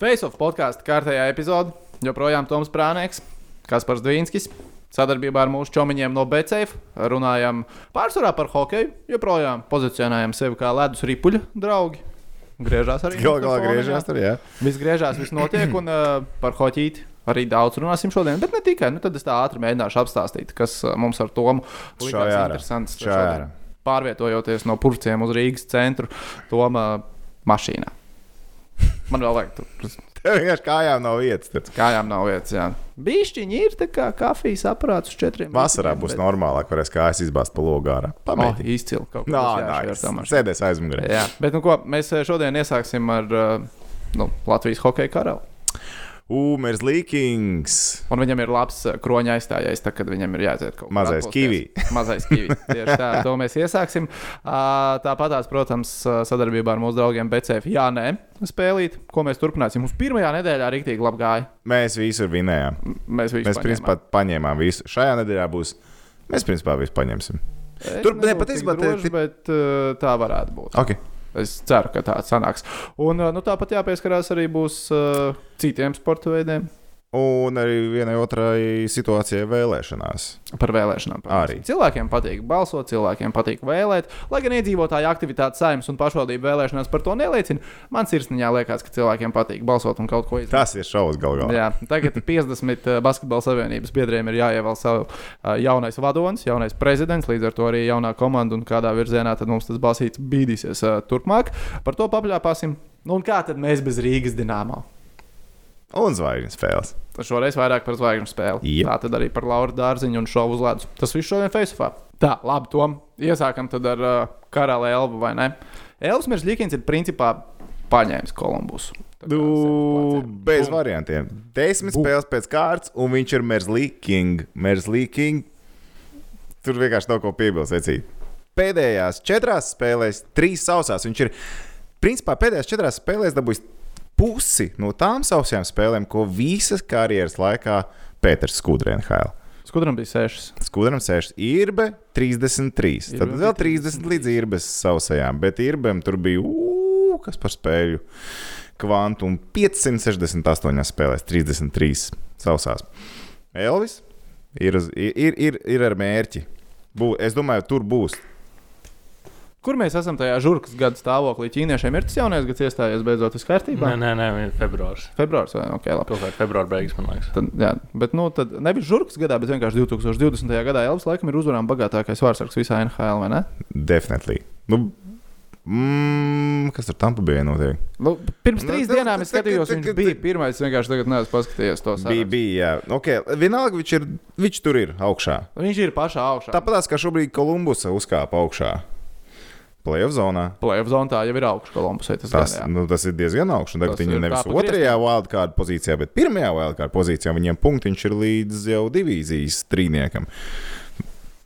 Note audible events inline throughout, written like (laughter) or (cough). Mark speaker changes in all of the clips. Speaker 1: Face of podkāstu kārtējā epizode joprojām Toms Prānieks, Kaspars Dvīnskis. Sadarbībā ar mūsu čomiņiem no BCF runājam pārsvarā par hokeju. Joprojām pozicionējam sevi kā ledus ripuļu draugi. Griežās arī.
Speaker 2: Galu galā
Speaker 1: mikrofoniņā.
Speaker 2: griežās tur, jā.
Speaker 1: Viss griežās, viss notiek, un uh, par hoķīti arī daudz runāsim šodien. Bet ne tikai, nu tad es tā ātri mēģināšu apstāstīt, kas uh, mums ar Tomu
Speaker 2: Šā
Speaker 1: likās
Speaker 2: jārā.
Speaker 1: interesants.
Speaker 2: Šā jārā.
Speaker 1: šodien. Pārvietojoties no Purciem uz Rīgas centru, Toma uh, mašīnā. Man vēl vajag tur uz
Speaker 2: Tev vienkārši kājām nav vietas. Tur.
Speaker 1: kājām nav vietas. jā. Bišķiņi ir tā kā kafijas aparāts uz četriem.
Speaker 2: Vasarā
Speaker 1: rītiem,
Speaker 2: būs
Speaker 1: bet-
Speaker 2: normālāk, varēs kājas izbāzt pa logu ārā.
Speaker 1: Oh,
Speaker 2: Pamēģini.
Speaker 1: izcili kaut
Speaker 2: Nā,
Speaker 1: kas
Speaker 2: nā,
Speaker 1: tāds.
Speaker 2: es sēdēs aizmugurē.
Speaker 1: Jā, bet nu ko, mēs eh, šodien iesāksim ar eh, nu, Latvijas hokeja karalu.
Speaker 2: Umers Līkings.
Speaker 1: Un viņam ir labs eh, kroņa aizstājējs, tad, kad viņam ir jāiziet kaut kur
Speaker 2: Mazais
Speaker 1: atpūsties.
Speaker 2: kivī.
Speaker 1: (laughs) Mazais kivī. Tieši tā, to mēs iesāksim. Ā, Tāpatās, protams, ā, sadarbībā ar mūsu draugiem BCF, Jā, nē, spēlīt, ko mēs turpināsim. Mums pirmajā nedēļā rīktīgi labi gāja.
Speaker 2: Mēs visur vinējām.
Speaker 1: M- Mēs visi
Speaker 2: Mēs principā paņēmām visu. Šajā nedēļā būs. Mēs principā visu paņemsim. tur- ne, patiesībā te-
Speaker 1: ir. Bet ā, tā varētu būt.
Speaker 2: Ok.
Speaker 1: Es ceru, ka tā sanāks. Un ā, nu, tāpat jāpieskarās arī būs ā, citiem sporta veidiem.
Speaker 2: Un arī vienai otrai situācijai vēlēšanās.
Speaker 1: Par vēlēšanām. protams.
Speaker 2: Arī.
Speaker 1: Cilvēkiem patīk balsot, cilvēkiem patīk vēlēt. Lai gan iedzīvotāju aktivitāte saimnes un pašvaldību vēlēšanās par to neliecina, man sirsniņā liekas, ka cilvēkiem patīk balsot un kaut ko izdarīt.
Speaker 2: Tas ir šausmas galu galā.
Speaker 1: Jā, tagad (laughs) 50 eh, basketbalu savienības biedriem ir jāievēl savu eh, jaunais vadonis, jaunais prezidents, līdz ar to arī jaunā komanda un kādā virzienā tad mums tas basīts bīdīsies eh, turpmāk. Par to papļāpāsim. Nu, un kā tad mēs bez Rīgas dināmā?
Speaker 2: Un zvaigznes spēles.
Speaker 1: Šoreiz vairāk par zvaigžņu spēli.
Speaker 2: Jep.
Speaker 1: Tā tad arī par Laura dārziņu un šovu uz ledus. Tas viss šodien Facebookā. Tā, labi, Tom. Iesākam tad ar uh, karali Elbu vai ne? Elvis Mirzlikins ir principā paņēmis Kolumbusu. Tā kā
Speaker 2: Nu,
Speaker 1: simts procenti.
Speaker 2: bez
Speaker 1: Bum.
Speaker 2: variantiem. Desmit spēles pēc kārtas, un viņš ir Merzlīking. Merzlīking. Tur vienkārši nav ko piebilst. Vecīt. Pēdējās četrās spēlēs, trīs sausās. Viņš ir, principā, pēdējās četrās spēlēs dabūjis pusi no tām sausajām spēlēm, ko visas karjeras laikā Pēters Skudrēnhaila.
Speaker 1: Skudram bija sešas.
Speaker 2: Skudram 6, Irbe 33. Tad
Speaker 1: Irbem
Speaker 2: vēl
Speaker 1: bija
Speaker 2: 30 līdz Irbes sausajām, bet Irbem tur bija ū, kas par spēļu kvantumu 568 spēlēs, 33 sausās. Elvis ir, uz, ir- ir, ir, ir ar mērķi. Bū, es domāju, tur būs.
Speaker 1: Kur mēs esam tajā žurkas gada stāvoklī? Ķīniešiem ir tas jaunais gads iestājies beidzot uz kārtībā.
Speaker 3: Nē, nē, nē, ir februāris.
Speaker 1: Februārs vai ok, labi.
Speaker 3: Kaut kā februāra beigas, man liekas.
Speaker 1: Tad, jā, bet nu, tad nevis žurkas gadā, bet vienkārši 2020. gadā Elvis laikam ir uzvarām bagātākais vārdsargs visā NHL, vai ne?
Speaker 2: Definitīvi. Nu, mm, kas tur tam bija notiek?
Speaker 1: Nu, pirms
Speaker 2: Nu,
Speaker 1: trīs
Speaker 2: tas-
Speaker 1: dienām es
Speaker 2: tas-
Speaker 1: skatījos,
Speaker 2: tas-
Speaker 1: viņš
Speaker 2: tas-
Speaker 1: bija pirmais. Es vienkārši tagad neesmu paskatījies to
Speaker 2: Bija,
Speaker 1: sarakstu.
Speaker 2: bija, jā. Okay, vienalga, viņš, ir, viņš tur ir augšā.
Speaker 1: Viņš ir pašā augšā.
Speaker 2: Tāpat tās, kā šobrīd Kolumbusa uzkāpa augšā. Playoff zonā.
Speaker 1: Plēvijas zonā jau ir augšā kolumbusē. Tas,
Speaker 2: Tas,
Speaker 1: gan, jā.
Speaker 2: nu, tas ir diezgan augsts. Tagad
Speaker 1: Tas
Speaker 2: viņi
Speaker 1: ir
Speaker 2: ir nevis
Speaker 1: tāpat
Speaker 2: otrajā wildcard pozīcijā, bet pirmajā wildcard pozīcijā viņiem punktiņš ir līdz jau divīzijas trīniekam.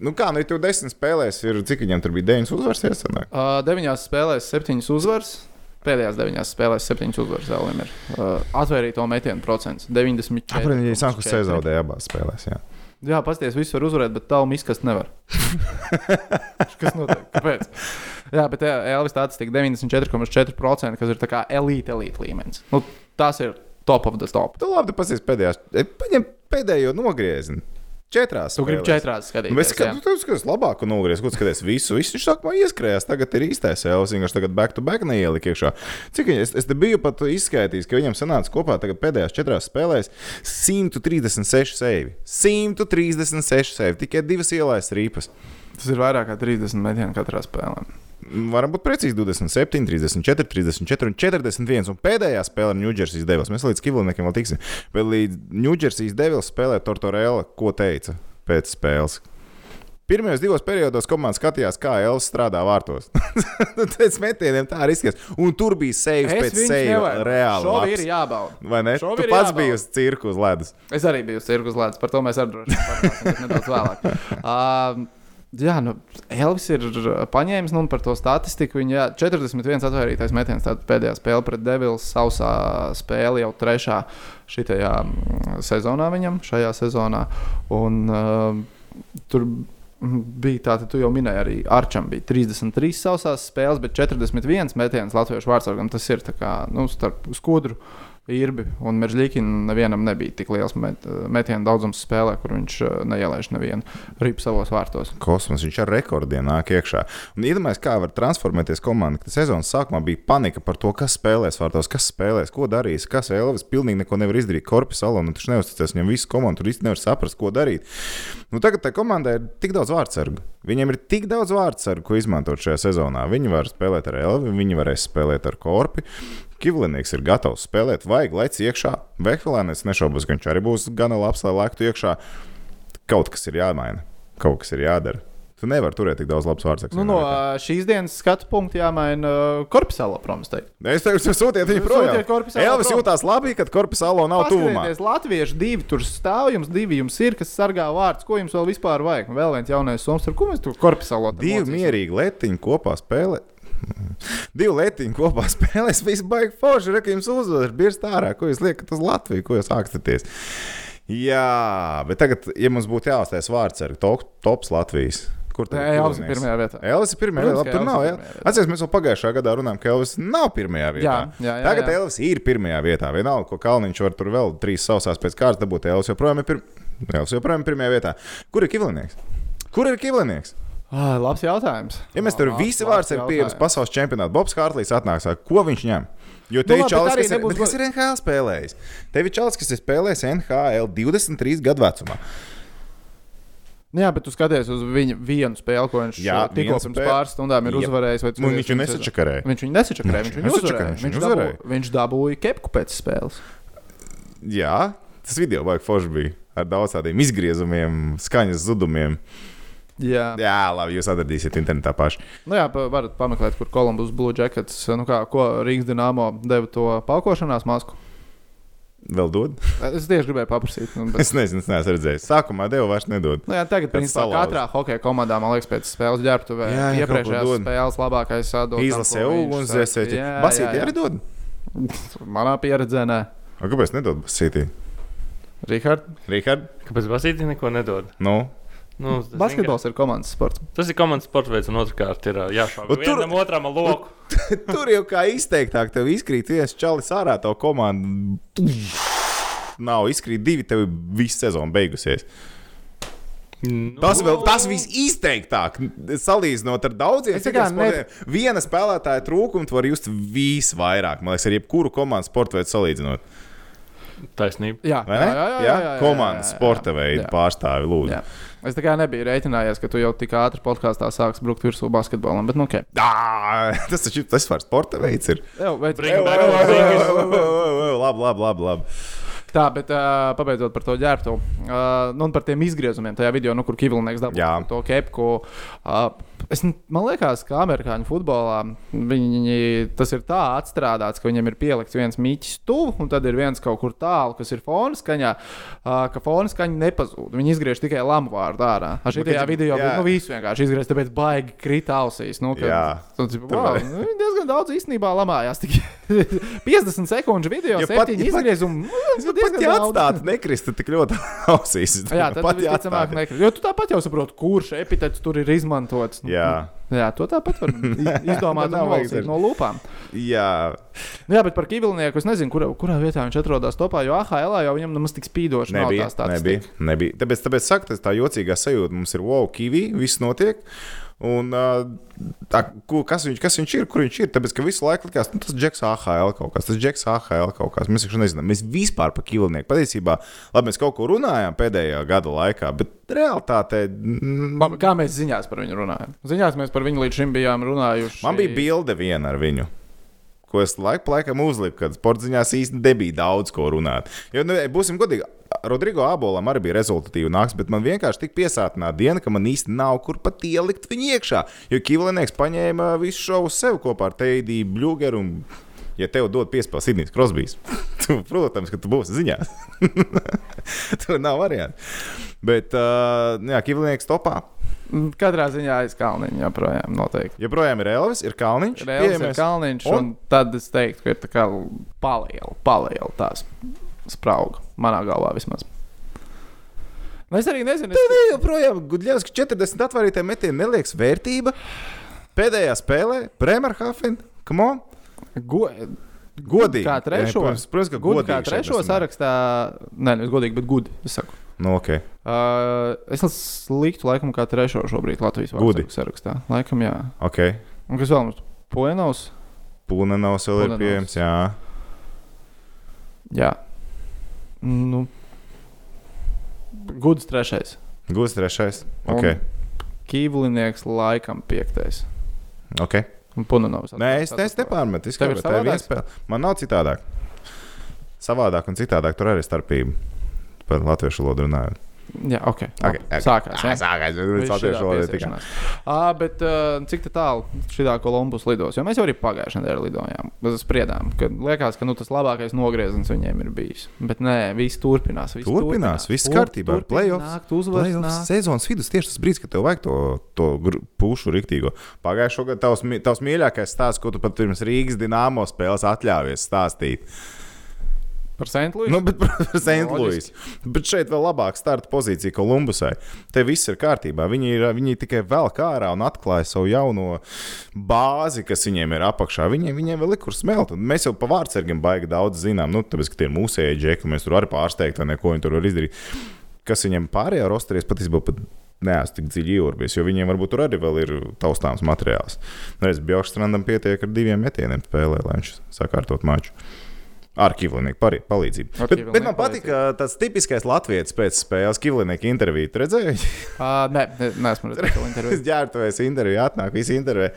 Speaker 2: Nu kā, nu, ja tu desmit spēlēs, ir, cik viņam tur bija deviņas uzvaras, iesanāk?
Speaker 1: Ā, Uh, Deviņās spēlēs septiņas uzvaras. Pēdējās deviņās spēlēs septiņas uzvaras Elim ir. Uh, Atvērīto metienu procents - 94.
Speaker 2: Apmēram, ja sākus sezaudē abās spēlēs, jā.
Speaker 1: Jā, pasties, viss var uzvarēt, bet tavu miskast
Speaker 2: (laughs)
Speaker 1: nevar. kas notiek? Kāpēc? Jā, bet jā, Elvis tāds tik 94,4%, kas ir tā kā elīte, elīte līmenis. Nu, tas ir top of the top.
Speaker 2: Tu labi, tu pasies pēdējās, e, paņem pēdējo nogriezni. Četrās.
Speaker 1: Tu gribi
Speaker 2: spēlēs.
Speaker 1: četrās
Speaker 2: Nu,
Speaker 1: skatīties.
Speaker 2: Bet
Speaker 1: jā.
Speaker 2: skat- tu skaties, labāk, un nogriezt, ko skaties visu. visu. Viņš sākumā ieskrējās, tagad ir īstais Elvis. Viņš tagad back to back neielika iekšā. Cik viņa, es, es te biju pat izskaidījis, ka viņam sanāca kopā tagad pēdējās četrās spēlēs 136 seivi. 136 seivi, tikai divas ielais rīpas.
Speaker 1: Tas ir vairāk kā 30 metienu katrā spēlē.
Speaker 2: Varam būt precīzi 27, 34, 34 un 41. Un pēdējā spēlē ir Ņūdžersijas devils. Mēs līdz Kivliniekiem vēl tiksim. Bet līdz Ņūdžersijas devils spēlē Tortorella, ko teica pēc spēles. Pirmajos divos periodos komanda skatījās, kā Elvis strādā vārtos. (laughs) Tad pēc metieniem tā arī izskatās. Un tur bija sejas pēc sejas reāli.
Speaker 1: Šovi ir
Speaker 2: labs.
Speaker 1: jābauda.
Speaker 2: Vai ne?
Speaker 1: šovi
Speaker 2: Tu
Speaker 1: ir
Speaker 2: pats
Speaker 1: jābauda.
Speaker 2: biji uz cirku uz ledus.
Speaker 1: Es arī biju cirkus lēns, par to mēs arī droši parunāsim, bet nedaudz vēlāk. Uh, Jā, nu, Elvis ir uh, paņēmis nu, un par to statistiku. Viņa jā, 41 atvērtais metiens, tāda pēdējā spēle pret Devils, sausā spēle jau trešā šitajā mm, sezonā viņam, šajā sezonā. Un, uh, tur Mhm, bija tā, ka tu jau minēji, arī Arčam bija 33 sausās spēles, bet 41 metiens latviešu vārdsargam. Tas ir tā kā, nu, starp skudru Irbi un Meržģīkina nevienam nebija tik liels met, metienu daudzums spēlē, kur viņš eh, neielaiž nevienu ripu savos vārtos.
Speaker 2: Kosmos, viņš ar rekordiem nāk iekšā. Un iedomājieties, kā var transformēties komanda. kad Sezonas sākumā bija panika par to, kas spēlēs vārtos, kas spēlēs, ko darīs, kas Elvis pilnīgi neko nevar izdarīt. Korpus salonu, taču neuzticēs viņam visu komandu, tur īsti nevar saprast, ko darīt. Nu, tagad tā komandai ir tik daudz vārdsargu. Viņiem ir tik daudz vārdsargu, ko izmantot šajā sezonā. Viņi var spēlēt ar Elvi, viņi varēs spēlēt ar Korpu. Kivlinieks ir gatavs spēlēt, vajag lec iekšā. Vekfelēnēs nešaubos, ka viņš arī būs gana labs, lai lēktu iekšā. Kaut kas ir jāmaina, kaut kas ir jādara. Tu nevari turēt tik daudz labs vārdsargs.
Speaker 1: Nu, no eh, šīs dienas skatu punkta jāmaina korpusāla, protams, teikt.
Speaker 2: Es teiktu, ka sūtiet viņu
Speaker 1: Sūtiet
Speaker 2: projām.
Speaker 1: Korpusalo
Speaker 2: Elvis
Speaker 1: prom.
Speaker 2: jūtās labi, kad korpusālo nav tuvumā.
Speaker 1: Paskatieties, Latvieši divi tur stāv, jums divi jums ir, kas sargā vārdus. Ko jums vēl vispār vajag? Un Vēl viens jaunais somas, ar ko mēs tur korpusālo
Speaker 2: Divi mierīgi letiņi kopā spēlē. Divi letiņi kopā spēlē. Es visu baigi forši reku jums uzvaru. Biržs tārā, ko jūs liekat uz Latviju, ko jūs ākstaties. Jā, bet tagad, ja mums būtu jāuztais vārds ar to, tops Latvijas. Kur
Speaker 1: Tā
Speaker 2: tā
Speaker 1: jau ir eh, pirmajā vietā.
Speaker 2: Elvis ir pirmā.
Speaker 1: Protams,
Speaker 2: Labi,
Speaker 1: ka
Speaker 2: tur
Speaker 1: Elvis
Speaker 2: nav.
Speaker 1: ir
Speaker 2: jā.
Speaker 1: pirmajā vietā.
Speaker 2: Atcerieties, mēs jau pagājušā gadā runājām, ka Elvis nav pirmajā vietā.
Speaker 1: Jā, jā, jā,
Speaker 2: Tagad
Speaker 1: jā.
Speaker 2: Elvis ir pirmajā vietā. Vienalga, ko Kalniņš var tur vēl trīs sausās pēc kārtas dabūt. Elvis joprojām ir, pir... Elvis joprojām ir pirmajā vietā. Kur ir Kivlinieks? Kur ir Kivlinieks?
Speaker 1: Ah, labs jautājums.
Speaker 2: Ja mēs tur
Speaker 1: Labs,
Speaker 2: visi
Speaker 1: labs
Speaker 2: vārds ir
Speaker 1: jautājums.
Speaker 2: pieejams pasaules čempionātā, Bobs Hārlīs atnāks, saka, ko viņš ņem. Jo te
Speaker 1: Nu
Speaker 2: ir
Speaker 1: labi,
Speaker 2: čalis,
Speaker 1: bet arī
Speaker 2: kas, ir-
Speaker 1: nebūs
Speaker 2: bet kas ir NHL spēlējis. Tev ir čalis, kas ir spēlējis NHL 23 gadu vecumā.
Speaker 1: Nu Jā, bet tu skaties uz viņu vienu spēli, ko viņš
Speaker 2: Jā,
Speaker 1: jā, tikko
Speaker 2: viens
Speaker 1: pirms
Speaker 2: spēle.
Speaker 1: pāris stundām ir
Speaker 2: Jā.
Speaker 1: uzvarējis. vai tu
Speaker 2: Nu,
Speaker 1: skaties,
Speaker 2: viņš jau
Speaker 1: viņš ir-
Speaker 2: nesačakarēja.
Speaker 1: Viņš viņu nesačakrēja. Viņš viņu uzvarēja.
Speaker 2: nesačakarēja, viņš
Speaker 1: Viņš
Speaker 2: viņu
Speaker 1: dabūja, viņš dabūja kepku pēc spēles.
Speaker 2: Jā, tas video baigi forši bija. Ar daudz tādiem izgriezumiem, skaņas zudumiem.
Speaker 1: Jā, jā.
Speaker 2: Jā, labi, jūs atradīsiet internetā paši.
Speaker 1: Nu, jā pa, varat pameklēt, kur Kolumbus Blue Jackets, nu kā, ko Rīgas Dienāmo deva to paukošanās masku.
Speaker 2: Vēl dod?
Speaker 1: Es tieši gribēju paprasīt. Nu,
Speaker 2: (laughs)
Speaker 1: bet...
Speaker 2: Es nezinu, es neesmu redzējis. Sākumā devu vairs nedod.
Speaker 1: Nu, jā, tagad,
Speaker 2: Kad
Speaker 1: principā,
Speaker 2: salauz.
Speaker 1: katrā hokeja komandā, man liekas, pēc spēles ģērbtuvē
Speaker 2: Jā, jā, kaut ko
Speaker 1: iepriekšējās
Speaker 2: dod.
Speaker 1: spēles labākais sadalījums.
Speaker 2: Izlasē ugunsdzēsēji. Basīti arī dod.
Speaker 1: Manā pieredzē, nē,
Speaker 2: A, kāpēc nedod basīti?
Speaker 1: Rihards.
Speaker 2: Rihard?
Speaker 3: Kāpēc Basītī neko nedod?
Speaker 2: Nu,
Speaker 3: Nu, tas
Speaker 1: Basketbols ir komandas sports.
Speaker 3: vienkārši- Tas ir komandas sports veids, un otrkārt ir jāšauba.
Speaker 2: Un tur-
Speaker 3: Tur vienam otram ar loku.
Speaker 2: Tur jau kā izteiktāk, tev izkrīt viens čalis ārā, to komandu. Nav izkrīt divi, tev viss sezona beigusies.
Speaker 3: Nu,
Speaker 2: Tas vēl tas viss izteiktāk, salīdzinot ar daudziem
Speaker 1: Es tikai
Speaker 2: citiem sportiem. Viena spēlētāja trūkumu tu vari just visvairāk, man liekas, ar jebkuru komandas sporta veidu salīdzinot.
Speaker 3: Taisnība.
Speaker 1: Jā,
Speaker 2: Vai ne? komandas sporta veidu
Speaker 1: jā.
Speaker 2: pārstāvi lūdzu.
Speaker 1: Jā. Es tā kā nebiju rēķinājies, ka tu jau tik ātri podkāstā sāksi brukt virsū basketbolam, bet nu, ok.
Speaker 2: Ā, (laughs) Tas taču tas var sporta veids. ir.
Speaker 1: Ew, bet,
Speaker 3: Bring
Speaker 1: ew,
Speaker 3: back
Speaker 1: ew, ew,
Speaker 3: the
Speaker 1: ew,
Speaker 3: Lakers.
Speaker 1: ew, ew, ew.
Speaker 2: Labi, labi, labi. labi.
Speaker 1: Tā, bet uh, pabeidzot par to ģērbtu. Uh, nu, un par tiem izgriezumiem tajā video, nu, kur Kivlnieks
Speaker 2: Jā.
Speaker 1: dabūja to kepku. Uh, es, n- man liekas, ka amerikāņu futbolā viņi, tas ir tā atstrādāts, ka viņiem ir pielikts viens mītis tuvu, un tad ir viens kaut kur tālu, kas ir fona skaņā, uh, ka fona skaņa nepazūd. Viņi izgriež tikai lamu vārdu ārā. Ar šajā
Speaker 2: kad-
Speaker 1: video
Speaker 2: jā.
Speaker 1: bija, nu, visu vienkārši izgriezt, tāpēc baigi krīt ausīs. Nu, ka,
Speaker 2: Jā.
Speaker 1: tad, tipo,
Speaker 2: Tur
Speaker 1: wow,
Speaker 2: vajag-
Speaker 1: nu, viņi diezgan daudz īstenībā lamājās. Tik (laughs) 50 sekundžu video,
Speaker 2: Ja pat-
Speaker 1: 7
Speaker 2: ja pat-
Speaker 1: izgriezumi. nu,
Speaker 2: Nu,
Speaker 1: diezgan
Speaker 2: Pat ja
Speaker 1: daudz.
Speaker 2: atstāt, nekrist, tad tik ļoti (laughs) ausīs. es
Speaker 1: (laughs) Jā,
Speaker 2: domāju,
Speaker 1: tad
Speaker 2: pat ja
Speaker 1: visticamāk,
Speaker 2: atstāt.
Speaker 1: nekrīt. Jo tu tāpat jau saproti, kurš epitets tur ir izmantots. Nu,
Speaker 2: Jā.
Speaker 1: nu, jā to tāpat
Speaker 2: (laughs)
Speaker 1: var i- izdomāt
Speaker 2: Nav
Speaker 1: un
Speaker 2: vajag
Speaker 1: nolasīt
Speaker 2: zert.
Speaker 1: no lūpām.
Speaker 2: Jā,
Speaker 1: Nu, jā, bet par Kivilinieku es nezinu, kurā, kurā vietā viņš atrodas topā, jo AHL jau viņam nemaz tik spīdoši nav
Speaker 2: nebija.
Speaker 1: tā statistika.
Speaker 2: nebija, nebija. Tāpēc, tāpēc saka, tas tā jocīgā sajūta mums ir wow, kivī, viss notiek. Un, ā, tā, ko- kas, viņš, kas viņš ir, kur viņš ir? Tāpēc, ka visu laiku likās, nu, tas ir Džeks AHL kaut kas, tas ir Džeks AHL kaut kas. Mēs vienkārši nezinām, mēs vispār par kīlnieku patiesībā, labi, mēs kaut ko runājām pēdējā gada laikā, bet realtātē. mm,
Speaker 1: Ma- Kā mēs ziņās par viņu runājam? Ziņās mēs par viņu līdz šim bijām runājuši.
Speaker 2: Man bija bilde viena ar viņu. Ko es laiku pa laikam uzliku, kad sporta ziņās īstenībā nebija daudz ko runāt. Jo, nu, būsim godīgi, Rodrigo Abolam arī bija rezultatīva naktis, bet man vienkārši tik piesātināta diena, ka man īstenībā nav kur pat ielikt viņu iekšā. Jo Kivlinieks paņēma visu šo uz sevi kopā ar Teidiju Bluegeru. Un... Ja tev dod piespēli Sidnijas Krosbīs, tad, protams, ka (laughs) tu būsi ziņās. (laughs) Tur nav variantu. Bet, uh, jā, Kivlinieks topā.
Speaker 1: Katrā ziņā aiz kalniņa joprojām noteikti.
Speaker 2: Joprojām ir Elvis, ir Kalniņš.
Speaker 1: Reāls ir
Speaker 2: pieejamies.
Speaker 1: kalniņš,
Speaker 2: Un-
Speaker 1: un, un tad es teiktu, ka ir tā kā paliela, paliela tās sprauga manā galvā vismaz. Nu, es arī nezinu, es...
Speaker 2: Tev joprojām Gudļevs 40 atvērtiem metieniem neliekas vērtība. Pēdējā spēlē Bremerhaven. come on.
Speaker 1: Go...
Speaker 2: Godīgi.
Speaker 1: Kā trešo?
Speaker 2: Jā, protams- Protams, ka
Speaker 1: Gudi
Speaker 2: godīgi.
Speaker 1: kā
Speaker 2: šeit
Speaker 1: trešo
Speaker 2: esmu.
Speaker 1: sarakstā, nē, nevis godīgi, bet gudi. Es, saku.
Speaker 2: Nu, ok.
Speaker 1: uh, es liktu, laikam, kā trešo šobrīd Latvijas
Speaker 2: Gudi.
Speaker 1: vārdu sarakstā. Laikam, jā.
Speaker 2: okay.
Speaker 1: Un kas vēl mums? Poenovs.
Speaker 2: Pūnenovs vēl ir
Speaker 1: Pūnenovs.
Speaker 2: pieejams. Jā.
Speaker 1: Jā. Nu. Gudrs trešais.
Speaker 2: Gūs trešais.
Speaker 1: Un
Speaker 2: Ok.
Speaker 1: Kīvlinieks laikam piektais.
Speaker 2: okay.
Speaker 1: Un Punanovs.
Speaker 2: Nē, es, es te pārmetu. Es
Speaker 1: Tev ir
Speaker 2: kāpēc tā ir viena
Speaker 1: savādāk?
Speaker 2: spēle. Man nav citādāk. Savādāk un citādāk tur arī ir starpība. Par latviešu valodu runājot.
Speaker 1: Jā, ok.
Speaker 2: Ok,
Speaker 1: okay,
Speaker 2: ok.
Speaker 1: okay. Sākās.
Speaker 2: Ā,
Speaker 1: jā?
Speaker 2: Sākās jau
Speaker 1: Viss
Speaker 2: latviešu
Speaker 1: šidā
Speaker 2: valoda. tikai.
Speaker 1: piesiešanās. Ā, Bet uh, cik tā tālu šitā Kolumbus lidos? Jo mēs jau arī pagājušajā nedēļā lidojām. Mēs spriedām, ka liekas, ka nu, tas labākais nogrieziens viņiem ir bijis. Bet nē, viss turpinās. Viss
Speaker 2: Turpinās, viss kārtībā,
Speaker 1: Turpinās,
Speaker 2: playoffs.
Speaker 1: nākt uzvaras,
Speaker 2: Playoffs
Speaker 1: nākt.
Speaker 2: Sezonas vidus tieši tas brīdis, kad tev vajag to, to gru- pušu rīktīgo. Pagājušā gada tavs, mī- tavs mīļākais stāsts, ko tu pat pirms Rīgas dīnāmo spēles atļāvies stāstīt.
Speaker 1: Par St. Louis.
Speaker 2: Nu, bet par Saintluīs.
Speaker 1: Loģiski.
Speaker 2: Bet šeit vēl labāka starta pozīcija Kolumbusai. Te viss ir kārtībā. Viņi, ir, viņi tikai vēl kā ārā un atklāja savu jauno bāzi, kas viņiem ir apakšā. Viņiem, viņiem vēl ir kur smelt. Un Mēs jau par vārdsargiem baigi daudz zinām. Nu, tāpēc, ka tie ir mūsēji džekļi, mēs tur arī pārsteigti, vai ne, ko viņi tur var izdarīt. Kas viņiem pārējā rosterīs patiesībā pat neesmu tik dziļi ielūpies, jo viņiem varbūt tur arī vēl ir taustāms materiāls. Reiz Bjorkstrandam pietiek ar diviem metieniem spēlē, lai viņš sakārtot maču. Ar Kivlinieku pari- palīdzību.
Speaker 1: Ar
Speaker 2: Bet, bet
Speaker 1: Kivlinieku
Speaker 2: man patika tas tipiskais latviešu pēc spēles Kivlinieku interviju. Tu Redzēji,
Speaker 1: Ā, Nē, nē, neesmu redzējis to interviju.
Speaker 2: (laughs) es ģērbtuvēs interviju, atnāk visi interviju.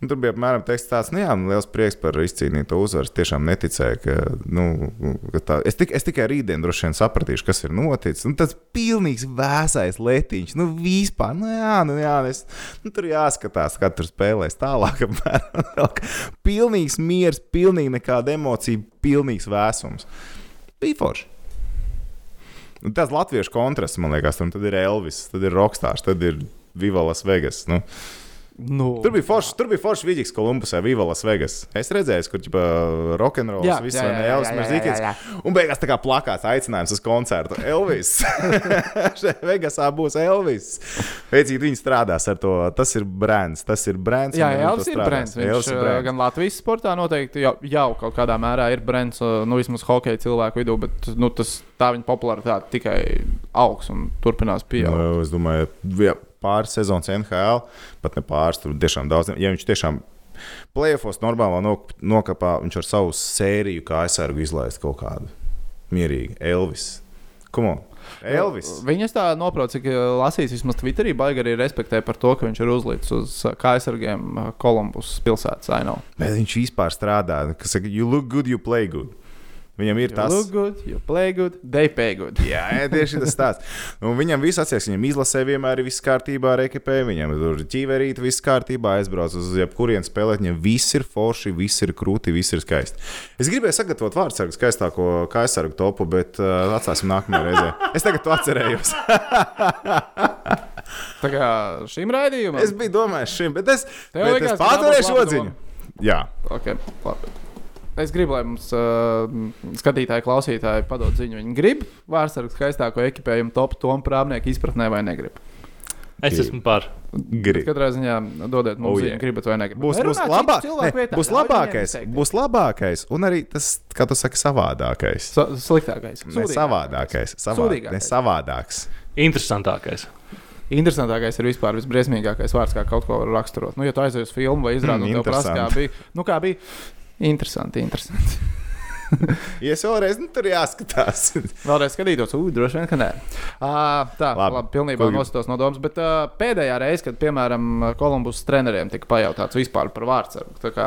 Speaker 2: Un tur bija apmēram teksts tāds, nu jā, man liels prieks par izcīnīto uzvaru. Es tiešām neticēju, ka, nu, ka tā. Es, tik, es tikai rītdien droši vien sapratīšu, kas ir noticis. Un tas pilnīgs vēsais letiņš, nu vispār, nu jā, nu jā, es, nu, tur jāskatās, kā tur spēlēs tālāk. (laughs) apmēram. Vēl kā- Pilnīgs miers, pilnīgi nekāda emocija, pilnīgs vēsums. Bija forši. Un Tas latviešu kontrasts, man liekas, tam tad ir Elvis, tad ir Rokstārs, tad ir Viva Las Vegas. Nu.
Speaker 1: Nu,
Speaker 2: Tur bija forši, tur bija forši vidīgs Kolumbusā, Viva Las Vegas. Es redzēju, kur ģipa rokenrols,
Speaker 1: Jā,
Speaker 2: viss
Speaker 1: jā,
Speaker 2: vai
Speaker 1: jā,
Speaker 2: ne,
Speaker 1: jā,
Speaker 2: Elvis
Speaker 1: jā,
Speaker 2: Merzīkins.
Speaker 1: jā,
Speaker 2: Un beigās tā kā plakāts aicinājums uz koncertu.
Speaker 1: (laughs)
Speaker 2: Elvis! Šajā Vegasā būs Elvis! Veicīgi viņi strādās ar to. Tas ir brands, tas ir brands.
Speaker 1: Jā,
Speaker 2: un viņi
Speaker 1: jā
Speaker 2: to
Speaker 1: Elvis ir
Speaker 2: strādās.
Speaker 1: brands. Viņš
Speaker 2: Elvis ir
Speaker 1: uh,
Speaker 2: brands.
Speaker 1: gan Latvijas sportā noteikti jau, jau kaut kādā mērā ir brands, uh, nu vismaz hokeja cilvēku vidū, bet nu, tas, tā viņa popularitāte tikai augs un turpinās pieaugt.
Speaker 2: Nu, es domāju, ja pāris sezonas NHL, pat ne pāris, tur tiešām daudz. Ja viņš tiešām plēsofos normālā nok nokāpā, viņš ar savu sēriju kā aizsargu izlaist kaut kādu mierīgu Elvis. Come on, Elvis!
Speaker 1: Viņas Eh, tā noprot, cik uh, lasīs, vismaz Twitterī, baigi arī respektē par to, ka viņš ir uzlicis uz uh, kājasargiem uh, Kolumbus pilsētas ainu.
Speaker 2: Bet viņš vispār strādā. Kas saka, you look good, you play good. Viņam ir tas.
Speaker 1: Look good, you play good, they pay good.
Speaker 2: Jā, jā, tieši tas tāds. Un viņam viss atsieks, viņam izlasē vienmēr ir viss kārtībā ar EKP, viņam tur ķīverīte viss kārtībā, aizbrauc uz jebkurienu spēlēt, viņam viss ir forši, viss ir krūti, viss ir skaisti. Es gribēju sagatavot vārdsargu skaistāko kaisargu topu, bet uh, atstāsim nākamajā reizē. Es tagad to atcerējos.
Speaker 1: Tā kā šim raidījumam.
Speaker 2: Es biju domājis šim, bet es,
Speaker 1: Tev
Speaker 2: bet
Speaker 1: likās, ka tā
Speaker 2: es
Speaker 1: būs laba
Speaker 2: pārturēšu
Speaker 1: doma.
Speaker 2: odziņu. Jā,
Speaker 1: Okay, labi. Es gribu, lai mums uh, skatītāji, klausītāji padod ziņu. Viņi grib vārsakas skaistāko ekipējumu, top tomu prāmnieku izpratnē vai negrib.
Speaker 3: Es esmu par.
Speaker 2: grib.
Speaker 1: Katrā ziņā dodiet mums
Speaker 2: Oh,
Speaker 1: oh, ziņu,
Speaker 2: yeah.
Speaker 1: yeah. gribat vai negribat.
Speaker 2: Būs,
Speaker 1: Vai
Speaker 2: būs,
Speaker 1: runāt citu
Speaker 2: labāk,
Speaker 1: cilvēku
Speaker 2: ne,
Speaker 1: vietā,
Speaker 2: būs
Speaker 1: ļauj viņiem
Speaker 2: labākais,
Speaker 1: izteikties.
Speaker 2: būs labākais, un arī tas, kā tu saki, savādākais.
Speaker 1: Sa sliktākais.
Speaker 2: Ne
Speaker 1: sūdīgākais.
Speaker 2: savādākais, savādākais.
Speaker 1: Sūdīgākais.
Speaker 2: Ne savādākais.
Speaker 3: Interesantākais.
Speaker 1: Interesantākais ir vispār visbriesmīgākais vārds, kā kaut ko var raksturot. Nu, ja tu aizjūji uz filmu vai izrādi,
Speaker 2: Mm,
Speaker 1: mm, tad prasa, kā
Speaker 2: interesanti.
Speaker 1: bija. Nu, kā bija? Interesanti, interesanti.
Speaker 2: Ja es vēlreiz nu, tur jāskatās.
Speaker 1: Vēlreiz skatītos, ugh, droši vien, ka nē. Uh, tā,
Speaker 2: Labi.
Speaker 1: labi, labi pilnībā
Speaker 2: Ko-
Speaker 1: nostos no domas. Bet uh, pēdējā reize, kad, piemēram, Kolumbus treneriem tika pajautāts vispār par vārdsargu, tā kā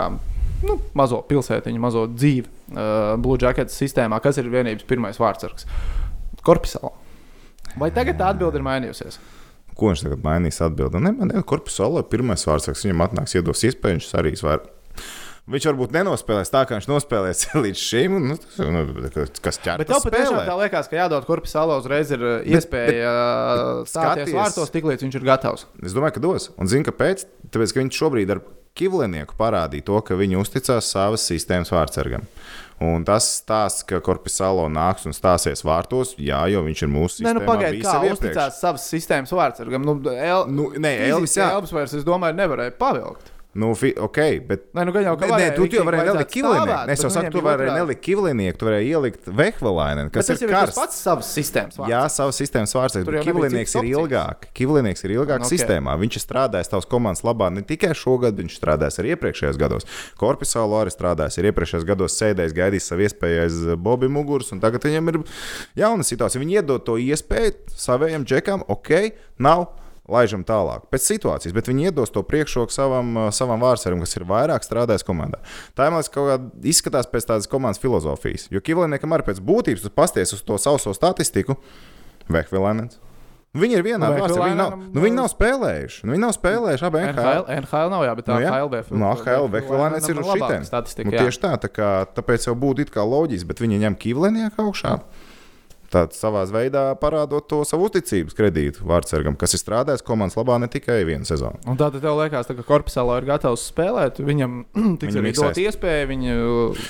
Speaker 1: nu, mazo pilsētiņu, mazo dzīvi uh, Blue Jackets sistēmā, kas ir vienības pirmais vārdsargs - Korpusāla. Vai tagad tā atbilde ir mainījusies?
Speaker 2: (laughs) Ko viņš tagad mainīs? Atbildi. Nē, man ir korpusā vēl pirmais vārdsargs. Viņam atnāks, iedos iespēju, viņš arī svar. Viņš varbūt nenospēlēs tā, kā viņš nospēlēs (laughs) līdz šim. Nu, tas- nu, kas ķērās
Speaker 1: Bet tev patiešām tā liekas, ka jādod korpusāla uzreiz ir uh, iespēja uh, stāties
Speaker 2: skaties-
Speaker 1: vārtos, tiklīdz viņš ir gatavs.
Speaker 2: Es domāju, ka dos. Un zinu, kāpēc? Tāpēc, ka viņš šobrīd ar Kivlinieku parādīja to, ka viņi uzticās savas sistēmas vārdsargam. Un tas stāsts, ka Korpusālo nāks un stāsies vārtos, jā, jo viņš ir mūsu
Speaker 1: Nē, nu
Speaker 2: sistēmā
Speaker 1: pagaidi,
Speaker 2: bijis
Speaker 1: kā
Speaker 2: jau iepriekš.
Speaker 1: uzticās savas sistēmas vārdsargam. Nu, El...
Speaker 2: Nu, nē,
Speaker 1: Elvis,
Speaker 2: Elvis, jā,
Speaker 1: Elvis vairs, es domāju, nevarēja pavilkt.
Speaker 2: Nu, fi, ok, bet.
Speaker 1: Nē, nu gan jau
Speaker 2: Nē,
Speaker 1: kā
Speaker 2: nē, tu jau varēji nelikt kivlinieku. Es jau
Speaker 1: nu,
Speaker 2: saku, tu varēji
Speaker 1: nelikt.
Speaker 2: nelikt kivlinieku, tu varēji ielikt vehvalainen,
Speaker 1: Bet
Speaker 2: kas
Speaker 1: tas
Speaker 2: ir
Speaker 1: jau ir tas
Speaker 2: karsts.
Speaker 1: pats savas sistēmas vārds.
Speaker 2: Jā, savas sistēmas vārsakas.
Speaker 1: Tur jau nebija
Speaker 2: Kivlinieks
Speaker 1: citas
Speaker 2: ir
Speaker 1: opcijas. Nu,
Speaker 2: ilgāk. Kivlinieks ir ilgāk
Speaker 1: Ok.
Speaker 2: okay. sistēmā. Viņš ir strādājis tavas komandas labā ne tikai šogad, viņš strādājis arī iepriekšējos gados. Korpusālo arī strādājis, ir iepriekšējos gados sēdējis, gaidījis savu iespēju aiz Bobby muguras, un tagad viņam ir jauna situācija. Viņi iedod to iespēju saviem džekam, ok, nav. Laižam tālāk, pēc situācijas, bet viņi iedos to priekšroku savam, uh, savam vārsaram, kas ir vairāk strādājis komandā. Tā jau man liekas, kaut kā izskatās pēc tādas komandas filozofijas. Jo Kivliniekam arī pēc būtības, tu pasties uz to sauso statistiku, Vehvilainens. Viņi ir vienā
Speaker 1: Nu,
Speaker 2: pusē. Viņi, nav-
Speaker 1: Vehvilainenam,
Speaker 2: nu, viņi nav spēlējuši. Nu, viņi nav spēlējuši abi NHL.
Speaker 1: NHL, NHL nav, jā, bet tā
Speaker 2: Nu, jā.
Speaker 1: HLB.
Speaker 2: No AHL Vehvilainens ir uz šitiem.
Speaker 1: Statistika,
Speaker 2: Nu,
Speaker 1: jā.
Speaker 2: tieši tā, tā kā, tāpēc jau būtu it kā loģiski, bet viņi ņem Kivlinieka augšā. Tāds savā veidā parādot to savu uzticības kredītu Vārtsargam, kas ir strādājis komandas labā ne tikai vienu sezonu.
Speaker 1: Un tā tad tev liekas, tā, ka korpusālā ir gatavs spēlēt, viņam tiks
Speaker 2: Viņu
Speaker 1: arī
Speaker 2: miksēs.
Speaker 1: dot iespēju, viņu...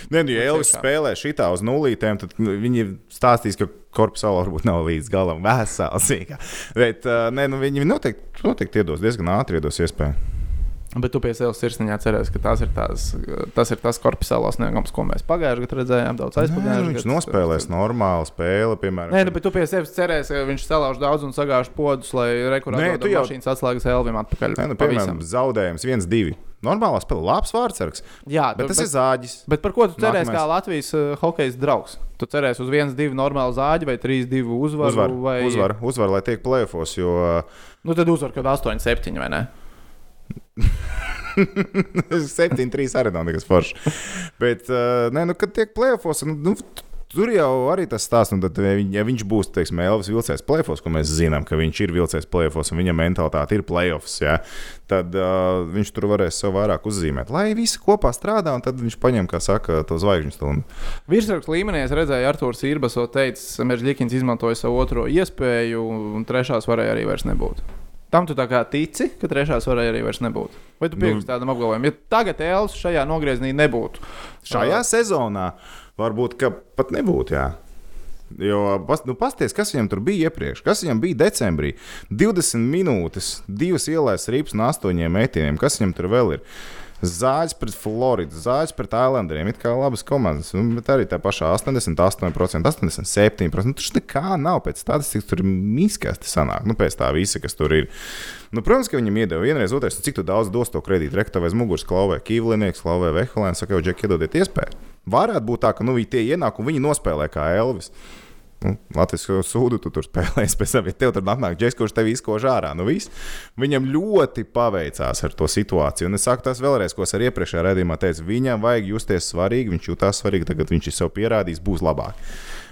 Speaker 2: Nē, nu,
Speaker 1: Nu,
Speaker 2: ja Elvis
Speaker 1: tiešām.
Speaker 2: spēlē šitā uz nulītēm, tad nu, viņi stāstīs, ka korpusāla varbūt nav līdz galam vesels. (laughs) Bet uh, nē, nu, viņi noteikti, noteikti iedos diezgan ātri iedos iespēju.
Speaker 1: Bet tu pie sevis sirsniņā cerēsi, ka tās ir tās, tas ir tas korpusālās negums, ko mēs pagājušajā gadā redzējām, daudz
Speaker 2: Nē, nu,
Speaker 1: aizpagājušajā.
Speaker 2: viņš nospēlēs normālu spēli, piemēram.
Speaker 1: Nē, nu, bet tu pie sevis cerēsi, ka viņš salauž daudz un sagāž podus, lai
Speaker 2: Nē,
Speaker 1: rekurētu
Speaker 2: tu jau-
Speaker 1: mašīnas atslēgas Elvim atpakaļ.
Speaker 2: Nē, nu,
Speaker 1: Pavisam.
Speaker 2: piemēram, zaudējums 1-2. Normālā spēlē, labs vārdsargs.
Speaker 1: Jā,
Speaker 2: Bet tas
Speaker 1: bet,
Speaker 2: ir zāģis.
Speaker 1: Bet par ko tu cerēsi,
Speaker 2: Nākamais.
Speaker 1: kā Latvijas uh, hokeja draugs? Tu cerēsi uz 1-2 normālu zāģi vai 3-2 uzvaru?
Speaker 2: Uzvar,
Speaker 1: vai...
Speaker 2: uzvar, uzvar, lai tiek plēfos, jo (laughs) uh,
Speaker 1: Nu, tad uzvar, kad 8-7 vai ne?
Speaker 2: 7-3 arī nav nekas foršs. Bet, uh, nē, nu, kad tiek plēfos, nu, t- tur jau arī tas stāsts, un tad, ja viņ- ja viņš būs, teiksim, Elvis vilcējs plēfos, ko mēs zinām, ka viņš ir vilcējs plēfos, un viņa mentalitāte ir plēfos, jā, tad uh, viņš tur varēs sev vairāk uzzīmēt. Lai visi kopā strādā, un tad viņš paņem, kā saka, to zvaigžņu stundu.
Speaker 1: Virsrakstu līmenī es redzēju, Arthurs Irbas to teica, Meržģīkins izmantoja savu otro iespēju, un trešās varēja arī vairs nebūt. Tam tu tā kā tici, ka trešās varēja arī vairs nebūt. Vai tu
Speaker 2: Nu-
Speaker 1: piekrīti tādam apgalvojumam? Ja tagad Elvis šajā nogriezienī nebūtu,
Speaker 2: Šajā sezonā varbūt ka pat nebūtu. Jā. Jo pas, nu, pasties, kas viņam tur bija iepriekš, kas viņam bija decembrī. 20 minūtes, 2 ielais rips un 8 metieniem. Kas viņam tur vēl ir? Zāģis pret Floridu, Zāģis pret Islanderiem. Ir kā labas komandas, nu, bet arī tā pašā 88%, 87%. Nu, tur taču nekā nav pēc statistikas, tur ir mīskasti sanāk. Nu, pēc tā visa, kas tur ir. Nu, protams, ka viņam iedeva vienreiz, otrais, un cik tu daudz dos to kredītu. Rekta vai muguras klauvē, Kīvlinieks, klauvē, Vehelēns, saka, jau Džek, iedodiet iespēju. Varētu būt tā, ka nu, viņi tie ienāk un viņi nospēlē kā Elvis. Nu, Latvijas sūdu tu tur spēlēs, pēc tam, ja tev tur nāk džeks, kurš tev izkož ārā. Nu, viss. viņam ļoti paveicās ar to situāciju. Un es saku tās vēlreiz, ko es arī iepriekšējā redzējumā teicu. Viņam vajag justies svarīgi, viņš jutās svarīgi, tagad viņš ir sev pierādījis, būs labāk.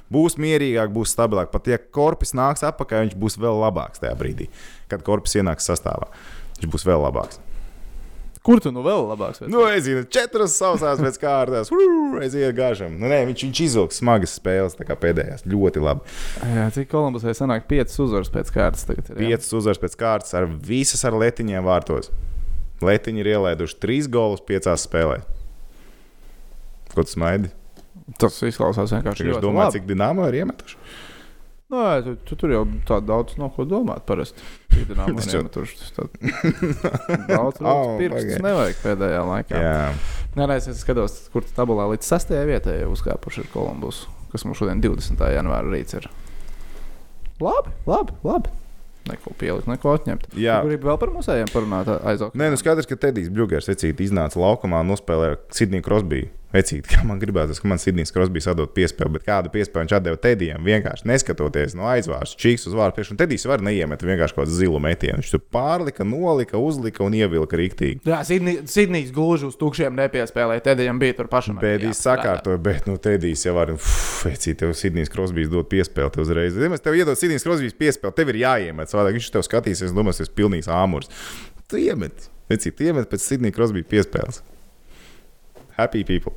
Speaker 2: Būs mierīgāk, būs stabilāk. Pat ja korpus nāks apakā, viņš būs vēl labāks tajā brīdī, kad korpus ienāks sastāvā. Viņš būs vēl labāks.
Speaker 1: kur tu nu vēl labāks?
Speaker 2: Nu, es zinu, četras savas pēc kārtas. Uu, Es ienāku gāžam. Nu, nē, viņš, viņš izvilks smagas spēles, tā kā pēdējās. Ļoti labi.
Speaker 1: Jā, cik Kolumbusai sanāk 5 uzvaras pēc kārtas tagad? Ir, jā?
Speaker 2: Piecas uzvaras pēc kārtas, ar visas ar letiņiem vārtos. Letiņi ir ielaiduši trīs golus piecās spēlēs. Ko tu smaidi?
Speaker 1: Tas izklausās vienkārši
Speaker 2: Es
Speaker 1: ļoti
Speaker 2: domāju,
Speaker 1: labi.
Speaker 2: cik dīnāmo ir iemetuši.
Speaker 1: Nu, jā, tu, tu tur jau tā daudz nav ko domāt. Parasti
Speaker 2: (laughs)
Speaker 1: ikdienā man
Speaker 2: Es jau-
Speaker 1: iemetuši tas
Speaker 2: (laughs)
Speaker 1: tā- daudz
Speaker 2: Au,
Speaker 1: oh, pirksts
Speaker 2: pagaidi.
Speaker 1: nevajag pēdējā laikā.
Speaker 2: Jā,
Speaker 1: Nē, nē, es es skatos, kur tas tabulā līdz 6. vietai jau uzkāpuši ir Kolumbus, kas mums šodien 20. janvāra rīts ir. Labi, labi, labi. Neko pielikt, neko atņemt.
Speaker 2: jā.
Speaker 1: Gribu vēl par musējiem parunāt aizok.
Speaker 2: Nē, nu skaidrs, ka Tedijs Bļūgers vecīti iznāca laukumā un nospēlēja Sidniju Krosbiju. Vecīti, (laughs) kā man gribētos, ka man Sidnijas Krosbija sadod piespēli, bet kādu piespēli viņš atdeva Tedijam, vienkārši neskatoties no aizvārs, čīks uz vārdu priekšu, un Tedijs var neiemet vienkārši kaut kādu zilu metienu. Viņš tur pārlika, nolika, uzlika un ievilka rīktīgi.
Speaker 1: Jā, Sidnī- Sidnijs gluži uz tukšiem nepiespēlēja. Tēdējiem bija tur pašam. arī
Speaker 2: Pēdējais
Speaker 1: jāstrādā.
Speaker 2: sakārtoja, bet, nu, Tedijs jau var, vecīt, tev Sidnijas Krosbīs dod piespēli tev uzreiz. Ja mēs tev iedod Sidnijas Krosbīs piespēli, tev ir jāiemet, savādāk viņš tev skatīsies, domās, es pilnīgs āmurs. Tu iemet, vecīt, iemet pēc Sidnijas Krosbīs piespēles. Happy people.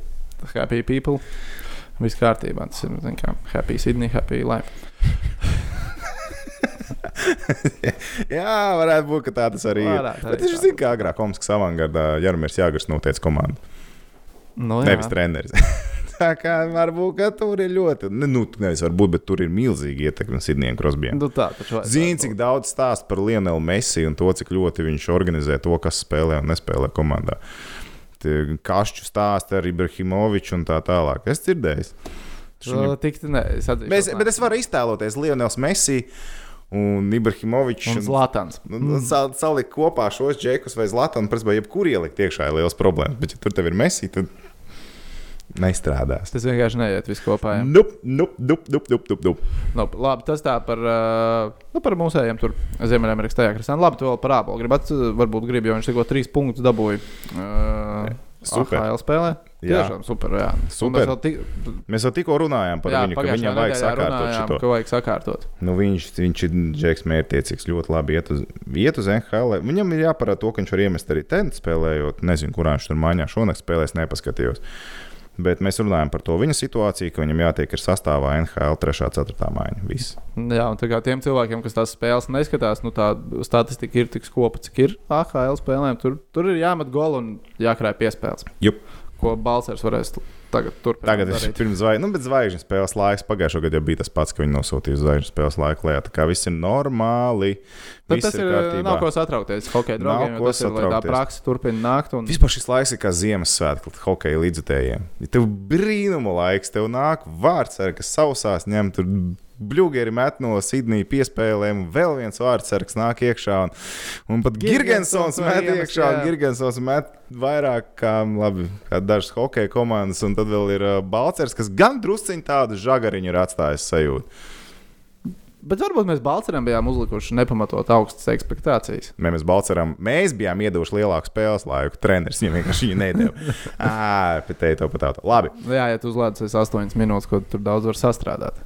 Speaker 1: Happy people. Viss kārtībā. Tas ir zin kā, happy Sydney, happy life.
Speaker 2: Jā, varētu būt, ka tā tas arī ir.
Speaker 1: Varētu arī
Speaker 2: Bet viņš
Speaker 1: tā
Speaker 2: zina, kā agrāk Homskas avangardā Jarmers Jāgars noteica komandu.
Speaker 1: Nu,
Speaker 2: Nevis treneris. (laughs) Tā kā varbūt ka tur ir ļoti, ne, nu, nevis varbūt, bet tur ir milzīga ietekme Sidniem Krosbiem.
Speaker 1: Nu, tā taču vajadzētu
Speaker 2: Zini,
Speaker 1: būt.
Speaker 2: cik daudz stāsta par Lionelu Messi un to, cik ļoti viņš organizē to, kas spēlē un nespēlē komandā. Tie Kašķu stāsta ar Ibrahimoviču un tā tālāk. Es dzirdēju.
Speaker 1: Nu, Tik tā, nē, es atzīšu.
Speaker 2: Mēs, bet es varu iztēloties Lionels Messi un Ibrahimoviču.
Speaker 1: Un Zlatans.
Speaker 2: Nu, nu, sa- Salikt kopā šos džekus vai zlatanu, prasībā, jebkur ielikt iekšā ir liels problēmas. Bet, ja tur tev ir mesī, tad neizstrādās.
Speaker 1: Tas vienkārši neiet viss kopā. jā.
Speaker 2: Nup, nup, nup, nup, nup, nup, nup.
Speaker 1: Nu, labi, tas tā par, ā, nu, par mūsējiem tur Ziemeļamerikas tajā kristā. Labi, tu vēl par ābolu gribat, varbūt gribi, jo viņš tikko trīs punktus dabūja. Uh,
Speaker 2: Super.
Speaker 1: AHL spēlē.
Speaker 2: Jā.
Speaker 1: Tiešām super. Jā.
Speaker 2: Super.
Speaker 1: Un mēs vēl tik-
Speaker 2: Mēs jau tikko runājām par
Speaker 1: jā,
Speaker 2: viņu, ka
Speaker 1: pagājušajā
Speaker 2: viņam vajag
Speaker 1: nedēļā
Speaker 2: sakārtot
Speaker 1: runājām,
Speaker 2: šo.
Speaker 1: ka vajag sakārtot.
Speaker 2: Nu, viņš, viņš ir džeks mērķiecīgs, ļoti labi iet uz, iet uz NHL. Viņam ir jāparāda to, ka viņš var iemest arī ten spēlējot. Nezinu, kurā viņš tur mājā šonakt spēlēs, nepaskatījos. Bet mēs runājam par to viņa situāciju, ka viņam jātiek ir sastāvā NHL 3. un 4. mājiņa. Viss.
Speaker 1: Jā, un tā kā tiem cilvēkiem, kas tās spēles neskatās, nu tā statistika ir tik skopa, cik ir AHL spēlēm. Tur, tur ir jāmet gola un jākrāj piespēles.
Speaker 2: Jup.
Speaker 1: Ko Balsers varēs tagad turpināt.
Speaker 2: Tagad
Speaker 1: darīt.
Speaker 2: viņš ir pirms zvaigznes, nu, bet zvaigznes spēles laiks. Pagājušā gada jau bija tas pats, ka viņi nosūtīja zvaigznes spēles laiku lejā. Tā kā viss ir normāli.
Speaker 1: Tad
Speaker 2: viss
Speaker 1: tas ir, ir nav ko satraukties. Hokeja
Speaker 2: Nav
Speaker 1: draugiem
Speaker 2: ko
Speaker 1: jau tas ir, lai tā
Speaker 2: satraukties.
Speaker 1: praksa turpina nākt. Un...
Speaker 2: Vispār šis laiks ir kā Ziemassvētku hokeja līdzekļiem. Tev brīnuma laiks, tev nāk vārds, ar kas sausās ņem tur. Bluegeri met no Sydnejas piespēlēm, un vēl viens vārdsargs nāk iekšā. Un, un pat
Speaker 1: Girgensons
Speaker 2: Gigantsons
Speaker 1: var
Speaker 2: met
Speaker 1: iemest,
Speaker 2: iekšā, un
Speaker 1: jā.
Speaker 2: Gigantsons met vairāk kā, labi, kā dažas hokeja komandas, un tad vēl ir uh, Balcers, kas gan drusciņā tādu žagariņu ir atstājis sajūtu.
Speaker 1: Bet varbūt mēs Balčūskiem bijām uzlikuši nepamatot augstas expectācijas.
Speaker 2: Mē, Mēs, Balceram, mēs bijām iedevuši lielāku spēles laiku. Treneris viņam vienkārši viņu (laughs) nedēļu. Ai, pitēji to pat tādu. Labi,
Speaker 1: Nu Jā, ja tu uzlādēsi 8 minūtes, ko tu tur daudz var sastrādāt.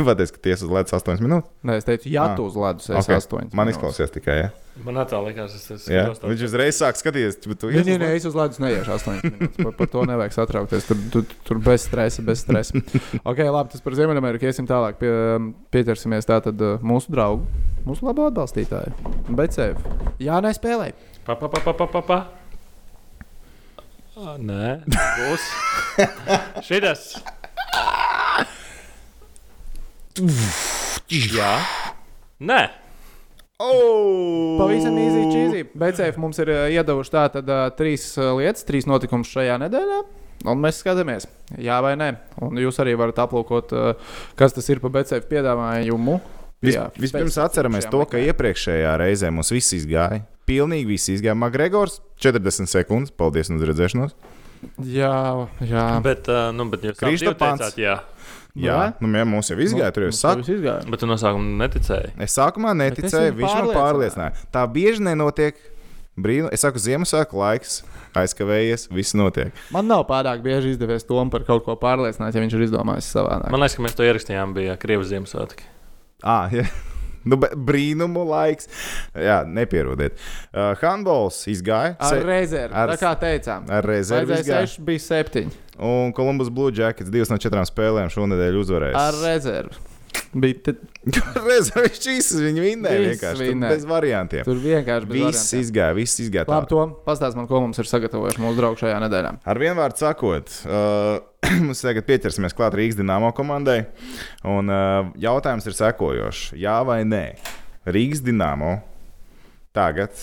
Speaker 2: Pateicis, ka tiesa uz ledus 8 minūtes.
Speaker 1: Nē, es teicu, ja
Speaker 2: Ah,
Speaker 1: tu uzlādēsi
Speaker 2: Ok.
Speaker 1: 8.
Speaker 2: Man izklausās tikai. Ja?
Speaker 3: Man tā likās, es tas
Speaker 2: Jā. Viņš uzreiz sāk skatīties, tu, tu
Speaker 1: Nē,
Speaker 2: ies uz
Speaker 1: nē, nē,
Speaker 2: ledu?
Speaker 1: es uzlādēju, neiešu 8 minūtes. Par, par to nevajag satraukties. Tur, tur, tur bez stresa, bez stresa. ok, labi, tas par Ziemeļameriku. Iesim tālāk. Pie, um, pieķersimies tātad uh, mūsu draugu, mūsu labo atbalstītāju. Bet sevi. Jā, nē, spēlēji.
Speaker 3: Pa, pa, pa, pa, pa, pa, pa. Ā, Nē, būs.
Speaker 2: (laughs)
Speaker 3: Šitas. Jā. Nē,
Speaker 2: Au!
Speaker 1: Pavisam īsi čīzī. Beidzot, mums ir ā, iedavuši tātad ā, trīs ā, lietas, trīs notikumus šajā nedēļā. Un mēs skatāmies, jā vai nē. Un jūs arī varat aplūkot, ā, kas tas ir pa BCF piedāvājumu.
Speaker 2: Vis,
Speaker 1: Jā,
Speaker 2: vispirms
Speaker 1: pēc-
Speaker 2: atceramies
Speaker 1: šajā
Speaker 2: to, ka
Speaker 1: meklējumā.
Speaker 2: iepriekšējā reizē mums viss izgāja. Pilnīgi viss izgāja. Magregors 40 sekundes. Paldies, un uz redzēšanos.
Speaker 1: Jā, jā.
Speaker 3: bet, uh, nu, bet jūs abi divi
Speaker 2: Krištapāns.
Speaker 3: teicāt, jā.
Speaker 2: Jā, nu, jā, mums jau izgāja. Tur jau
Speaker 1: mums
Speaker 2: sāk,
Speaker 1: viss izgāja.
Speaker 3: Bet tu no sākuma neticēji.
Speaker 2: Es sākumā neticēju,
Speaker 1: viņu
Speaker 2: viņš man
Speaker 1: pārliecināja.
Speaker 2: pārliecināja. Tā bieži nenotiek. Brīnu, es saku, Ziemassvētku laiks, aizkavējies, viss notiek.
Speaker 1: Man nav pārāk bieži izdevies Tomu par kaut ko pārliecināt, ja viņš ir izdomājis savādāk.
Speaker 3: Man liekas, ka mēs to ierakstījām, bija Krievijas Ziemassvētki.
Speaker 2: Ah, jā. Nu, bet brīnumu laiks. Jā, nepierodiet. Uh, Hanbols izgāja.
Speaker 1: Ar
Speaker 2: Se-
Speaker 1: rezervi,
Speaker 2: ar-
Speaker 1: tā kā teicām.
Speaker 2: ar rezervi.
Speaker 1: Vajadzēja
Speaker 2: Izgāja.
Speaker 1: 6, bija 7.
Speaker 2: Un Kolumbus Blue Jackets divas no četrām spēlēm šonadēļ uzvarēs.
Speaker 1: Ar
Speaker 2: (laughs)
Speaker 1: rezervi. Bija te,
Speaker 2: rezervi. Viņu vinnēja
Speaker 1: Viss
Speaker 2: vienkārši. Tur
Speaker 1: vinnēja.
Speaker 2: Bez variantiem.
Speaker 1: tur vienkārši bija.
Speaker 2: Viss izgāja, viss izgāja.
Speaker 1: Labi,
Speaker 2: tā.
Speaker 1: to pastāst man, ko mums ir sagatavojuši mūsu draugi šajā nedēļā.
Speaker 2: Ar vienu vārdu sakot, uh, (clears throat) mums tagad pieķersimies klāt Rīgas dīnāmo komandai. Un, uh, jautājums ir sekojošs. Jā vai nē? Rīgas dīnāmo tagad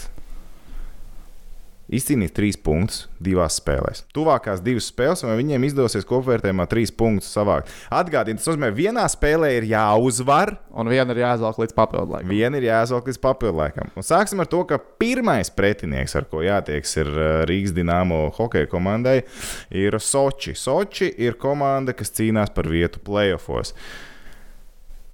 Speaker 2: izcīnīs trīs punktus divās spēlēs. Tuvākās divas spēles, vai viņiem izdosies kopvērtējumā trīs punktus savākt. Atgādini, tas nozīmē, vienā spēlē ir jāuzvar.
Speaker 1: Un viena ir jāizvelk līdz papildu laikam.
Speaker 2: Viena ir jāizvelk līdz papildinājumam. Sāksim ar to, ka pirmais pretinieks, ar ko jātieks, ir uh, Rīgas Dienāmo hokeja komandai, ir Soči. Soči ir komanda, kas cīnās par vietu playoffs.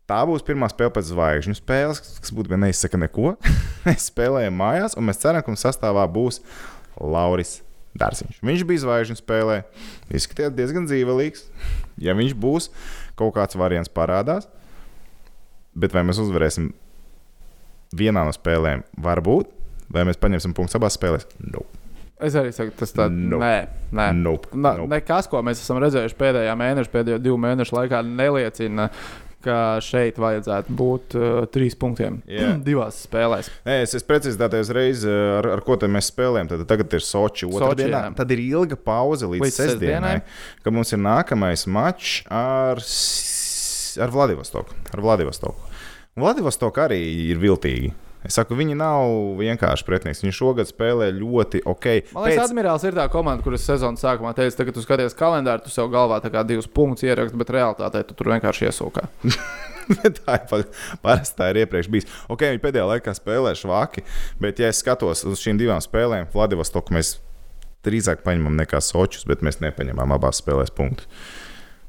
Speaker 2: Tā būs pirmā spēle pēc zvaigžņu spēles, kas būtībā neizsaka neko. (laughs) mēs spēlējam mājās, un mēs ceram, ka mums sastāvā būs Lauris Dārziņš. Viņš bija zvaigžņu spēlē, izskatījās diezgan dzīvelīgs. Ja viņš būs, kaut kāds variants parādās. Bet vai mēs uzvarēsim vienā no spēlēm? Varbūt. Vai mēs paņemsim punktu abās spēlēs? No.
Speaker 1: Es arī saku, tas tāds no.
Speaker 2: Nope.
Speaker 1: - nē, nē. No.
Speaker 2: Nope.
Speaker 1: Na,
Speaker 2: Nope.
Speaker 1: nekas, ko mēs esam redzējuši pēdējā mēneša, pēdējo divu mēnešu laikā, neliecina, ka šeit vajadzētu būt uh, trīs punktiem.
Speaker 2: Jā.
Speaker 1: (clears throat) Divās spēlēs.
Speaker 2: Nē, es, es precīzi tādu reizi, ar, ar ko te mēs spēlējam. Tad tagad ir Sochi.
Speaker 1: Soči,
Speaker 2: Otradienā,
Speaker 1: jā.
Speaker 2: tad ir ilga pauze līdz,
Speaker 1: Līdz
Speaker 2: līdz sestdienai, sestdienai, kad mums ir nākamais mačs ar, S- ar Vladivostoku. Ar Vladivostoku. Vladivostoka arī ir viltīgi. Es saku, viņi nav vienkārši pretinieks. Viņi šogad spēlē ļoti ok.
Speaker 1: Man liekas,
Speaker 2: Pēc-
Speaker 1: Pēc... Admirālis ir tā komanda, kuras sezonas sākumā teica, ka, kad tu skaties kalendāru, tu sev galvā tā kā divus punktus ieraksti, bet realtātē tu tur vienkārši iesūkā.
Speaker 2: (laughs) tā ir pa- parasti tā ir iepriekš bijis. Ok, viņi pēdējā laikā spēlē švāki, bet, ja es skatos uz šīm divām spēlēm, Vladivostoku mēs drīzāk paņemam nekā Sočus, bet mēs nepaņemam abās spēlēs punktus.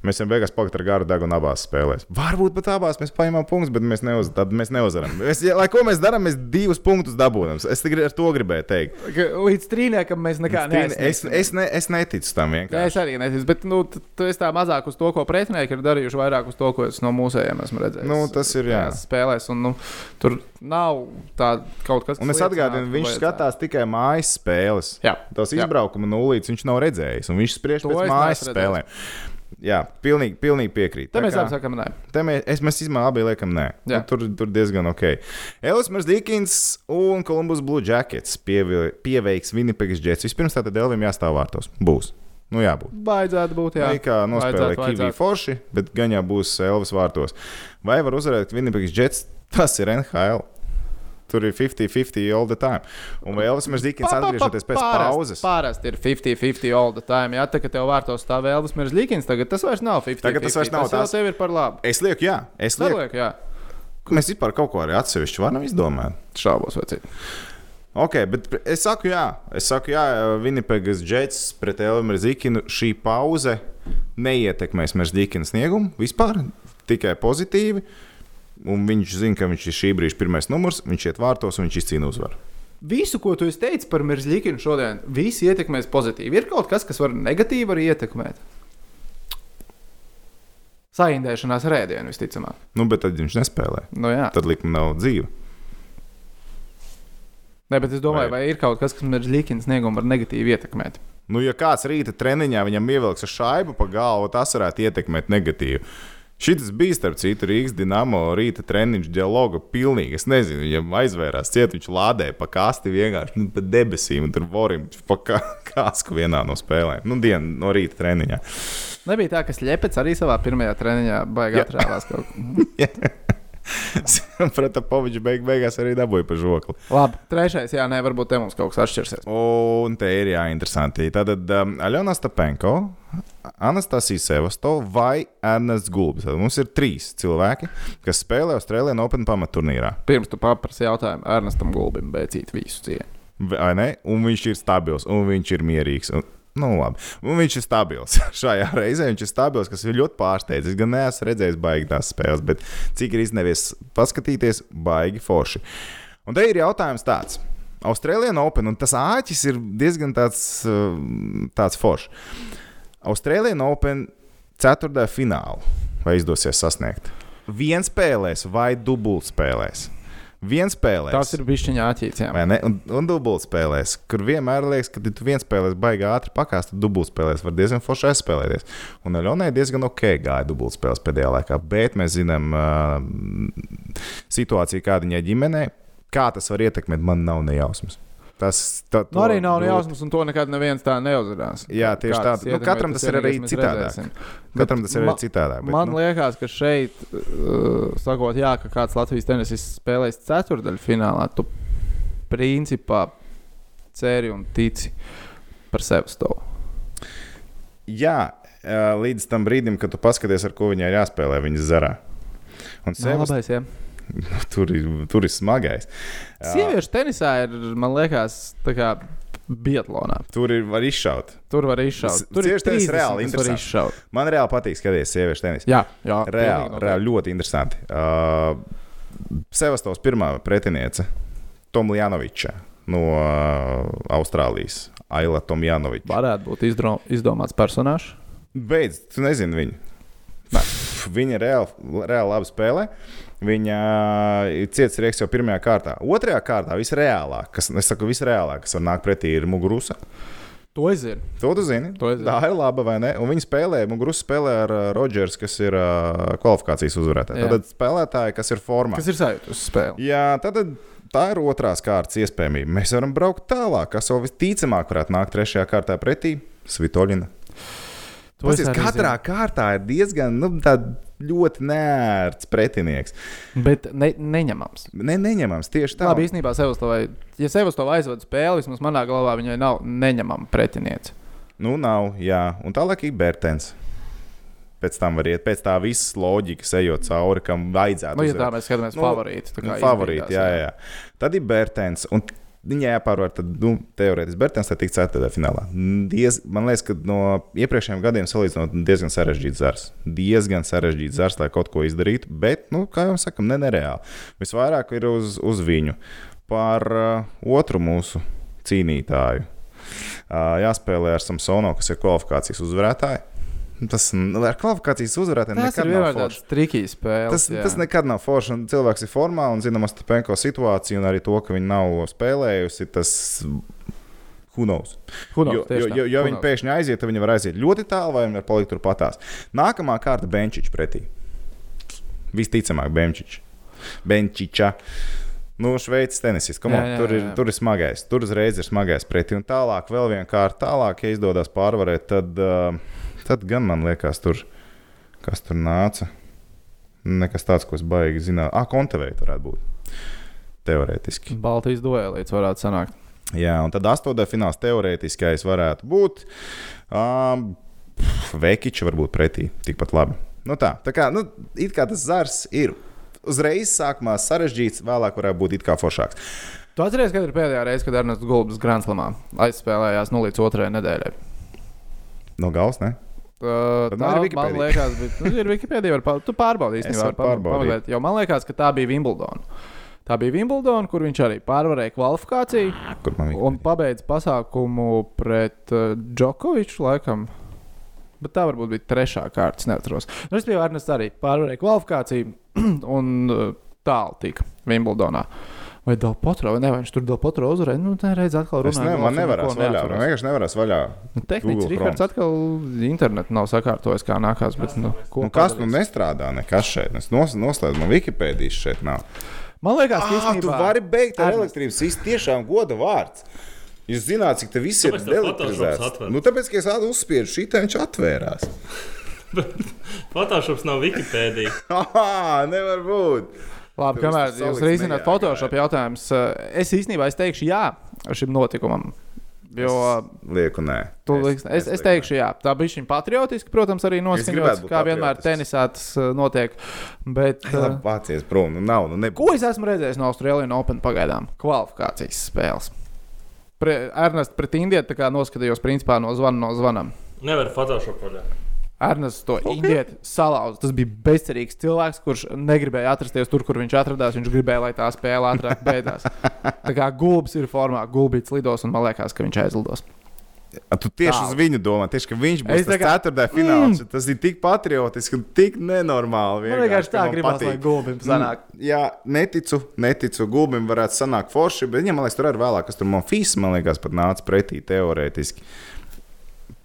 Speaker 2: Mēs jau beigās palikām ar garu dēlu un abās spēlēs. Varbūt pat abās mēs paņemam punktus, bet mēs, neuz, tad mēs neuzaram. Mēs, ja, lai ko mēs darām, mēs divus punktus dabūjam. Es tikai ar to gribēju teikt.
Speaker 1: Līdz trīniekam mēs nekā
Speaker 2: Tīni, es, es, ne, es neticu tam
Speaker 1: Jā,
Speaker 2: vienkārši.
Speaker 1: es arī neticu, bet nu, t- tu esi tā mazāk uz to, ko pretinieki ir darījuši, vairāk uz to, ko es no mūsējiem esmu redzējis.
Speaker 2: Nu, tas ir, jā.
Speaker 1: tajās Spēlēs, un nu, tur nav tā kaut kas.
Speaker 2: Un es
Speaker 1: kas liecinātu,
Speaker 2: atgādinu,
Speaker 1: ka
Speaker 2: viņš
Speaker 1: vajadzētu.
Speaker 2: skatās tikai mājas spēles.
Speaker 1: Jā,
Speaker 2: Tās
Speaker 1: Jā.
Speaker 2: izbraukuma nulles viņš nav redzējis, un viņš spriež
Speaker 1: To
Speaker 2: pēc
Speaker 1: es
Speaker 2: mājas
Speaker 1: neesmu
Speaker 2: spēlēm. Jā, pilnīgi, pilnīgi piekrītu.
Speaker 1: tā
Speaker 2: Tā
Speaker 1: mēs
Speaker 2: kā-
Speaker 1: abi sakām, nē.
Speaker 2: te mē- es- Mēs izmēģinām, abi liekam, nē.
Speaker 1: Jā.
Speaker 2: Nu, Tur, tur diezgan ok. Elismers Dīkins un Kolumbus Blue Jackets pievi- pieveiks Winnipegas džets. Vispirms tātad Elvim jāstāv vārtos. Būs. Nu, jābūt.
Speaker 1: Baidzētu būt, jā.
Speaker 2: Jā, kā nospēlē
Speaker 1: Vajadzētu,
Speaker 2: Kavī
Speaker 1: vajadzētu.
Speaker 2: Forši, bet gan jau būs Elvis vārtos. Vai var uzvarēt Winnipegas džets? Tas ir NHL. Tur ir 50-50 all the time. Un vai Elvis Dīkins
Speaker 1: Pa- pa- pa-
Speaker 2: atgriežoties pēc
Speaker 1: parasti-
Speaker 2: pauzes?
Speaker 1: Parasti ir 50-50 all the time. Jā, tā kā tev vārtos stāv Elvis Mirzlikins, tagad tas vairs nav 50.
Speaker 2: Tagad tas vairs nav
Speaker 1: tas.
Speaker 2: tās-
Speaker 1: jau Tev ir par labu.
Speaker 2: Es lieku, jā, es lieku.
Speaker 1: Neliek, jā.
Speaker 2: Mēs vispār kaut ko arī atsevišķu varam izdomāt.
Speaker 1: Šaubos, vecīt.
Speaker 2: Ok, bet es saku, jā, es saku, jā, Vinnipegas džets pret Elmēru Zikinu šī pauze neietekmēs Merzikina sniegumu vispār, tikai pozitīvi. Un viņš zina, ka viņš ir šī brīža pirmais numurs, viņš iet vārtos un viņš izcīna uzvaru.
Speaker 1: Visu, ko tu esi teicis par Mirzlikinu šodien, visi ietekmēs pozitīvi. Ir kaut kas, kas var negatīvi arī ietekmēt. Saindēšanās rēdienā visticamāk.
Speaker 2: Nu, bet tad viņš nespēlē.
Speaker 1: Nu, jā,
Speaker 2: Tad likuma nav dzīva.
Speaker 1: Nē, bet es domāju,
Speaker 2: Vai-
Speaker 1: vai ir kaut kas, kas Mirzlikina sniegumu var negatīvi ietekmēt.
Speaker 2: Nu, ja kāds rīta treniņā viņam ievilks ar šaibu pa galvu, tas varētu ietekmēt negatīvi. Šis bija, starp citu, Rīgas dīnāmo rīta treniņš dialoga. Pilnīgi, es nezinu, viņam aizvērās ciet, viņš lādēja pa kasti vienkārši nu, pa debesīm, un tur vorim pa kā, kāsku vienā no spēlēm. Nu, dienu no rīta treniņā. (laughs)
Speaker 1: Nebija tā, ka Slepets arī savā pirmajā treniņā baigā
Speaker 2: Jā.
Speaker 1: atrāvās kaut ko.
Speaker 2: Pratapovičs beig, beigās arī dabūja pa žokli.
Speaker 1: Labi, trešais, jā, nē, varbūt te mums kaut kas atšķirsies.
Speaker 2: Un te ir jāinteresanti. Tātad um, Aļona Stepenko, Anastasija Sevasto vai Ernests Gulbis. Tad mums ir trīs cilvēki, kas spēlē Austrālijā Open pamatu turnīrā.
Speaker 1: Pirms tu paprasti jautājumu Ernestam Gulbim, beidzīt visu cienu.
Speaker 2: Vai ne? Un viņš ir stabils, un viņš ir mierīgs. Un... Nu, labi. Un viņš ir stabils. (laughs) Šajā reizē viņš ir stabils, kas ir ļoti pārsteidzošs. Es gan neesmu redzējis baigi tās spēles, bet cik ir izdevies paskatīties, baigi forši. Un te ir jautājums tāds. Austrālijā Open, un tas āķis ir diezgan tāds, um, tāds foršs. Austrālijā Open ceturtajā finālā vai izdosies sasniegt? Viens spēlēs vai dubultspēlēs? Viens spēlēs.
Speaker 1: Tas ir bišķiņā āķīts, jā.
Speaker 2: Vai ne? Un, un dubultspēlēs, kur vienmēr liekas, ka, ja tu viens spēlēs baigā ātri pakāst, tad dubultspēlēs var diezgan forši aizspēlēties. Un Aļonai diezgan ok gāja dubultspēles pēdējā laikā, bet mēs zinām uh, situāciju, kāda viņai ģimenē, kā tas var ietekmēt, man nav nejausmas. Tas tā,
Speaker 1: Nu, arī nav
Speaker 2: to-
Speaker 1: jausmas, un to nekad neviens tā neuzzinās.
Speaker 2: Jā, tieši
Speaker 1: Kā tas
Speaker 2: tā. Nu,
Speaker 1: ietekmē,
Speaker 2: katram tas ir arī
Speaker 1: vienīgais, mēs
Speaker 2: citādāk.
Speaker 1: redzēsim.
Speaker 2: Katram
Speaker 1: Bet
Speaker 2: tas ir
Speaker 1: ma-
Speaker 2: arī citādāk. bet,
Speaker 1: Man
Speaker 2: nu,
Speaker 1: liekas, ka šeit, uh, sakot, jā, ka kāds Latvijas tenisists spēlēs ceturdaļfinālā, tu principā ceri un tici par sevi stāvu.
Speaker 2: Jā, ā, līdz tam brīdim, kad tu paskaties, ar ko viņai ir jāspēlē, viņas zarā. Un
Speaker 1: Nu,
Speaker 2: sevis,
Speaker 1: labais, jā.
Speaker 2: tur, ir, tur ir smagais. Jā.
Speaker 1: Sieviešu tenisā ir, man liekas, tā kā Bietlānā.
Speaker 2: Tur ir var izšaut.
Speaker 1: Tur var izšaut.
Speaker 2: S-
Speaker 1: Tur ir
Speaker 2: sieviešu tenis
Speaker 1: 30,
Speaker 2: reāli
Speaker 1: kas var
Speaker 2: interesanti.
Speaker 1: izšaut.
Speaker 2: Man reāli patīk skatīties sieviešu tenisu.
Speaker 1: Jā, jā
Speaker 2: Reāli,
Speaker 1: pilnīgi
Speaker 2: reāli ļoti interesanti. Uh, Sevastovs pirmā pretiniece Tomljanoviča no uh, Austrālijas. Aila
Speaker 1: noteikti.
Speaker 2: Tomjanoviča.
Speaker 1: Varētu būt izdro, izdomāts personāžs.
Speaker 2: Beidz, tu nezini viņu. Pff, Viņa reāli, reāli labi spēlē. Viņa ir ciets rieks jau pirmajā kārtā. Otrajā kārtā visreālākais, kas, es saku, visreālākais, kas var nākt pretī, ir Mugurusa.
Speaker 1: To es zinu.
Speaker 2: To tu zini.
Speaker 1: To es
Speaker 2: Tā
Speaker 1: zinu.
Speaker 2: ir laba, vai ne? Un viņi spēlē, Mugrus spēlē ar uh, Rodžers, kas ir uh, kvalifikācijas uzvarētājs.
Speaker 1: Jā.
Speaker 2: Tad spēlētāji, kas ir formā.
Speaker 1: Kas ir sajūta uz spēli?
Speaker 2: Jā, tad tā ir otrās kārtas iespējamība. Mēs varam braukt tālāk, kas vēl visticamāk varētu nākt trešajā kārtā pretī Svitolina.
Speaker 1: To es
Speaker 2: Tas ir
Speaker 1: arī
Speaker 2: katrā kārtā ir diezgan nu, tāds ļoti nērts pretinieks.
Speaker 1: zinu. Bet ne, neņemams.
Speaker 2: Ne, neņemams tieši
Speaker 1: Tā
Speaker 2: tā.
Speaker 1: labi īstenībā Sevastovai, ja Sevastovai aizved spēli, vismaz manā galvā viņai nav neņemama pretiniece.
Speaker 2: Nu, nav, jā. Un tālāk ir Bērtens. Pēc tam var iet, pēc tā visas loģikas ejot cauri, kam vajadzētu.
Speaker 1: Nu, ja
Speaker 2: uzvarēt.
Speaker 1: tā mēs skatāmies
Speaker 2: Nu,
Speaker 1: favorīti. tā kā
Speaker 2: Nu, favorīti,
Speaker 1: izbīdās,
Speaker 2: jā, jā. jā. Tad ir Bērtens. un Viņai jāpārvar, tad nu, teorētiski Bērtens tā tiks ceturtajā finālā. Mm, Diez, man liekas, ka no iepriekšējiem gadiem salīdzinot, nu, diezgan sarežģīts zars. Diezgan sarežģīts zars, lai kaut ko izdarītu, bet, nu, kā jau sakam, ne nereāli. Visvairāk ir uz, uz viņu. Par uh, otru mūsu cīnītāju. Uh, jāspēlē ar Samsonu, kas ir kvalifikācijas uzvarētājs. Tas nu, ar kvalifikācijas uzvarētājiem
Speaker 1: Tas ir
Speaker 2: nekad nav
Speaker 1: vienmēr
Speaker 2: forši.
Speaker 1: tāds trikīgs spēle.
Speaker 2: Tas, tas nekad nav forši. un Cilvēks ir formā un zina Stepenko situāciju, un arī to, ka viņa nav spēlējusi. Tas... Who knows?
Speaker 1: Huno,
Speaker 2: jo, jo, jo, jo viņa pēkšņi aiziet, tad viņa var aiziet ļoti tālu, vai viņa var palikt turpatās. Nākamā kārta - Benčičs pretī. Visticamāk, Benčičs. Benčiča. Nu, Šveices tenisists. Come
Speaker 1: Jā,
Speaker 2: on,
Speaker 1: jā,
Speaker 2: Tur, ir-
Speaker 1: jā, jā.
Speaker 2: tur ir smagais. Tur uzreiz ir smagais pretī. Un tālāk, vēl vienā kārtā, tālāk, ja izdodas pārvarēt, tad, ā, tad gan man liekas, tur kas tur nāca. Nekas tāds, ko es baigi zināju. Ah, konteveja varētu būt. Teorētiski.
Speaker 1: Baltijas duelīts varētu sanākt.
Speaker 2: Jā, un tad astotā fināls teorētiskais varētu būt. Um, Vekičs varbūt pretī tikpat labi. Nu tā, tā kā, nu, it kā tas zars ir uzreiz sākumā sarežģīts, vēlāk varētu būt it kā foršāks.
Speaker 1: Tu atceries, kad ir pēdējā reize, kad Ernsts Gulbis Grānslamā aizspēlējās 0,2 nedēļai?
Speaker 2: No gals, ne?
Speaker 1: Uh,
Speaker 2: Tad
Speaker 1: tā
Speaker 2: man ir
Speaker 1: man
Speaker 2: Wikipedija.
Speaker 1: liekas, bet nu, ir Wikipēdija. Pār, tu pārbaudīsi,
Speaker 2: Es
Speaker 1: kā
Speaker 2: varu pārbaudīt.
Speaker 1: Jo man liekas, ka tā bija Wimbledona. Tā bija Wimbledona, kur viņš arī pārvarēja kvalifikāciju
Speaker 2: Kur man
Speaker 1: un pabeidza pasākumu pret uh, Džokoviču laikam. Bet tā varbūt bija trešā kārta. Es neatceros. Nu, es biju Ernsts arī pārvarēja kvalifikāciju (clears throat) un uh, tālu tika Wimbledonā. Vai Dārpotra vai ne? Vai viņš tur Dārpotra uzvarēja? Nu, tā reiz atkal
Speaker 2: Es
Speaker 1: runāja.
Speaker 2: ne, man
Speaker 1: galvā,
Speaker 2: nevaru
Speaker 1: neko
Speaker 2: vaļā.
Speaker 1: neatceros.
Speaker 2: Man vienkārši nevaru vaļā.
Speaker 1: Nu, Tehnicis
Speaker 2: Google
Speaker 1: Rīgards
Speaker 2: Chromes.
Speaker 1: atkal internetu nav sakārtojis, kā nākās. Bet, nu, ko
Speaker 2: Nu, kas nu
Speaker 1: padarīs?
Speaker 2: nestrādā? Nekas šeit. Nu, Es nos, noslēdzu, man Wikipēdijas šeit nav.
Speaker 1: Man liekas, ka
Speaker 2: Ah, tu
Speaker 1: īstenībā
Speaker 2: vari beigt ar
Speaker 1: Ernest.
Speaker 2: elektrības sistēmu. Tiešām goda vārds. Jūs zināt, cik tas viss ir
Speaker 3: Tāpēc tev Photoshops
Speaker 2: elektrizēts.
Speaker 3: atver.
Speaker 2: Nu, tāpēc, ka es uzspiedu šī tā, viņš atvērās.
Speaker 3: Photoshops nav Wikipēdija.
Speaker 2: Ah, nevar būt.
Speaker 1: Labi,
Speaker 2: Tu
Speaker 1: kamēr
Speaker 2: visu
Speaker 1: jūs
Speaker 2: saliksi
Speaker 1: risināt
Speaker 2: nejā,
Speaker 1: Photoshop jautājumus, eh, es īstenībā es teikšu jā šim notikumam. Jo
Speaker 2: Lieku, nē.
Speaker 1: tu liks, es, es teikšu, jā, tā bija viņa patriotiska, protams, arī
Speaker 2: gribētu
Speaker 1: noskaņots,
Speaker 2: būt
Speaker 1: kā vienmēr
Speaker 2: patriotisks.
Speaker 1: tenisā tas eh, notiek. Bet, eh,
Speaker 2: Labi, vācies prom. Nu, nav, nu, nebūs.
Speaker 1: ko es esmu redzējis no Austrālijas Open pagaidām? Kvalifikācijas spēles. Pre, Ernest pret Indiju tā kā noskatījos principā no zvana no zvanam.
Speaker 3: Nevar Photoshop vaļā.
Speaker 1: Ernests to okay. indietu salauza. Tas bija bezcerīgs cilvēks, kurš negribēja atrasties tur, kur viņš atradās. Viņš gribēja, lai tā spēle ātrāk beidzās. Tā kā gulbis ir formā, gulbīts lidos, un man liekas, ka viņš aizlidos.
Speaker 2: A, Tu tieši
Speaker 1: Tālu.
Speaker 2: uz viņu domā, tieši, ka viņš
Speaker 1: Es
Speaker 2: būs tas
Speaker 1: tagad-
Speaker 2: ceturtajā finālā. Tas ir tik patriotiski un tik nenormāli.
Speaker 1: Man vienkārši
Speaker 2: ka
Speaker 1: tā
Speaker 2: man
Speaker 1: gribās,
Speaker 2: patīk.
Speaker 1: lai gulbim sanāk.
Speaker 2: Mm, Jā, neticu, neticu. Gulbim varētu sanākt forši, bet viņam, man liekas, tur arī vēlāk, kas tur Monfīs, man liekas, pat nāca pretī teorētiski.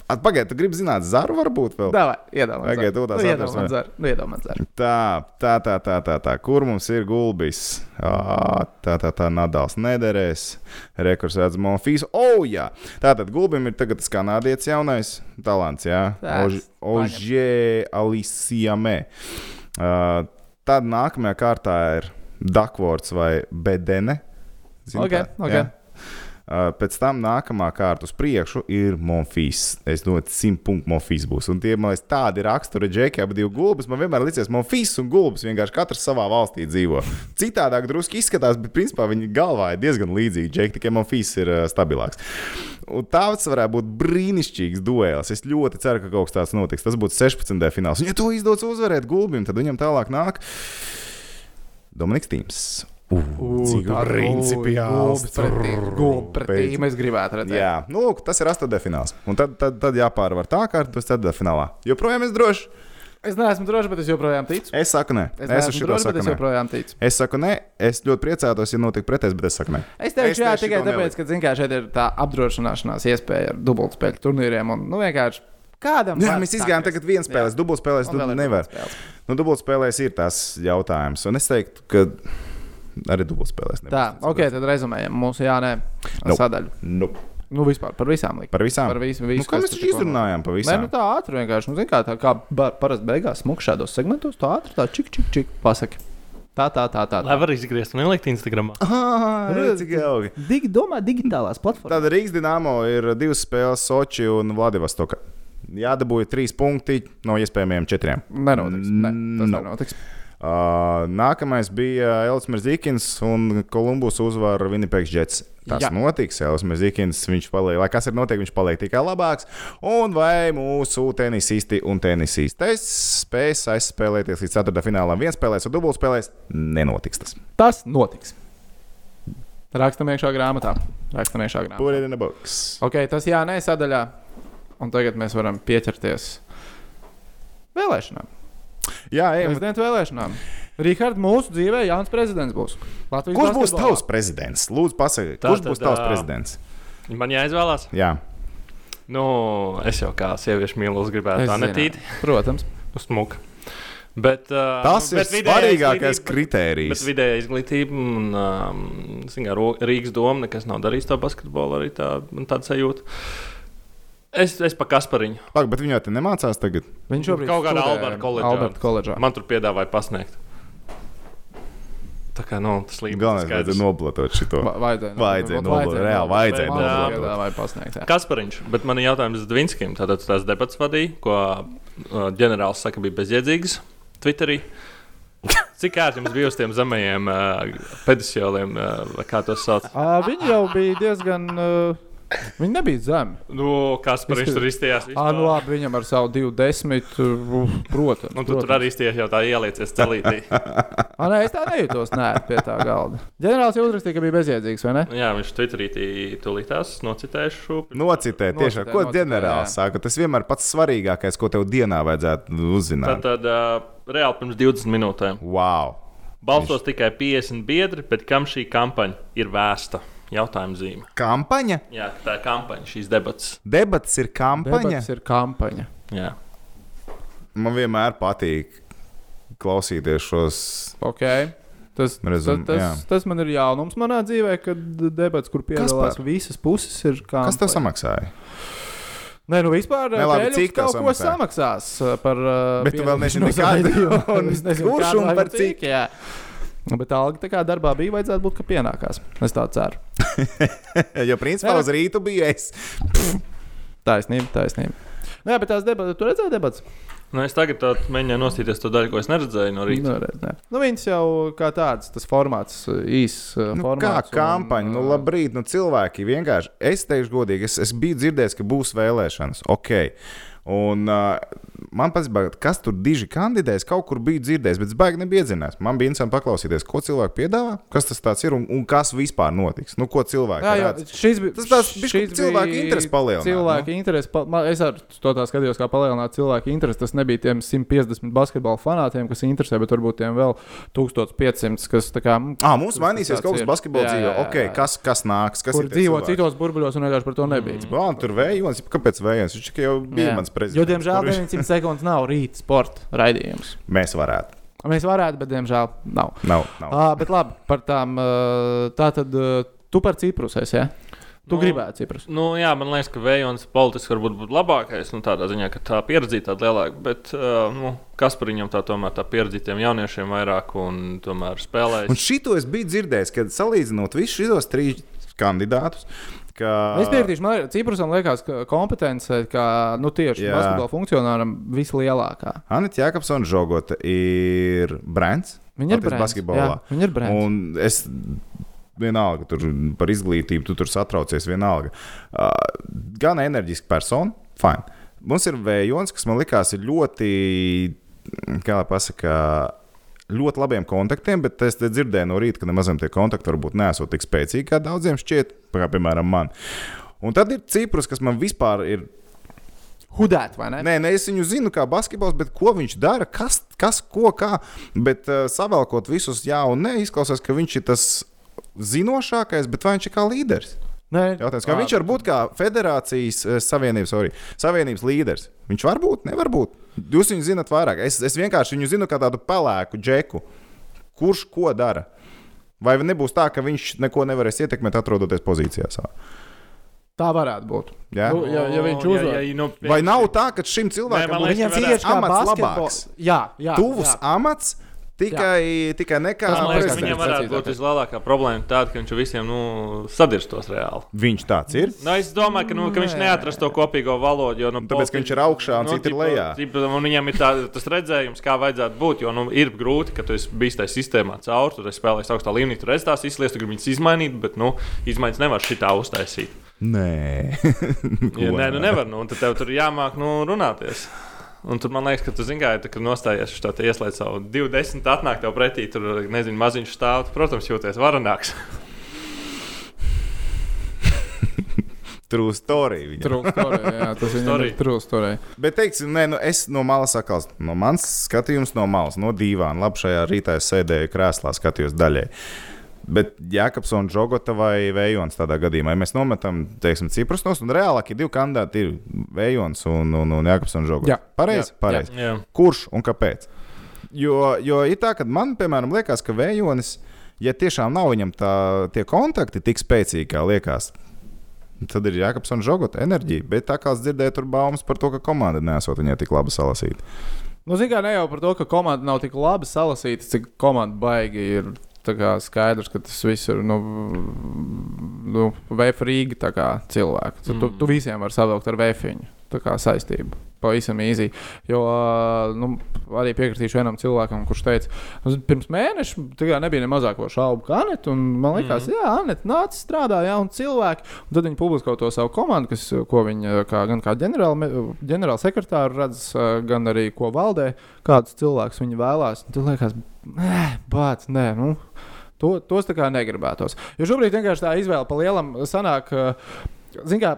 Speaker 2: At, Pagaid, tu gribi zināt, zaru varbūt vēl?
Speaker 1: Davai, iedomājieties,
Speaker 2: Tagad tu tās atrast, vai?
Speaker 1: Nu, iedomājieties,
Speaker 2: Tā, tā, tā, tā, tā, tā. Kur mums ir gulbis? Ā, Tā, tā, tā, Nadals nederēs. Rekurs redz Monfīs. O, jā! Tātad gulbim ir tagad tas kanādietis jaunais talants, jā.
Speaker 1: Tā,
Speaker 2: Ož- Ožē Alisiamē. Ā, Tad nākamajā kārtā ir Dakvorts vai Bedene. Zini
Speaker 1: Ok,
Speaker 2: tā?
Speaker 1: ok.
Speaker 2: Jā. Ā, Eh, Pēc tam nākamā kārta uz priekšu ir Monfīs. Es domāju, ka 100 punktu Monfīs būs. Un tie, man liekas, tādi rakstura džekļi, abi divi gulbis. Man vienmēr liekas, Monfīs un gulbis vienkārši katrs savā valstī dzīvo. Citādāk drusku izskatās, bet principā viņi galvā ir diezgan līdzīgi. Džekļi tikai Monfīs ir ā, stabilāks. Un tāds varētu būt brīnišķīgs duels. Es ļoti ceru, ka kaut kas tāds notiks. Tas būtu 16. fināls. Un, ja to izdodas uzvarēt gulbim, tad viņam tālāk nāk Dominiks Tīms. Cik principiāls.
Speaker 1: Gulbis pret
Speaker 2: Pēc-
Speaker 1: tīm es gribētu redzēt.
Speaker 2: Jā, nu, lūk, tas ir astotdaļfināls. Un tad, tad, tad jāpārvar tā kārta, tas ir ceturtajā finālā. Joprojām es droši.
Speaker 1: Es neesmu drošs, bet es joprojām ticu.
Speaker 2: Es saku, nē,
Speaker 1: Es
Speaker 2: es uz
Speaker 1: neesmu
Speaker 2: šo
Speaker 1: drošs, bet
Speaker 2: saku.
Speaker 1: es
Speaker 2: nē.
Speaker 1: joprojām ticu.
Speaker 2: Es saku, nē, es ļoti priecātos, ja notiktu pretēs, bet es saku, nē.
Speaker 1: Es teikšu, jā,
Speaker 2: Es
Speaker 1: tikai
Speaker 2: šito
Speaker 1: tāpēc, ka zin, kā, šeit ir tā apdrošināšanās iespēja ar dubultspēļu turnīriem. Un, nu, vienkārši kādam
Speaker 2: Jā,
Speaker 1: var
Speaker 2: mēs izgājām
Speaker 1: sakties.
Speaker 2: tagad viens spēlēs, dubultspēlēs,
Speaker 1: Un
Speaker 2: nu
Speaker 1: vēl ir
Speaker 2: nevar.
Speaker 1: dubultspēles.
Speaker 2: Nu, dubultspēlēs ir tās jautājums, un es teiktu, ka arī dubultspēlēs. nebūs
Speaker 1: Tā,
Speaker 2: tāds
Speaker 1: ok, tad rezumējam mūsu jā, nē,
Speaker 2: Nu.
Speaker 1: sadaļu.
Speaker 2: jautājums. Nu,
Speaker 1: Nu, vispār par visām likt.
Speaker 2: par visām.
Speaker 1: Par visu,
Speaker 2: Nu,
Speaker 1: visu,
Speaker 2: kā
Speaker 1: kas
Speaker 2: mēs
Speaker 1: tur
Speaker 2: taču
Speaker 1: tikko notika.
Speaker 2: izrunājām par
Speaker 1: Nē, nu
Speaker 2: visām?
Speaker 1: tā ātri vienkārši. Nu, zin, kā tā kā ba- parasti beigās smukšā šādos segmentos, tā ātri tā čik, čik, čik pasaki. Tā, tā, tā, tā. tā.
Speaker 3: Lai var izgriezt un ielikt Instagram.
Speaker 1: (laughs)
Speaker 2: (laughs) Ah,
Speaker 1: Redz,
Speaker 2: cik jauki.
Speaker 1: Digi, domā digitālās platformās.
Speaker 2: Tāda Rīgas dīnāmo ir divas spēles, Soči un Vladivostoka. Jādabūja trīs punkti no iespējamajiem četriem.
Speaker 1: Nenotiks. Ne, tas
Speaker 2: No.
Speaker 1: nenotiks.
Speaker 2: Uh, nākamais bija Elsmers Zikins un Kolumbus uzvara Winnipegs Jets. Tas
Speaker 1: Jā.
Speaker 2: Jā. notiks. Elsmers Zikins, viņš paliek, lai kas ir notiek, viņš paliek tikai labāks. Un vai mūsu tenisisti un tenisistes spēs aizspēlēties līdz ceturtajam finālam, viens spēlēs un dubultspēlēs, nenotiks tas.
Speaker 1: Tas notiks. Rakstam iekšā grāmatā. Rakstam iekšā grāmatā.
Speaker 2: Put it in a box.
Speaker 1: Ok, tas jā, nē, sadaļā. Un tagad mēs varam pieķerties vēlēšanām.
Speaker 2: Jā, ejam.
Speaker 1: Prezidenta vēlēšanām. Rīkārd, mūsu dzīvē jauns prezidents būs. Latvijas
Speaker 2: Kurš būs
Speaker 1: basketbolā.
Speaker 2: tavs prezidents? Lūdzu, pasakiet,
Speaker 3: Tā
Speaker 2: kurš
Speaker 3: tad,
Speaker 2: būs tavs
Speaker 3: ā,
Speaker 2: prezidents?
Speaker 3: Man jāizvēlās.
Speaker 2: Jā,
Speaker 3: Nu, es jau kā sieviešu mīlus gribētu
Speaker 1: Es
Speaker 3: anetīt
Speaker 1: zināju. Protams.
Speaker 3: uz smuku. Bet, uh,
Speaker 2: tas
Speaker 3: nu,
Speaker 2: ir
Speaker 3: bet vidējā
Speaker 2: svarīgākais
Speaker 3: izglītība- Bet
Speaker 2: kritērijs.
Speaker 3: vidējā izglītība un um, zin kā, Ro- Rīgas doma nekas nav darījis to basketbolu, arī tā, man tāda sajūta. Es, es pa Kaspariņu.
Speaker 2: Pagaid, bet viņi jau te nemācās tagad.
Speaker 1: Viņš šobrīd
Speaker 3: Kaut kādā
Speaker 1: studē
Speaker 3: Alberta koledžā.
Speaker 1: Alberta koledžā.
Speaker 3: Man tur piedāvāja pasniegt. Tā kā nu, tas
Speaker 2: Galvenais,
Speaker 3: līmenis
Speaker 2: vajadzēja noblotot šito.
Speaker 1: Va- Vajadzēja. nu,
Speaker 2: Vajadzēja nobalsot. Reāli vajadzēja nu,
Speaker 3: nobalsot.
Speaker 1: nobalsot. Vai pasniegt. jā.
Speaker 3: Kaspariņš, bet man ir jautājums Dvinskim. Tātad tās debats vadīja, ko uh, ģenerālis saka, bija bezjēdzīgs Twitterī. Cik ērti jums bija uz tiem zemajiem uh, pedofiliem, uh, vai kā tos sauc?
Speaker 1: Ā, Viņi jau bija diezgan. ā, Viņi nebija zemi.
Speaker 3: Nu, Kaspariņš tur izstājās.
Speaker 1: Ah, nu labi, viņam ar savu 20, uh, protams.
Speaker 3: Un Nu, tu tur arī stiež jau tā ieliecies celītī.
Speaker 1: Ah, nē, es tā nejūtos, nē, pie tā galda. Ģenerālis jau uzrakstīja, ka bija bezjēdzīgs, vai ne?
Speaker 3: Jā, viņš Twitterī tī- tūlīt tās nocitēšu.
Speaker 2: Nu, Nocitēt, tiešām,
Speaker 1: Nocitē,
Speaker 2: ko
Speaker 1: nocitē,
Speaker 2: ģenerālis
Speaker 1: jā.
Speaker 2: saka. Tas vienmēr pats svarīgākais, ko tev dienā vajadzētu uzzināt.
Speaker 3: Tātad uh, reāli pirms 20 minūtēm.
Speaker 2: Wow!
Speaker 3: Balsos tikai 50 biedri, bet kam šī kampaņa ir vēsta? Jautājuma zīme.
Speaker 2: Kampaņa?
Speaker 3: Jā, tā ir kampaņa, šīs debatas.
Speaker 2: Debats ir kampaņa.
Speaker 1: Debats ir kampaņa.
Speaker 3: Jā.
Speaker 2: Man vienmēr patīk klausīties šos.
Speaker 1: Okay. Tas,
Speaker 2: Rezum-
Speaker 1: Rezum, tas, tas,
Speaker 2: jā.
Speaker 1: tas man ir jaunums manā dzīvē, kad debats, kur piedalās
Speaker 2: Kaspar,
Speaker 1: visas puses, ir kā.
Speaker 2: Kas tev samaksāja? (laughs)
Speaker 1: Nē, nu vispār
Speaker 2: Nē, labi,
Speaker 1: Pēļuks
Speaker 2: cik tev
Speaker 1: kaut ko
Speaker 2: samaksā?
Speaker 1: samaksās uh, par. uh,
Speaker 2: Bet tu vēl nezini,
Speaker 1: pieņemšanos
Speaker 2: kādu. (laughs)
Speaker 1: radio.
Speaker 2: Un
Speaker 1: Es nezinu,
Speaker 2: kurš
Speaker 1: kādu,
Speaker 2: un par cik.
Speaker 1: Jā. Nu, Bet alga tā kā darbā bija, vajadzētu būt, ka pienākās. Es tā ceru.
Speaker 2: Jo principā
Speaker 1: Nē,
Speaker 2: uz rītu bija es.
Speaker 1: Taisnība, taisnība. Nu, jā, bet tās debatas, tu redzēji debatas?
Speaker 3: Nu, es tagad tā mēģināju nostīties to daļu, ko es neredzēju no rīta.
Speaker 1: Nu, redz, nē. nu, viņas jau kā tāds, tas formāts, uh, īss uh,
Speaker 2: Nu, kā
Speaker 1: formāts.
Speaker 2: kampaņa, nu, labrīt, nu, cilvēki vienkārši. Es teikšu, godīgi, es, es biju dzirdējis, ka būs vēlēšanas. Ok. Un uh, man patīk, kas tur diži kandidēs, kaut kur bija dzirdējis, bet es baigi nebiedzinās. Man bija interesanti paklausīties, ko cilvēki piedāvā, kas tas tāds ir un, un kas vispār notiks. Nu, ko cilvēki
Speaker 1: Jā, jā,
Speaker 2: redz.
Speaker 1: šis bija
Speaker 2: Tas tāds bišķi
Speaker 1: šis
Speaker 2: cilvēku
Speaker 1: bija
Speaker 2: interesi nu. palielināja,
Speaker 1: Cilvēku interesi, pa, man, es ar to tā skatījos, kā palielināt cilvēku interesi. Tas nebija tiem 150 basketbalu fanātiem, kas interesē, bet varbūt tiem vēl 1500, kas tā kā. mm,
Speaker 2: Ah, mums
Speaker 1: Tas
Speaker 2: mainīsies
Speaker 1: tāds
Speaker 2: kaut kas
Speaker 1: ir.
Speaker 2: basketbolā
Speaker 1: Jā,
Speaker 2: dzīvē.
Speaker 1: jā, jā,
Speaker 2: Okay,
Speaker 1: jā.
Speaker 2: kas, kas nāks? Kas
Speaker 1: Kur
Speaker 2: ir tie
Speaker 1: dzīvo
Speaker 2: cilvēki?
Speaker 1: citos burbuļos, un vienkārši par to nebija. Mm.
Speaker 2: Vā, un tur vējons, kāpēc vējons? Viņš tikai jau bija jā. mans prezidents.
Speaker 1: Jo, diemžēl,
Speaker 2: kur viņš-
Speaker 1: 900 sekundes nav rīta sporta raidījums.
Speaker 2: mēs varētu.
Speaker 1: Mēs varētu, bet, diemžēl, nav.
Speaker 2: Nav, nav.
Speaker 1: Ah, bet labi, par tām. ā, Tā tad ā, tu par Ciprus esi. Ja? Tu no.
Speaker 3: Nu,
Speaker 1: gribēji Ciprus.
Speaker 3: Nu, jā, man liekas, ka Vējons politiski varbūt būtu labākais. Nu, tādā ziņā, ka tā pieredzīte tāda lielāka, bet uh, nu, Kaspariņam tā tomēr tā pieredzītiem jauniešiem vairāk un tomēr spēlēs.
Speaker 2: Un šito es biju dzirdējis, kad salīdzinot visus šos trīs kandidātus. Ka...
Speaker 1: Es piekritīšu, man liekas, Ciprusam liekas, ka kompetence, kā nu, tieši
Speaker 2: Jā.
Speaker 1: basketbola funkcionāram, vislielākā.
Speaker 2: Anita Jākapsona žogota ir brands.
Speaker 1: Viņa ir
Speaker 2: Latvijas
Speaker 1: brands,
Speaker 2: basketbolā.
Speaker 1: jā, viņa ir brands.
Speaker 2: Un es vienalga, tur par izglītību, tu tur satraucies vienalga. Uh, gan enerģiski persona, fine. Mums ir vējons, kas man likās ir ļoti, kā lai pasaka. Ļoti labiem kontaktiem, bet es te dzirdēju no rīta, ka nemazam tie kontakti varbūt nesot tik spēcīgi, kā daudziem šķiet, kā piemēram man. Un tad ir Ciprus, kas man vispār ir
Speaker 1: hudēt, vai ne?
Speaker 2: Nē, nē, es viņu zinu, kā basketbols, bet ko viņš dara, kas, kas ko, kā. Bet uh, savēlkot visus, jā, un nē, izklausās, ka viņš ir tas zinošākais, bet vai viņš ir kā līderis?
Speaker 1: Nē,
Speaker 2: Jautājums, kā viņš var būt kā federācijas eh, savienības, sorry, savienības līderis? Viņš var būt, nevar būt. Jūs viņu zinat vairāk. Es, es vienkārši viņu zinu kā tādu pelēku džeku. Kurš ko dara? Vai nebūs tā, ka viņš neko nevarēs ietekmēt, atrodoties pozīcijā savā?
Speaker 1: tā varētu būt.
Speaker 2: Jā?
Speaker 1: Nu, Ja- ja viņš uzvar.
Speaker 3: nu,
Speaker 2: Vai nav tā, ka šim
Speaker 3: Nē, man
Speaker 2: cilvēkam ir
Speaker 3: liekas, ka
Speaker 1: Viņam
Speaker 3: varētu-
Speaker 1: tieši kā
Speaker 2: amats
Speaker 1: basketbols.
Speaker 2: labāks.
Speaker 1: Jā, jā. Ah,
Speaker 2: tuvs
Speaker 1: jā.
Speaker 2: amats, tikai, tikai ne kā
Speaker 1: Tas
Speaker 3: Man liekas,
Speaker 1: Prezidents,
Speaker 3: viņam
Speaker 2: prezidents?
Speaker 1: precīzāk.
Speaker 3: varētu būt vislielākā problēma tāda, ka viņš visiem nu, sadirstos reāli.
Speaker 2: Viņš tāds ir.
Speaker 3: Nu, es domāju, ka, nu, ka viņš
Speaker 1: Nē.
Speaker 3: neatrast to kopīgo valodu. Jo, nu,
Speaker 2: Tāpēc, ka viņš ir augšā un citi ir
Speaker 3: tipo,
Speaker 2: lejā.
Speaker 3: tipo, un Viņam ir tā, tas redzējums, kā vajadzētu būt. Jo nu, ir grūti, ka tu esi bijis tajā sistēmā caur, tur esi spēlējis augstā līmenī, tur esi tās izslēgts, tu gribi viņas izmainīt, bet nu, izmaiņas nevar šitā
Speaker 2: (laughs)
Speaker 3: uztaisīt.
Speaker 2: Nē, (laughs)
Speaker 3: Ja, nē, nu nevar. Nu, un tad tev tur jāmāk nu, runāties. Un tur man liekas, ka tu zini, kā ir nostājies šitā, te ieslēdz savu 20, atnāk tev pretī, tur nezinu, maziņš stāv. tu, Protams, jūties varonāks.
Speaker 2: True story. Viņa.
Speaker 1: True story, jā, tas viņam
Speaker 3: Story.
Speaker 1: ir true story.
Speaker 2: Bet, teiksim, nē, nu es no malas sakals, no manas skatījuma, no malas, no divām. Labi, šajā rītā es sēdēju krēslā, skatījos daļai. Bet Jānis un Džogota vai Vējons tādā gadījumā, ja mēs nometam, teiksim, ciprus nos, un reālākie divi kandidāti ir Vējons un, un, un Jānis un Džogota.
Speaker 1: Jā.
Speaker 2: pareizi.
Speaker 1: Jā.
Speaker 2: Pareiz.
Speaker 3: Jā.
Speaker 2: Kurš un kāpēc? Jo, jo ir tā, ka man, piemēram, liekas, ka Vējonis, ja tiešām nav viņam tā, tie kontakti tik spēcīgi, kā liekas, tad ir Jānis un Žogota enerģija. Bet tā kā es dzirdēju, tur baumas par to, ka komanda nesot viņai tik labi salasīt.
Speaker 1: Nu, zini, kā ne jau par to, ka komanda nav tik labi salasīta, cik komanda baigi ir. Tā kā skaidrs, ka tas viss ir nu, nu, vefrīgi cilvēki. Tu, tu, tu visiem vari savilkt ar vefiņu tā kā saistību. Pavisam īsi. Jo ā, nu, arī piekritīšu vienam cilvēkam, kurš teica, ka pirms mēneša tā kā nebija ne mazāko šaubu, kā Anita. un Man liekas, mm. jā, Anita nāca strādāt, ja un cilvēki. Un tad viņi publisko to savu komandu, kas, ko viņi ā, kā, gan kā ģenerālsekretāru redz, ā, gan arī ko valdē, kādus cilvēkus viņi vēlās. Un Tad liekas, nē, bāc, nē. Nu. To, tos tā kā negribētos. Jo šobrīd vienkārši tā izvēle pa lielam sanāk, eh, zināmā mērā,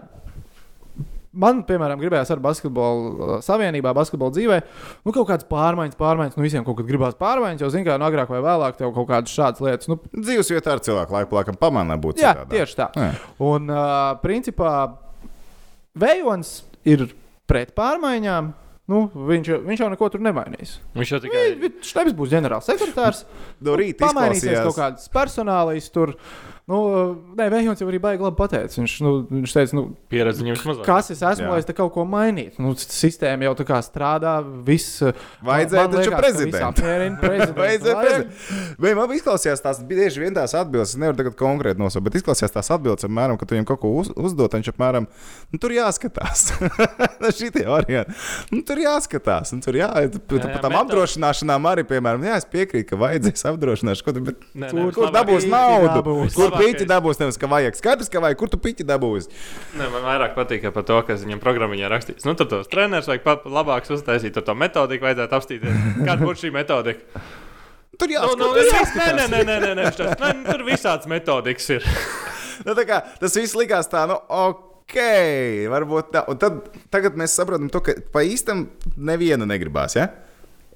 Speaker 1: Man, piemēram, gribējās ar basketbolu uh, savienībā, basketbolu dzīvē, nu, kaut kādas pārmaiņas, pārmaiņas. Nu, visiem kaut kad gribās pārmaiņas, jau zina, kā no agrāk vai vēlāk tev kaut kādas šādas lietas. Nu,
Speaker 2: Dzīves vietā ar cilvēku laiku, laikam, pamanā būtu.
Speaker 1: jā,
Speaker 2: citādā.
Speaker 1: tieši tā.
Speaker 2: Jā.
Speaker 1: Un, uh, principā, Vējons ir pret pārmaiņām. Nu, viņš, jau- viņš jau neko tur nemainīs.
Speaker 3: Viņš jau tikai.
Speaker 1: Viņš nebūs būs
Speaker 2: (laughs)
Speaker 1: ģenerālsekretārs.
Speaker 2: No rīta
Speaker 1: Pamainīsies
Speaker 2: Nu, izklausījās.
Speaker 1: kaut kādas personālijas tur. Nu, nē, Vējons jau arī baigi labi pateicis. Viņš, nu, viņš teica, nu,
Speaker 3: Pieredzi viņam vismaz.
Speaker 1: kas es esmu,
Speaker 2: Jā.
Speaker 1: lai es te kaut ko mainītu. Nu, s- sistēma jau tā kā strādā, viss. eh,
Speaker 2: Vajadzēja taču prezidentu.
Speaker 1: (laughs) Apmierina prezidentu.
Speaker 2: Vajadzēja
Speaker 1: vajag.
Speaker 2: prezidents. Vai man izklausījās tās bieži vien tās atbildes, es nevaru tagad konkrēti nosaukt, bet izklausījās tās atbildes, apmēram, ka tu viņam kaut ko uz, uzdod, viņš apmēram nu, tur jāskatās. (laughs) Šitie varianti. Nu, tur jāskatās. Un tur jā,
Speaker 3: Jā, jā,
Speaker 2: par tām
Speaker 3: metodas.
Speaker 2: apdrošināšanām arī, piemēram, jā, es piekrītu, ka vajadzēs apdrošināšanu, ko tu. Bet...
Speaker 3: Nē, nē,
Speaker 2: Kur,
Speaker 3: vislabāk-
Speaker 2: kur dabūs
Speaker 1: piķi
Speaker 2: naudu?
Speaker 1: dabūs.
Speaker 2: Kur
Speaker 3: Vislabākais.
Speaker 2: pīķi dabūs? Nevis, ka vajag. Skaidrs, ka vajag. Kur tu pīķi dabūs?
Speaker 3: Nē, man vairāk patīk par to, kas viņam programmā rakstīts. Nu, tur tas treneris vajag pat labāks uztaisīt, tur to metodiku vajadzētu apstīties. Kāda būtu šī metodika?
Speaker 2: (laughs) Tur
Speaker 3: Nu,
Speaker 2: jāskatās.
Speaker 3: nu,
Speaker 2: tur
Speaker 3: nē,
Speaker 2: jāskatās.
Speaker 3: nē, nē, nē, nē, nē, šitās, nē, nu, tur visāds metodikas (laughs) ir.
Speaker 2: Nu, tā kā, tas viss likās tā, nu, ok, varbūt tā. Un tad, tagad mēs saprotam, to, ka pa īstam nevienu negribās. Ja?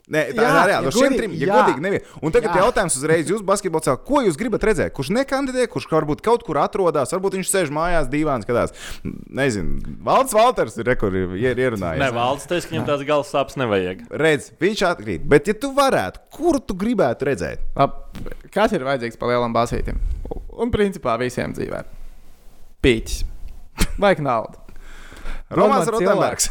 Speaker 2: Nē, tā
Speaker 1: Jā,
Speaker 2: ir reāli.
Speaker 1: ja
Speaker 2: No šiem
Speaker 1: godīgi,
Speaker 2: trim, ja
Speaker 1: jā.
Speaker 2: godīgi, nevienu. Un
Speaker 1: Jā.
Speaker 2: tagad jā. jautājums uzreiz jūs, basketbolistā, ko jūs gribat redzēt? Kurš nekandidē, kurš varbūt kaut kur atrodas, varbūt viņš sēž mājās, divās skatās. Nezinu, Valds Valters ir rekords ierunājis.
Speaker 3: Nē, valsts teiks, ka viņam tās galvas sāpes nevajag.
Speaker 2: Redz, viņš atkrīt. Bet, ja tu varētu, kuru tu gribētu redzēt?
Speaker 1: Ap- Kas ir vajadzīgs par lielam basītam? Un principā visiem dzīvē. Pīķis. Vajag naudu.
Speaker 2: Romanis
Speaker 1: Domāt
Speaker 2: Rotenbergs.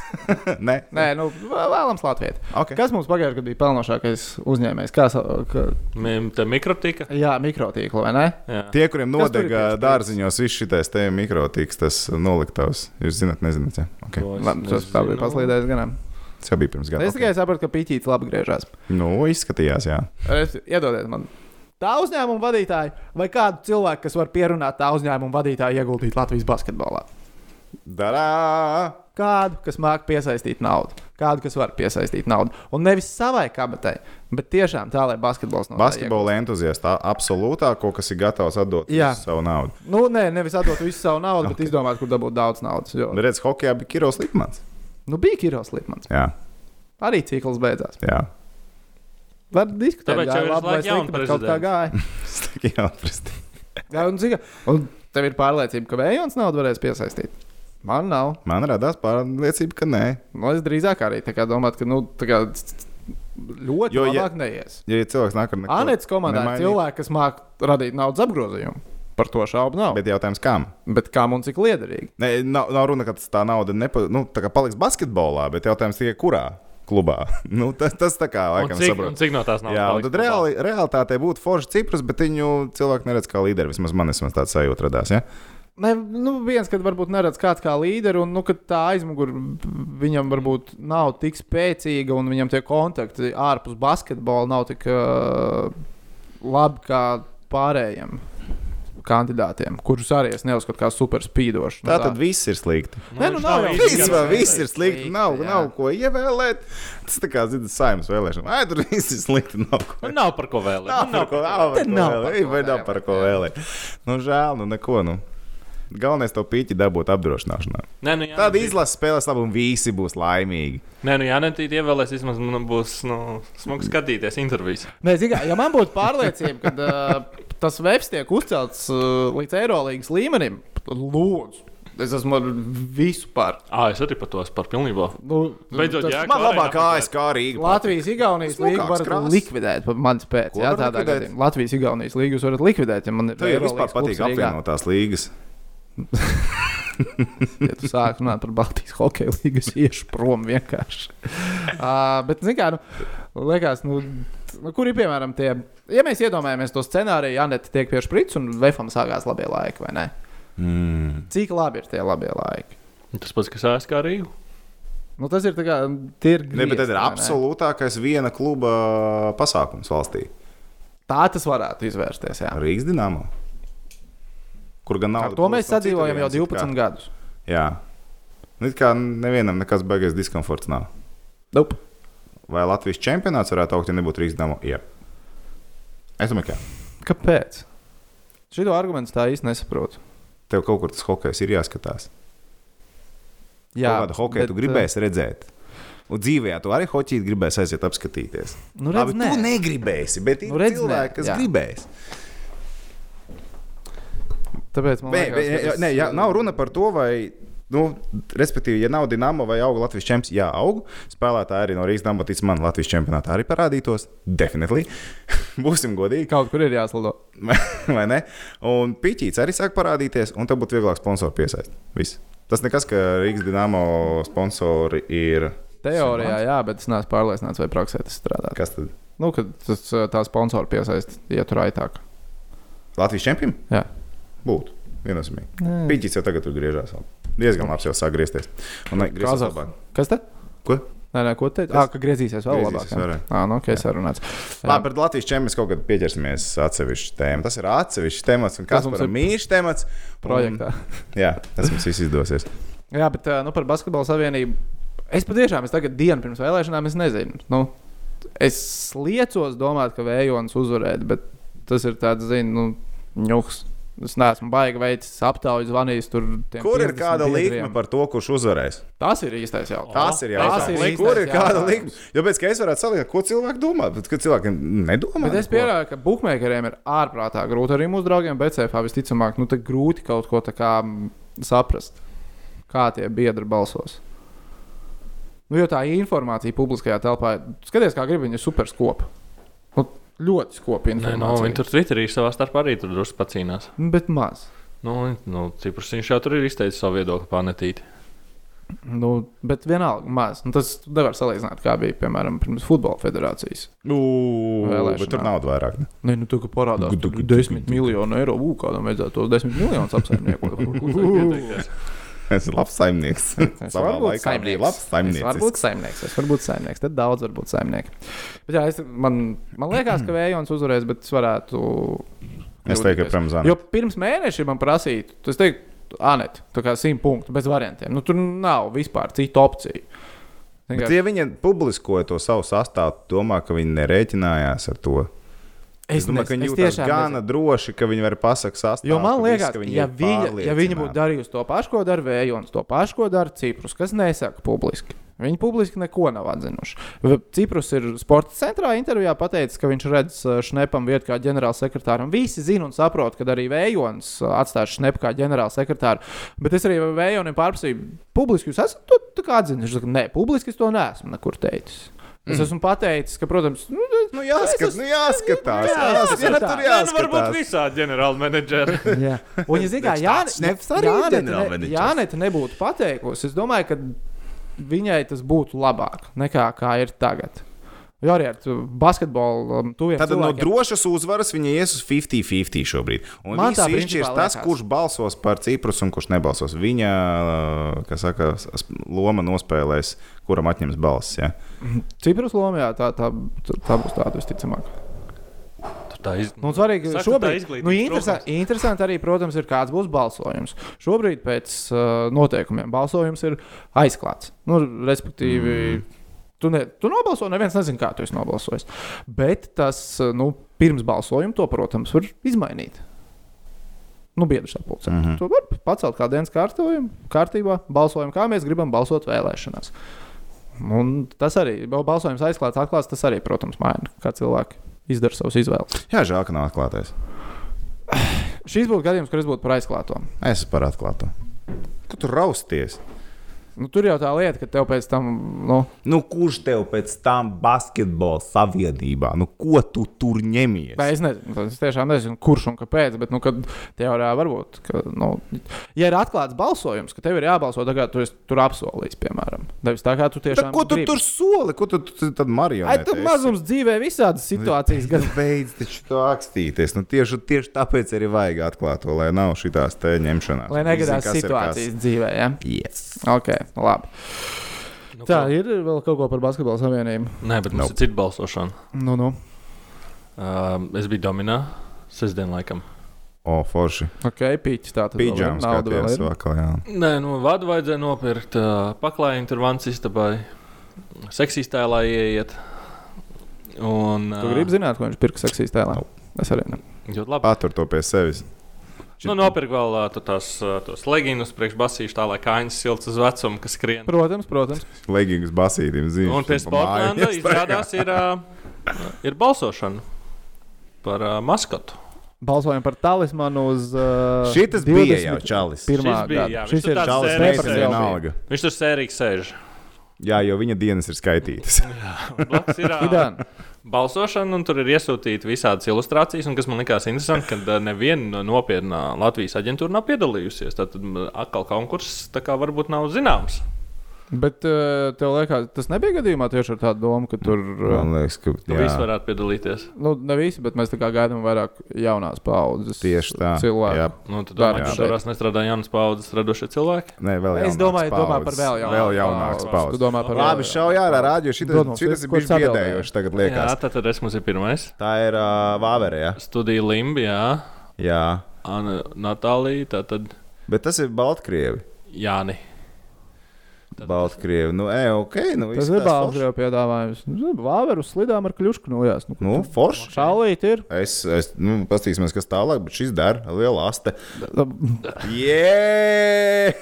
Speaker 2: (laughs) Nē,
Speaker 1: Nē, nu, vē- vēlams Latvijai.
Speaker 2: Okay.
Speaker 1: Kas mums pagājušajā gadā bija pelnošākais uzņēmējs? Kā, sa- ka,
Speaker 3: Mim- Tā mikrotika.
Speaker 1: jā, mikrotīkla vai ne?
Speaker 3: Jā.
Speaker 2: Tie, kuriem
Speaker 1: Kas tur ir
Speaker 2: nodega
Speaker 1: pēc
Speaker 2: dārziņos, viss šis te mikrotīks, tas noliktavs. Jūs zināt, nezināt, jā. Okay.
Speaker 3: To es
Speaker 1: Labi, tas tā bija
Speaker 3: nezinu.
Speaker 1: paslīdējis ganām.
Speaker 2: Tas jau bija pirms gada.
Speaker 1: nu, Es tikai sapratu, ka pīķītis labi griežās.
Speaker 2: okay. Nu, izskatījās, jā.
Speaker 1: Es- Iedodiet man. Tā uzņēmuma vadītāja vai kādu cilvēku, kas var pierunāt tā uzņēmuma vadītāju, ieguldīt Latvijas basketbolā?
Speaker 2: Darā!
Speaker 1: Kādu, kas māca piesaistīt naudu, kādu, kas var piesaistīt naudu. Un nevis savai kabatai, bet tiešām tā, lai basketbols no tā
Speaker 2: Basketbola entuziastā absolūtāko, kas ir gatavs atdot
Speaker 1: Jā.
Speaker 2: visu savu naudu.
Speaker 1: iegūst. Nu, nē, nevis atdot visu savu naudu, okay. bet izdomāt, kur dabūt daudz naudas. Jo...
Speaker 2: Redz, hokeja bija Kiros Likmans.
Speaker 1: Nu, bija Kirillis Lipmans.
Speaker 2: Jā,
Speaker 1: Arī cikls beidzās.
Speaker 2: jā. (laughs)
Speaker 1: Var diskutēt,
Speaker 3: Tāpēc
Speaker 1: gāja
Speaker 3: jau ir
Speaker 1: labi vai
Speaker 3: visu laiku
Speaker 1: slikti, bet kaut kā
Speaker 3: jaunu
Speaker 1: gāja.
Speaker 2: Stiki jāprasti.
Speaker 1: Jā, un, zika, un tev ir pārliecība, ka vējons naudu varēs piesaistīt. Man nav.
Speaker 2: Man radās pārliecība, ka nē.
Speaker 1: Nu, es drīzāk arī tā kā domāju, ka nu, tā kā, ļoti
Speaker 2: Jo,
Speaker 1: jo,
Speaker 2: ja-
Speaker 1: labāk neies.
Speaker 2: Ja ir cilvēks nāk ar neko
Speaker 1: Anētas komandā ir
Speaker 2: nemainīt,
Speaker 1: cilvēki, kas māca radīt naudas apgrozījumu. Par to šaubu nav. Bet,
Speaker 2: Bet jautājums, kam?
Speaker 1: bet kā mums cik liederīgi?
Speaker 2: Nē, nav, nav runa, ka tas tā nauda nepa, nu, tā kā paliks basketbolā, bet jautājums tikai kurā klubā. (laughs) nu, tas, tas tā kā
Speaker 3: Un
Speaker 2: laikam
Speaker 3: cik,
Speaker 2: saprot.
Speaker 3: un cik no tās nav?
Speaker 2: Jā, un tad reāli, realitātē būtu forši ciprus, bet viņu cilvēki neredz kā līderi. Vismaz man vismaz tāds sajūta radās. Ja?
Speaker 1: Ne, nu, viens, kad varbūt neredz kāds kā līderi, un nu, kad tā aizmugure viņam varbūt nav tik spēcīga, un viņam tie kontakti ārpus basketbola nav tik uh, labi kā pārējiem kandidātiem, kurus arī es neuzskatu par superspīdošu.
Speaker 2: Nu Tā tad viss ir slikti.
Speaker 1: Nē, nu, nav jau
Speaker 2: Viss,
Speaker 1: Jā,
Speaker 2: vai,
Speaker 1: jā,
Speaker 2: viss
Speaker 1: jā.
Speaker 2: ir slikti. Nav,
Speaker 1: Slikti, jā.
Speaker 2: nav ko ievēlēt. Tas tā kā zina saimnes vēlēšana. Ai, tur viss ir slikti. Nav ko.
Speaker 3: Nu, Nav par ko vēlēt.
Speaker 2: Nav par ko vēlēt.
Speaker 1: nav
Speaker 2: Nav,
Speaker 1: par ko
Speaker 2: vai nav par ko vēlēt. Nu, žēl, nu neko. Nu. Galvenais to pīķi dabūt apdrošināšanā.
Speaker 3: Nē, nu, jā,
Speaker 2: Tāda izlases spēlēs labi, un visi būs laimīgi.
Speaker 3: Nē, nu, jā, nē, tīri ievēlēs. Vismaz man būs nu, smagi skatīties intervijas.
Speaker 1: Nē, zigā, ja man būtu pārliecība,
Speaker 2: (laughs)
Speaker 1: ka uh, tas webs tiek uzcelts uh, līdz Eirolandes līmenim, tad lūdzu, es esmu ar visu par.
Speaker 3: Ā, es arī par to esmu par pilnībā.
Speaker 1: Nu,
Speaker 3: Beidzot,
Speaker 1: tas-
Speaker 3: jā,
Speaker 2: Man
Speaker 3: Kā
Speaker 2: labāk
Speaker 3: arēnā
Speaker 2: kājas, kā Rīga.
Speaker 1: Latvijas, Igaunijas
Speaker 2: Smukāks
Speaker 1: līniju varat
Speaker 2: krāsas.
Speaker 1: krāsas. likvidēt, pat manis pēc.
Speaker 2: Ko
Speaker 1: Jā,
Speaker 2: var
Speaker 1: tādā
Speaker 2: likvidēt?
Speaker 1: gadījumā Latvijas, Igaunijas līniju jūs varat likvidēt, ja man ir
Speaker 2: Tev jau
Speaker 1: Eirolandes
Speaker 2: vispār
Speaker 1: klubs
Speaker 2: patīk
Speaker 1: Rīgā.
Speaker 2: apvienotās līgas.
Speaker 1: Ja tu sāk runāt par Baltijas hokeja līniju, es (laughs) iešu prom vienkārši. Uh, bet, zināmā mērā, nu, liekas, nu, t- nu, kur ir piemēram tie, ja mēs iedomājamies to scenāriju, ja Anita tiek pie šprits un Vefam sākās labie laiki, vai ne?
Speaker 2: Mm.
Speaker 1: Cik labi ir tie labie laiki?
Speaker 3: Tas pats, kas ēst kā Rīgu.
Speaker 1: Nu, tas ir tā kā tie ir
Speaker 2: Ne, bet
Speaker 1: griezti,
Speaker 2: tas ir
Speaker 1: vai ne?
Speaker 2: absolūtākais viena kluba pasākums valstī.
Speaker 1: Tā tas varētu izvērsties. Jā.
Speaker 2: Rīgas dīnāmā. Kur gan nav?
Speaker 1: Ar to mēs sadzīvojam jau 12 gadus.
Speaker 2: Jā. Nu, it kā nevienam nekas baigies diskomforts nav.
Speaker 1: Nope.
Speaker 2: Vai Latvijas čempionāts varētu augt, ja nebūtu Rīgas dīnāmā? Jā. Es domāju, ka jā.
Speaker 1: Kāpēc? Šo argumentu tā īsti nesaprotu.
Speaker 2: tev kaut kur tas hokejs ir jāskatās. Jā,
Speaker 1: Jā,
Speaker 2: kādu hokeju
Speaker 1: bet, eh,
Speaker 2: tu gribēsi redzēt. Un dzīvē tu arī hoķīt gribēsi aiziet apskatīties.
Speaker 1: uh, Nu, redz,
Speaker 2: Labi,
Speaker 1: nē.
Speaker 2: tu negribēsi, bet ir
Speaker 1: Nu,
Speaker 2: nu,
Speaker 1: redz,
Speaker 2: redz,
Speaker 1: nē,
Speaker 2: cilvēki, kas
Speaker 1: jā.
Speaker 2: jā. gribēs.
Speaker 1: eh, Tāpēc man
Speaker 2: Nē,
Speaker 1: liekas,
Speaker 2: nē,
Speaker 1: ka tas- eh,
Speaker 2: nē, jā, nav runa par to, vai. Nu, respektīvi, ja nav dīnāma vai auga Latvijas čempions, jā, aug. Spēlētāji arī no Rīgas dabas, tic man, Latvijas čempionātā arī parādītos. Definitīvi. (laughs) Būsim godīgi, (laughs)
Speaker 1: Kaut kur ir jāslado.
Speaker 2: vai ne? Un pīķīts arī sāk parādīties, un tad būtu vieglāk sponsoru piesaistīt. Viss. Tas nekas, ka Rīgas dīnāma sponsori ir.
Speaker 1: Teorijā, jā, bet es neesmu pārliecināts, vai praksē tas strādā.
Speaker 2: Kas tad?
Speaker 1: Nu, kad tas uh, tā sponsori piesaista, ja tur aitāk.
Speaker 2: Latvijas čempions?
Speaker 1: Jā.
Speaker 2: Būtu. Viennozīmīgi.
Speaker 1: Nē.
Speaker 2: Pīķīts jau tagad tur griežās. vēl. Diezgan labs jau sāk griezties. Un ne, griezās
Speaker 1: Kazahs.
Speaker 2: labāk.
Speaker 1: Kas te?
Speaker 2: Ko?
Speaker 1: Nē, nē, ko teikt?
Speaker 2: Tas-
Speaker 1: Ah, ka griezīsies vēl labāk.
Speaker 2: Griezīsies
Speaker 1: jā.
Speaker 2: vairāk.
Speaker 1: Ā, nu, ok, sarunāts.
Speaker 2: Labi, par Latvijas čempionu kaut kad pieķersimies atsevišķi tēmai. Tas ir atsevišķs temats, un kas
Speaker 1: mums
Speaker 2: mums ir
Speaker 1: ir
Speaker 2: mīļš temats
Speaker 1: Projektā.
Speaker 2: Un, jā, tas mums viss izdosies.
Speaker 1: Jā, bet uh, nu, par basketbalu savienību. Es patiešām, es tagad dienu pirms vēlēšanām, es nezinu. Nu, es liecos domāt, ka Vējons uzvarēs, bet tas ir tāds, zinu, nu, ņuks. Es neesmu baigi veicis aptaujas, zvanījis tur. tiem
Speaker 2: Kur ir
Speaker 1: 50
Speaker 2: kāda
Speaker 1: biedriem.
Speaker 2: līnija par to, kurš uzvarēs?
Speaker 1: Tas ir īstais jautājums.
Speaker 2: Tas
Speaker 1: tas ir
Speaker 2: ir jautājums.
Speaker 1: īstais
Speaker 2: Kur ir kāda
Speaker 1: jautājums.
Speaker 2: līnija? Jo pēc tam es varētu salikt, ko cilvēki domā, bet kad cilvēki nedomā.
Speaker 1: Bet es
Speaker 2: neko.
Speaker 1: pieņēmu, ka buļbuļsakariem ir ārprātā grūti arī mūsu draugiem BCF. Visticamāk, nu, tā grūti kaut ko tā kā mm, saprast, kā tie biedri balsos. Nu, jo tā informācija publiskajā telpā, skaties, kā gribi viņi ir super skopi. Nu, ļoti skopi
Speaker 3: Nē, no, viņi
Speaker 1: informācija.
Speaker 3: tur Twitterī savā starpā arī tur drusku pacīnās.
Speaker 1: Nu, Bet maz.
Speaker 3: Nu, nu Ciprs viņš jau tur ir izteicis savu viedokli panetīt.
Speaker 1: Nu, bet vienalga maz. Nu, tas nevar salīdzināt, kā bija, piemēram, pirms futbola federācijas.
Speaker 2: Ū,
Speaker 1: Vēlēšanā.
Speaker 2: Nu, Bet tur naudu vairāk. (laughs) ne?
Speaker 1: Nē, nu, tā kā parādās
Speaker 2: Gudu,
Speaker 1: tur
Speaker 2: gudu,
Speaker 1: 10 miljonu eiro. Ugh, kādam vajadzētu tos 10 miljonus
Speaker 2: (laughs)
Speaker 1: (laughs) apsaimniekot.
Speaker 2: Es esmu labs saimnieks.
Speaker 1: Es
Speaker 2: Savā
Speaker 1: varu būt
Speaker 2: laikā biju labs
Speaker 1: saimnieks. Es varu
Speaker 2: saimnieks.
Speaker 1: būt saimnieks. Es varu būt saimnieks. Tad daudz var būt saimnieks. Bet jā, es, man, man liekas, ka Vējons uzvarēs, bet es varētu.
Speaker 2: Es teiktu,
Speaker 1: kļūdīties.
Speaker 2: ka Premzāns.
Speaker 1: Jo pirms mēneša man prasītu, tas teikt, Anet, tā kā simt punktu bez variantiem. Nu, tur nav vispār citu opciju.
Speaker 2: Bet,
Speaker 1: Vienkārši-
Speaker 2: ja viņi publiskoja to savu sastāvu, domā, ka viņi nerēķinājās ar to. Es, es domāju, ka viņi jūtas gana nezinu. droši, ka viņi var pasakāt sastāvā.
Speaker 1: Jo man liekas, ka ja viņa, ja viņa būtu darījusi to pašu, ko dara Vējons, to pašu, ko dara Ciprus, kas nesaka publiski. Viņi publiski neko nav atzinuši. Ciprus ir sporta centrā intervijā pateicis, ka viņš redz eh, Šnepam vietu kā ģenerālsekretāram. Visi zin un saprot, ka arī Vējons eh, atstās Šnepu kā ģenerālsekretāru. Bet es arī Vējonim pārprasīju, publiski jūs esat to tā kā atzinuši. Viņš saka, nē, publiski es to neesmu nekur teicis. Es esmu pateicis, ka, protams, nu,
Speaker 2: Nu, jāskat,
Speaker 1: es
Speaker 2: nu, jāskatās, jāskatās,
Speaker 1: jāskatās.
Speaker 2: jā, tur
Speaker 3: Jā, nu varbūt
Speaker 2: jāskatās.
Speaker 3: visādi ģenerāli menedžeri.
Speaker 1: (laughs) Jā, un, ja zināmā
Speaker 2: tāds šneps arī ir
Speaker 1: mērā
Speaker 2: ģenerālmenedžers.
Speaker 1: Jānete nebūtu pateikusi, es domāju, ka viņai tas būtu labāk nekā kā ir tagad. Jo arī ar tu- basketbolu um, tuviem
Speaker 2: Tad no
Speaker 1: cilvēkiem.
Speaker 2: drošas uzvaras viņa ies uz 50-50 šobrīd. Un
Speaker 1: Man
Speaker 2: viņš
Speaker 1: tā
Speaker 2: izšķirs
Speaker 1: principā
Speaker 2: tas,
Speaker 1: liekas.
Speaker 2: kurš balsos par Ciprus un kurš nebalsos. Viņa, kā saka, s- loma nospēlēs, kuram atņems balss. Ja?
Speaker 1: Ciprus lomā jā, tā, tā, tā- tā būs tāda visticamāk.
Speaker 3: (laughs) Tur tā iz...
Speaker 1: Nu, un svarīgi,
Speaker 3: Saka,
Speaker 1: ka
Speaker 3: tā
Speaker 1: šobrīd
Speaker 3: izglītības
Speaker 1: nu, interesanti,
Speaker 3: trūkums.
Speaker 1: interesanti arī, protams, ir kāds būs balsojums. Šobrīd pēc uh, noteikumiem balsojums ir aizklāts. Nu, respektīvi, mm. tu, ne, tu nobalso, neviens nezina, kā tu esi nobalsojis. Bet tas, uh, nu, pirms balsojuma to, protams, var izmainīt. Nu, biedru sapulcē. Mm -hmm. To var pacelt kā dienas kārtojumu, kārtībā, balsojumu, kā mēs gribam balsot vēlēšanās. Un tas arī, balsojums aizklāts, atklāts, tas arī, protams, maina, kā cilvēki izdara savas izvēles.
Speaker 2: Jā, žēl, ka nav atklātais.
Speaker 1: Šis būtu gadījums, kur es būtu par aizklāto.
Speaker 2: Es esmu par atklātu. Kur tu rausties?
Speaker 1: Nu, tur jau tā lieta, ka tev pēc tam, nu,
Speaker 2: Nu, kurš tev pēc tam basketbola savienībā? Nu, ko tu tur ņemies?
Speaker 1: vai es nezinu, tas es tiešām nezinu, kurš un kāpēc, bet, nu, kad teorā varbūt, ka, nu, ja ir atklāts balsojums, ka tev ir jābalso tā, kā tu esi tur apsolījis, piemēram, nevis tā, kā tu
Speaker 2: Tā,
Speaker 1: tiešām.
Speaker 2: ko tu
Speaker 1: gribi.
Speaker 2: tur soli? Ko tu tu- tu tad
Speaker 1: Ai,
Speaker 2: marionēti?
Speaker 1: tur mazums dzīvē visādas situācijas.
Speaker 2: Gan
Speaker 1: Gan...
Speaker 2: beidz taču to akstīties. Nu, tieši, tieši tāpēc arī vajag atklāt to, lai nav šitās te ņemšanās.
Speaker 1: Lai negadās situācijas dzīvē, ja?
Speaker 2: Yes.
Speaker 1: Ok, labi.
Speaker 3: Nu,
Speaker 1: Tā
Speaker 3: ko-
Speaker 1: ir vēl kaut ko par basketbalu savienību.
Speaker 3: Nē, bet mums
Speaker 2: Nope.
Speaker 3: ir cita balsošana.
Speaker 1: Nu, nu.
Speaker 3: Um, es biju Dominā sestdien, laikam.
Speaker 2: O, forši.
Speaker 1: Ok, pīķis tā tad. vēl ir,
Speaker 2: Pīdžāms
Speaker 1: nauda vēl
Speaker 2: skatījās
Speaker 1: ir.
Speaker 2: vakar, jā.
Speaker 3: Nē, nu, vadu vajadzēja nopirkt, ā, paklājiņu tur vans istabai, seksīs tēlā ieiet. Un,
Speaker 1: Tu gribi zināt, ko viņš pirks seksīs tēlā? Es arī ne.
Speaker 3: Ļoti labi.
Speaker 2: Patur to pie sevis.
Speaker 3: Nu, nopirku vēl ā, tu tās, ā, tos leginus, priekšbasīšu tā, lai kājņas silts uz vecumu, kas skrien.
Speaker 1: Protams, protams.
Speaker 2: Leggings basītīm zīmēs.
Speaker 3: Un pie Sportlanda izrādās ir, ā, ir balsošana par ā, maskotu.
Speaker 1: Balsojam par talismanu uz. Uh,
Speaker 2: Šitas bija jau čalis.
Speaker 1: Pirmā
Speaker 3: Šis bija,
Speaker 1: bija. Jā,
Speaker 3: jā, viņš
Speaker 1: šis
Speaker 3: tur
Speaker 1: ir
Speaker 3: tāds
Speaker 2: Čalis
Speaker 1: čalis.
Speaker 3: sēdēja.
Speaker 1: Nepars
Speaker 2: neizsēja
Speaker 1: jau bija.
Speaker 2: vienalga.
Speaker 3: Viņš tur sērīgi sēž.
Speaker 2: Jā, jo viņa dienas
Speaker 1: (laughs)
Speaker 2: ir skaitītas.
Speaker 3: Un blakus Ir, ā,
Speaker 1: Idan,
Speaker 3: balsošana, un tur ir iesūtīta visādas ilustrācijas. un Kas man liekas interesanti, ka ā, neviena no nopietnā Latvijas aģentūra nav piedalījusies. Tad atkal konkurss tā kā varbūt nav zināms.
Speaker 1: bet uh, tev liekas, tas nebija gadījumā tieši ar tādu domu, ka tur uh,
Speaker 2: Man liekas, ka
Speaker 3: Tur Nu, viss varētu piedalīties.
Speaker 1: nu, ne visi, bet mēs tā kā gaidām vairāk jaunās paudzes
Speaker 2: Tieši tā.
Speaker 1: cilvēku.
Speaker 2: Jā,
Speaker 3: Nu, tad
Speaker 1: Dar-
Speaker 3: domāju, ka
Speaker 1: jā.
Speaker 3: šodien nestrādā jaunas paudzes radošie cilvēki.
Speaker 2: Nē, vēl
Speaker 1: Es
Speaker 2: jaunāks
Speaker 1: domāju, domā
Speaker 2: paudzes.
Speaker 1: par vēl jaunāku.
Speaker 2: Vēl jaunāks
Speaker 1: Tu
Speaker 2: paudzes.
Speaker 1: domā par
Speaker 2: Labi, šauj ārā rādio.
Speaker 1: Dod mums,
Speaker 2: Šitas ir
Speaker 1: ko
Speaker 2: bijis
Speaker 1: tu atbildēji?
Speaker 2: biedējoši tagad
Speaker 3: Jā,
Speaker 2: liekas.
Speaker 3: tad, tad es mums ir pirmais.
Speaker 2: Tā ir uh, Vāverē, jā.
Speaker 3: Studija Limbijā,
Speaker 2: jā.
Speaker 3: Anna Natālija, tātad
Speaker 2: Bet tas ir Baltkrievi.
Speaker 3: Jāni.
Speaker 2: Baltkrievi. Nu, e, ok, nu
Speaker 1: Tas
Speaker 2: izskatās
Speaker 1: ir
Speaker 2: forši.
Speaker 1: Bāzgrēva piedāvājums. Nu, Vāveru slidām ar kļušku nojās. Nu,
Speaker 2: Nu, forši.
Speaker 1: Šālīt ir.
Speaker 2: Es, es nu, paskatīsimies, kas tālāk, bet šis dara liela asta.
Speaker 1: Tā-
Speaker 2: Jē!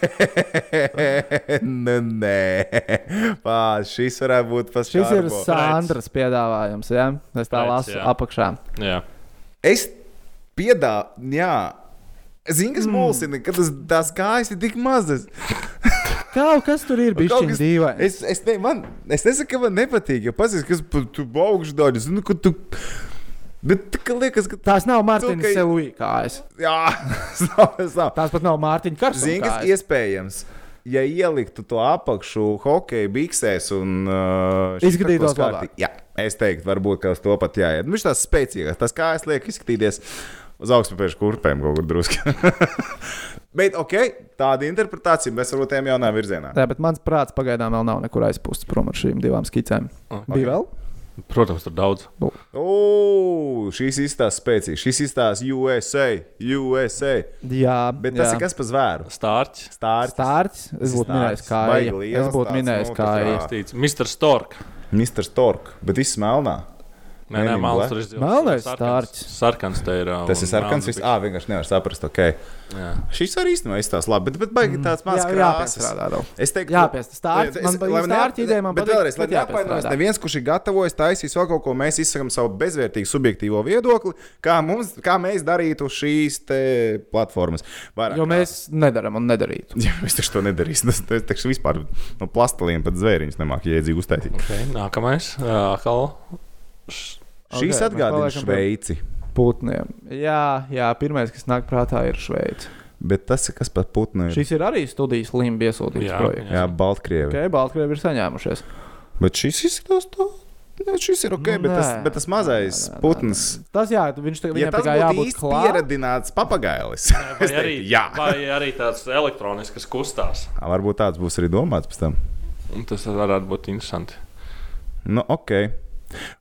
Speaker 2: (laughs) Nu, Nē, Pā, šis varētu būt pats.
Speaker 1: Šis ir
Speaker 2: Karbo.
Speaker 1: Sandras piedāvājums, jā? Es tā
Speaker 3: Prets,
Speaker 1: lasu
Speaker 3: jā.
Speaker 1: apakšā.
Speaker 3: Jā.
Speaker 2: Es piedāvāju, jā. Zini,
Speaker 1: Mm.
Speaker 2: kas mulsina, ka tas, tās kājas ir tik mazas.
Speaker 1: Kaut kas tur ir bijis
Speaker 2: Kaut kas-
Speaker 1: dīvains.
Speaker 2: Es, es, ne, man, es nesaku, ka man nepatīk, jo paskatās, kas pa- tu augšu daļu zini, ka tu. Bet tā kā liekas, ka tā.
Speaker 1: Tās nav Mārtiņa
Speaker 2: ka-
Speaker 1: Selūija kājas.
Speaker 2: Jā, (laughs) tas nav.
Speaker 1: Tās pat nav Mārtiņa Karsona.
Speaker 2: Zini, kas
Speaker 1: kājas.
Speaker 2: iespējams. Ja ieliktu to apakšu hokeja biksēs un uh, šis
Speaker 1: Izskatītos
Speaker 2: tā kā kārtī-
Speaker 1: labāk.
Speaker 2: Jā, es teiktu, varbūt ka uz to pat jāiet. Nu, Viņš tās spēcīgās, tas kā es lieku izskatīties uz augstspēļu kurpēm kaut kur drusku. (laughs) Bet, ok, tāda interpretācija mēs varam tiem jaunā virzienā.
Speaker 1: Jā, bet mans prāts pagaidām vēl nav nekur aizpūsts prom ar šīm divām skicēm.
Speaker 2: Ah,
Speaker 3: Ok.
Speaker 1: Bija vēl?
Speaker 3: Protams, tur daudz.
Speaker 2: O, šīs izstāsta spēcīgas, šīs izstāsta USA, USA.
Speaker 1: Jā,
Speaker 2: Bet
Speaker 1: jā.
Speaker 2: tas ir kas pa zvēru?
Speaker 3: Stārķis.
Speaker 2: Stārts,
Speaker 1: Stārts. Es būtu
Speaker 2: Stārts.
Speaker 1: minējis, kā arī.
Speaker 2: Baigi liels
Speaker 1: Es būtu
Speaker 2: tāds,
Speaker 1: minējis,
Speaker 2: nu,
Speaker 1: kā
Speaker 2: tā kā-
Speaker 1: arī.
Speaker 2: Jā.
Speaker 3: Mr. Stork.
Speaker 2: Mr. Stork, bet viss melnā.
Speaker 3: Nē, nē,
Speaker 2: Nē,
Speaker 3: melns
Speaker 2: black.
Speaker 3: tur izdzīvot.
Speaker 1: Melnais stārķis.
Speaker 3: Sarkans te ir. uh,
Speaker 2: Tas
Speaker 3: un
Speaker 2: ir sarkans.
Speaker 3: melns
Speaker 2: vis- Ā, vienkārši nevar saprast, ok.
Speaker 3: bija- Jā.
Speaker 2: Šis arī īstenībā izstāsta labi, bet, bet baigi tāds mazs krāsas.
Speaker 1: Mm. jāpiestrādā vēl.
Speaker 2: Es teiktu,
Speaker 1: Jāpiestrādā. Stārķis,
Speaker 2: Es-
Speaker 1: man
Speaker 2: lai
Speaker 1: patīk
Speaker 2: ne-
Speaker 1: stārķi ideja, man
Speaker 2: bet
Speaker 1: patīk.
Speaker 2: vēlreiz, lai neapvainojas
Speaker 1: jāpiestrādā.
Speaker 2: neviens, kurš ir gatavojis taisīs vēl kaut ko, mēs izsakām savu bezvērtīgu subjektīvo viedokli, kā, mums, kā mēs darītu šīs te platformas. Vairāk
Speaker 1: Jo
Speaker 2: kā-
Speaker 1: mēs nedaram un
Speaker 2: (laughs)
Speaker 1: nedarītu.
Speaker 2: Jā, es taču to nedarīšu. Es, es taču vispār no plasteliem pat zvēriņus nemāku jēdzīgi uztaisīt.
Speaker 3: Okay, nākamais. Uh, atkal. Š-
Speaker 1: Ok,
Speaker 2: Okay, Šīs
Speaker 1: mēs
Speaker 2: atgādina
Speaker 1: paliekam pie-
Speaker 2: Šveici,
Speaker 1: Putniem. Jā, jā pirmais, kas nāk prātā, ir Šveice.
Speaker 2: bet tas ir kas pat putnu. ir.
Speaker 1: Šis ir arī studijas limba iesūtīts
Speaker 3: Jā,
Speaker 1: projekts.
Speaker 2: Jā, Baltkrievi.
Speaker 1: Okay, Baltkrievi ir saņēmušies.
Speaker 2: Bet šis izskatās tā. Nē, šis ir ok,
Speaker 1: Nu,
Speaker 2: bet tas,
Speaker 1: nē.
Speaker 2: bet tas mazais
Speaker 1: Nē, nē, nē,
Speaker 2: putns.
Speaker 1: Tas jā, viņš tagad
Speaker 2: Ja
Speaker 1: viņam
Speaker 2: tas
Speaker 1: tā kā
Speaker 2: būtu
Speaker 1: jābūt
Speaker 2: īsti
Speaker 1: klāt.
Speaker 2: pieredzināts papagailis,
Speaker 3: Vai
Speaker 2: es teiktu,
Speaker 3: arī,
Speaker 2: jā.
Speaker 3: vai arī tāds elektronisks, kas kustās.
Speaker 2: Varbūt tāds būs arī domāts pēc tam.
Speaker 3: Un tas varētu būt interesanti.
Speaker 2: Nu, ok.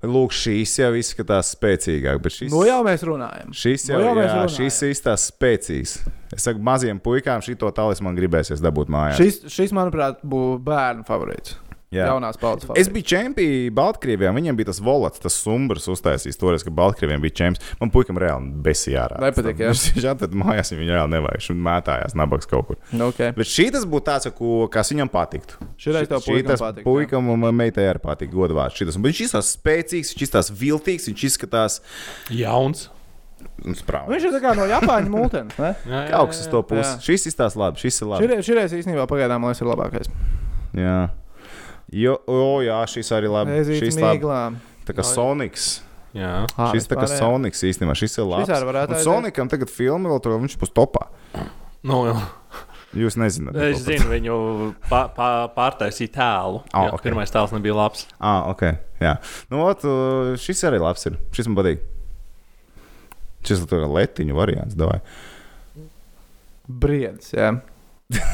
Speaker 2: Lūk, šīs jau izskatās spēcīgāk, bet šis,
Speaker 1: Nu jau mēs runājam.
Speaker 2: šis
Speaker 1: Nu
Speaker 2: jau,
Speaker 1: jau
Speaker 2: no
Speaker 1: mēs
Speaker 2: jā,
Speaker 1: runājam.
Speaker 2: šis izskatās spēcīgs. Es saku, maziem puikām šito talismanu gribēsies dabūt mājās.
Speaker 1: Šis, šis, manuprāt, būs bērnu favorīts. Jā. Jaunās paudzes
Speaker 2: Es
Speaker 1: favorīts.
Speaker 2: biju čempions Baltkrievijā, un viņiem bija tas volants, tas sumbrs uztaisījis toreiz, kad Baltkrievijiem bija čempions. Man puikam reāli besijā ārā.
Speaker 1: Nepatīk, jā.
Speaker 2: Viņš ir šādi, tad mājās viņam reāli nevajag, un mētājās nabaks kaut kur.
Speaker 1: Nu, okay.
Speaker 2: Bet šī tas būtu tāds, ko, kas viņam patiktu.
Speaker 1: Šitais tev
Speaker 2: Šī
Speaker 1: puikam
Speaker 2: tas
Speaker 1: patīk. jā.
Speaker 2: puikam un meitai arī patīk, godvārds. Šitas. Un Viņš izskatās spēcīgs, viņš izskatās viltīgs, viņš izskatās
Speaker 3: Jauns.
Speaker 2: un sprādzis.
Speaker 1: Viņš ir tā kā no Japāņu
Speaker 2: (laughs)
Speaker 1: mūtens. ne?
Speaker 3: Jā, jā,
Speaker 2: Kaut kas uz to puses.
Speaker 1: jā.
Speaker 2: Šis izskatās labi, šis ir labi.
Speaker 1: Šire- Šireiz īstenībā pagaidām, man liekas, ir labākais.
Speaker 2: Jā. Jo, o, jā, šis arī labi.
Speaker 1: Reizīt
Speaker 2: Šis labi.
Speaker 1: mīglām.
Speaker 2: Tā kā Sonics.
Speaker 3: Jā.
Speaker 1: Ā,
Speaker 2: Šis tā kā
Speaker 1: vispārējā.
Speaker 2: Sonics īstenībā, šis ir labs.
Speaker 1: arī varētu
Speaker 2: Un
Speaker 1: aiziet.
Speaker 2: Sonicam tagad filma vēl tur, viņš būs topā.
Speaker 3: Nu, jā.
Speaker 2: Jūs nezināt.
Speaker 3: Es
Speaker 2: ko par-
Speaker 3: zinu, viņu pā, pā, pārtaisīja tēlu.
Speaker 2: Ah,
Speaker 3: jā,
Speaker 2: ok.
Speaker 3: Pirmais tēls nebija labs.
Speaker 2: Ā, ok. Jā. Nu, ot, uh, šis arī labs ir. Šis man patīk. Šis ir tāds letiņu variants. Davai.
Speaker 1: Briedis, jā.
Speaker 2: (laughs)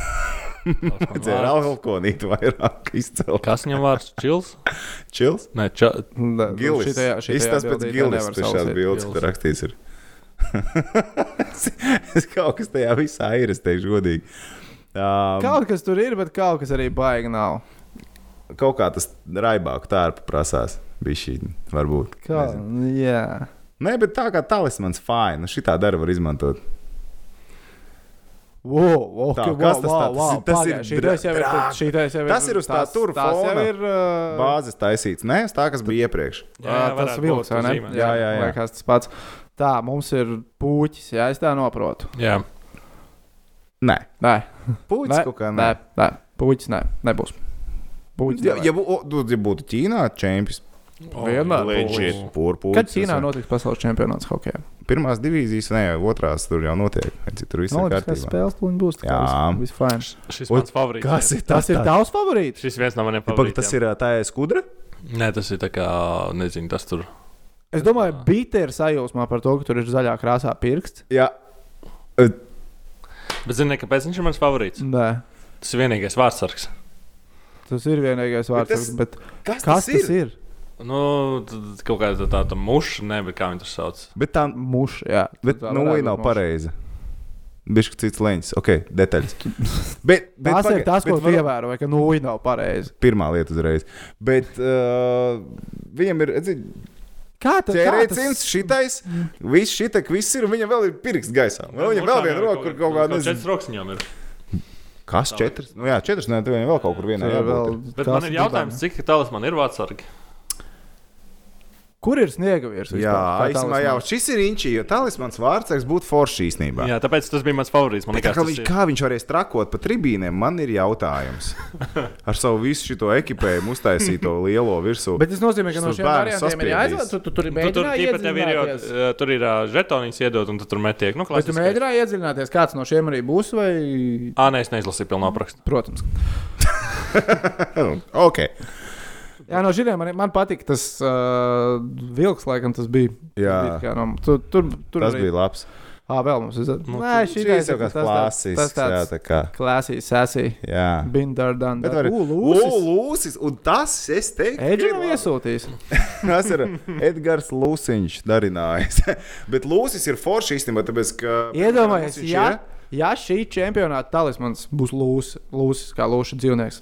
Speaker 2: Dzēr alkoholītu vairāk izcelt.
Speaker 3: Kas viņam vārds? Čils?
Speaker 2: Čils?
Speaker 3: Nē, ča...
Speaker 1: Nē, nu,
Speaker 2: Gilis.
Speaker 1: šitajā-
Speaker 2: Šis
Speaker 1: šitajā
Speaker 2: tas pēc
Speaker 1: bildītē
Speaker 2: gilis.
Speaker 1: nevar
Speaker 2: Tas šāds
Speaker 1: salasīt.
Speaker 2: bildes,
Speaker 3: Gilis.
Speaker 2: kur rakstīts ir. (laughs) es, es kaut kas tajā visā ir, es teikšu godīgi. Um,
Speaker 1: Kaut kas tur ir, bet kaut kas arī baigi nav.
Speaker 2: kaut kā tas raibāk tārpa prasās. Bija šī, varbūt.
Speaker 1: Kā,
Speaker 2: Nezinu.
Speaker 1: jā.
Speaker 2: Nē, bet tā kā talismans fine. Nu, šitā dara var izmantot.
Speaker 1: Wow,
Speaker 2: Tā,
Speaker 1: okay,
Speaker 2: kas
Speaker 1: wow,
Speaker 2: tas
Speaker 1: wow,
Speaker 2: tā- tas
Speaker 1: wow,
Speaker 2: ir- tas ir
Speaker 1: pagaid, šitais jau ir-
Speaker 2: drāk.
Speaker 1: šitais jau ir-
Speaker 2: Tas ir uz tā
Speaker 1: tās-
Speaker 2: tur
Speaker 1: tās jau
Speaker 2: fona.
Speaker 1: ir, uh,
Speaker 2: Bāzes taisīts. Nē, uz tā, kas bija iepriekš.
Speaker 1: Jā, jā, tas
Speaker 3: varētu
Speaker 1: vilks,
Speaker 3: būt
Speaker 1: vai ne?
Speaker 3: zīmē.
Speaker 2: Jā, jā, jā.
Speaker 1: Liekas, tas pats. Tā, mums ir puķis, jā, es tā noprotu.
Speaker 3: jā.
Speaker 2: Nē,
Speaker 1: Nē,
Speaker 2: puķis kaut kā
Speaker 1: nē,
Speaker 2: nē.
Speaker 1: nē puķis nē, nebūs. Puķis
Speaker 2: Ja,
Speaker 1: nevajag.
Speaker 2: ja, bū- o, tu- ja būtu Ķīnā čempions,
Speaker 3: Oh,
Speaker 1: Vienmēr
Speaker 2: leģit, purpuļs.
Speaker 1: Kad Ķīnā notiks pasaules čempionāts hokeja?
Speaker 2: Pirmās divīzijas, ne, vai otrās tur jau notiek. vai cik Tur viss ir
Speaker 1: Olimpiskās
Speaker 2: kārtībā.
Speaker 1: spēles tuliņ būs. tā kā
Speaker 2: Jā.
Speaker 1: viss- viss fine.
Speaker 3: Šis
Speaker 2: Oi,
Speaker 3: mans favorīts.
Speaker 2: Kas ir
Speaker 1: Tas
Speaker 2: tas?
Speaker 1: ir tavs favorīts?
Speaker 3: Šis viens no
Speaker 2: Ja,
Speaker 3: maniem
Speaker 2: Pagaid,
Speaker 3: favorītiem.
Speaker 2: tas ir э, ā, tā ir skudra.
Speaker 3: Nē, tas ir tā kā, nezinu, tas tur.
Speaker 1: Es domāju, Bīte ir sajūsmā par to, ka tur ir zaļā krāsā pirksts.
Speaker 2: Jā,
Speaker 3: Bet zini, ne, kāpēc viņš ir mans favorīts?
Speaker 1: Nē,
Speaker 3: Tas ir vienīgais vārdsargs.
Speaker 1: tas ir vienīgais
Speaker 2: Bet
Speaker 1: vārds.
Speaker 2: tas-
Speaker 1: Bet
Speaker 2: kas,
Speaker 1: kas tas ir?
Speaker 3: Nu, t- t- kaut kāda tāda muša, nevis kā viņi to sauc.
Speaker 2: Bet tā
Speaker 1: Muša, jā.
Speaker 2: bet,
Speaker 1: Tā
Speaker 2: nu,
Speaker 1: varētu
Speaker 2: viņa
Speaker 1: būt
Speaker 2: nav
Speaker 1: muša.
Speaker 2: pareiza. Bišķi cits leņķis, ok, detaļas. bet, bet,
Speaker 1: Tas ir
Speaker 2: pagaid,
Speaker 1: tas, ko
Speaker 2: bet var-
Speaker 1: tu ievēroji, ka nūja nav pareizi.
Speaker 2: Pirmā lieta uzreiz. Bet uh, viņam ir redzi,
Speaker 1: Kā tad- kā tas
Speaker 2: ķērēcins, šitais, viss šitak, viss ir, un viņam vēl ir pirksts
Speaker 3: Nu,
Speaker 2: gaisā. Un Viņam vēl viena roka, kur kaut kāda nezinu.
Speaker 3: Četras rokas viņam ir.
Speaker 2: Kas četras? Nu jā, četras, nē, tev vēl kaut kur vienā.
Speaker 1: Tur
Speaker 2: jābūt ir.
Speaker 1: vēl
Speaker 3: Bet
Speaker 1: tās
Speaker 3: man ir jautājums,
Speaker 1: dibens.
Speaker 3: cik tāls man ir vārdsargi?
Speaker 1: Kur ir sniega virsma?
Speaker 2: Jā, īstenībā jau šis ir īņķis, jo talismans vārdsargs būtu foršs īstenībā.
Speaker 3: Jā, tāpēc tas bija mans favorīts. Man
Speaker 2: Bet tā
Speaker 3: liekas,
Speaker 2: Kā,
Speaker 3: tas
Speaker 2: viņš,
Speaker 3: ir.
Speaker 2: kā viņš varēs trakot pa tribīnēm, man ir (laughs) jautājums. Ar savu visu šo ekipējumu uztaisīto lielo virsū.
Speaker 1: Bet tas nozīmē, ka no
Speaker 2: Šis
Speaker 1: šiem
Speaker 2: bērns
Speaker 1: variantiem ir
Speaker 2: saspiedīs.
Speaker 1: jāizvēlas. Tu, tu tur
Speaker 3: Nu, tur
Speaker 1: mēģināji
Speaker 3: tīpa tev ir jau
Speaker 1: iedziļināties.
Speaker 3: uh, tur ir uh, žetoniņš iedod, un tu tur metiek. Nu,
Speaker 1: Bet tu
Speaker 3: klasiskais.
Speaker 1: mēģināji iedziļināties, kāds no šiem arī būs, vai...
Speaker 3: Ā, nē, es neizlasīju pilnu aprakstu.
Speaker 1: Protams.
Speaker 2: Hm, okay.
Speaker 1: Jā, no šiem man, man patīk tas uh, vilks, laikam tas bija.
Speaker 2: Jā.
Speaker 1: Bija tā kā No, tur tur, tur
Speaker 2: Tas bija labs.
Speaker 1: Ā, vēl mums ir.
Speaker 3: Nu,
Speaker 1: Nē, šī
Speaker 2: Šis jau kāds klasisks.
Speaker 1: Tas
Speaker 2: Jā,
Speaker 1: tāds
Speaker 2: tā kā.
Speaker 1: klasisks, sasī.
Speaker 2: Jā.
Speaker 1: Bindardam.
Speaker 2: Bet arī
Speaker 1: Lūsis.
Speaker 2: Lūsis. Un tas, es teiktu,
Speaker 1: Edžina iesūtīs.
Speaker 2: (laughs) tas ir Edgars Lūsiņš darinājis. (laughs) Bet Lūsis ir foršs īstenībā, tāpēc, ka...
Speaker 1: Iedomājieties,
Speaker 2: Lūsiņš
Speaker 1: ja,
Speaker 2: ir-
Speaker 1: ja šī čempionāta talismans būs lūsis, lūsis kā lūša dzīvnieks,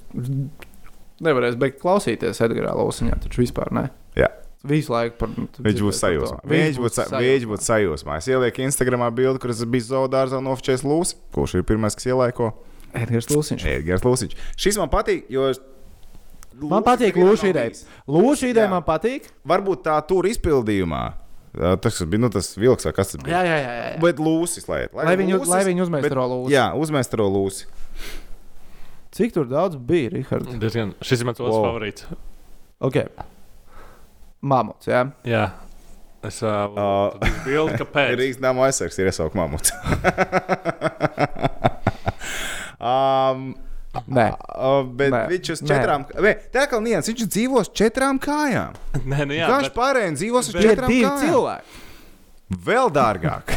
Speaker 1: nevarēs beigt klausīties Edgars Lūsiņā. Taču vispār ne.
Speaker 2: Jā.
Speaker 1: visu laiku par to.
Speaker 2: Viņš būs sajūsmā. Viņš būs sa- viņš būs sajūsmā. Es ielieku Instagramā bildi, kuras bija zaudārs un ofčēs lūsis. Kurš ir pirmais, kas ielaiko?
Speaker 1: Edgars Lūsiņš.
Speaker 2: Edgars Lūsis. Šis man patīk, jo. es-
Speaker 1: Man
Speaker 2: Lūsis
Speaker 1: patīk
Speaker 2: nevienam
Speaker 1: lūšu
Speaker 2: nav
Speaker 1: ideja.
Speaker 2: bijis.
Speaker 1: Lūšu ideja
Speaker 2: Jā.
Speaker 1: man patīk.
Speaker 2: Varbūt tā tur izpildījumā. Ā, Tas kas bija nu, tas vilks, vai kas tas bija.
Speaker 1: Jā, jā, jā. jā. jā.
Speaker 2: Bet lūsis, lai,
Speaker 1: Lai viņu, lai viņu
Speaker 2: bet-
Speaker 1: uzmēstro lūsu.
Speaker 2: Jā, uzmēstro lūsi.
Speaker 1: Cik tur daudz bija, Rihards?
Speaker 2: Mm.
Speaker 3: Diezgan, šis ir mans otrs
Speaker 2: Wow.
Speaker 3: wow. favorīts.
Speaker 1: Ok. Mamuts, jā.
Speaker 3: Jā, es uh,
Speaker 2: Ā.
Speaker 3: uh, bildu,
Speaker 2: Ir
Speaker 3: kāpēc.
Speaker 2: Rīgas nama aizsargs, ir iesaukt mamuts. (laughs) um,
Speaker 1: Nē.
Speaker 2: Uh, bet
Speaker 1: Nē.
Speaker 2: Nē. viņš uz
Speaker 1: Nē.
Speaker 2: četrām kājām. Tā kā Nīans, viņš dzīvo uz četrām kājām.
Speaker 3: (laughs) Nē, nu jā,
Speaker 2: Viņš
Speaker 3: bet,
Speaker 2: pārējiem dzīvo uz
Speaker 3: bet-
Speaker 1: Tie ir
Speaker 2: četrām
Speaker 1: divi
Speaker 2: kājām.
Speaker 1: cilvēki.
Speaker 2: Vēl dārgāk.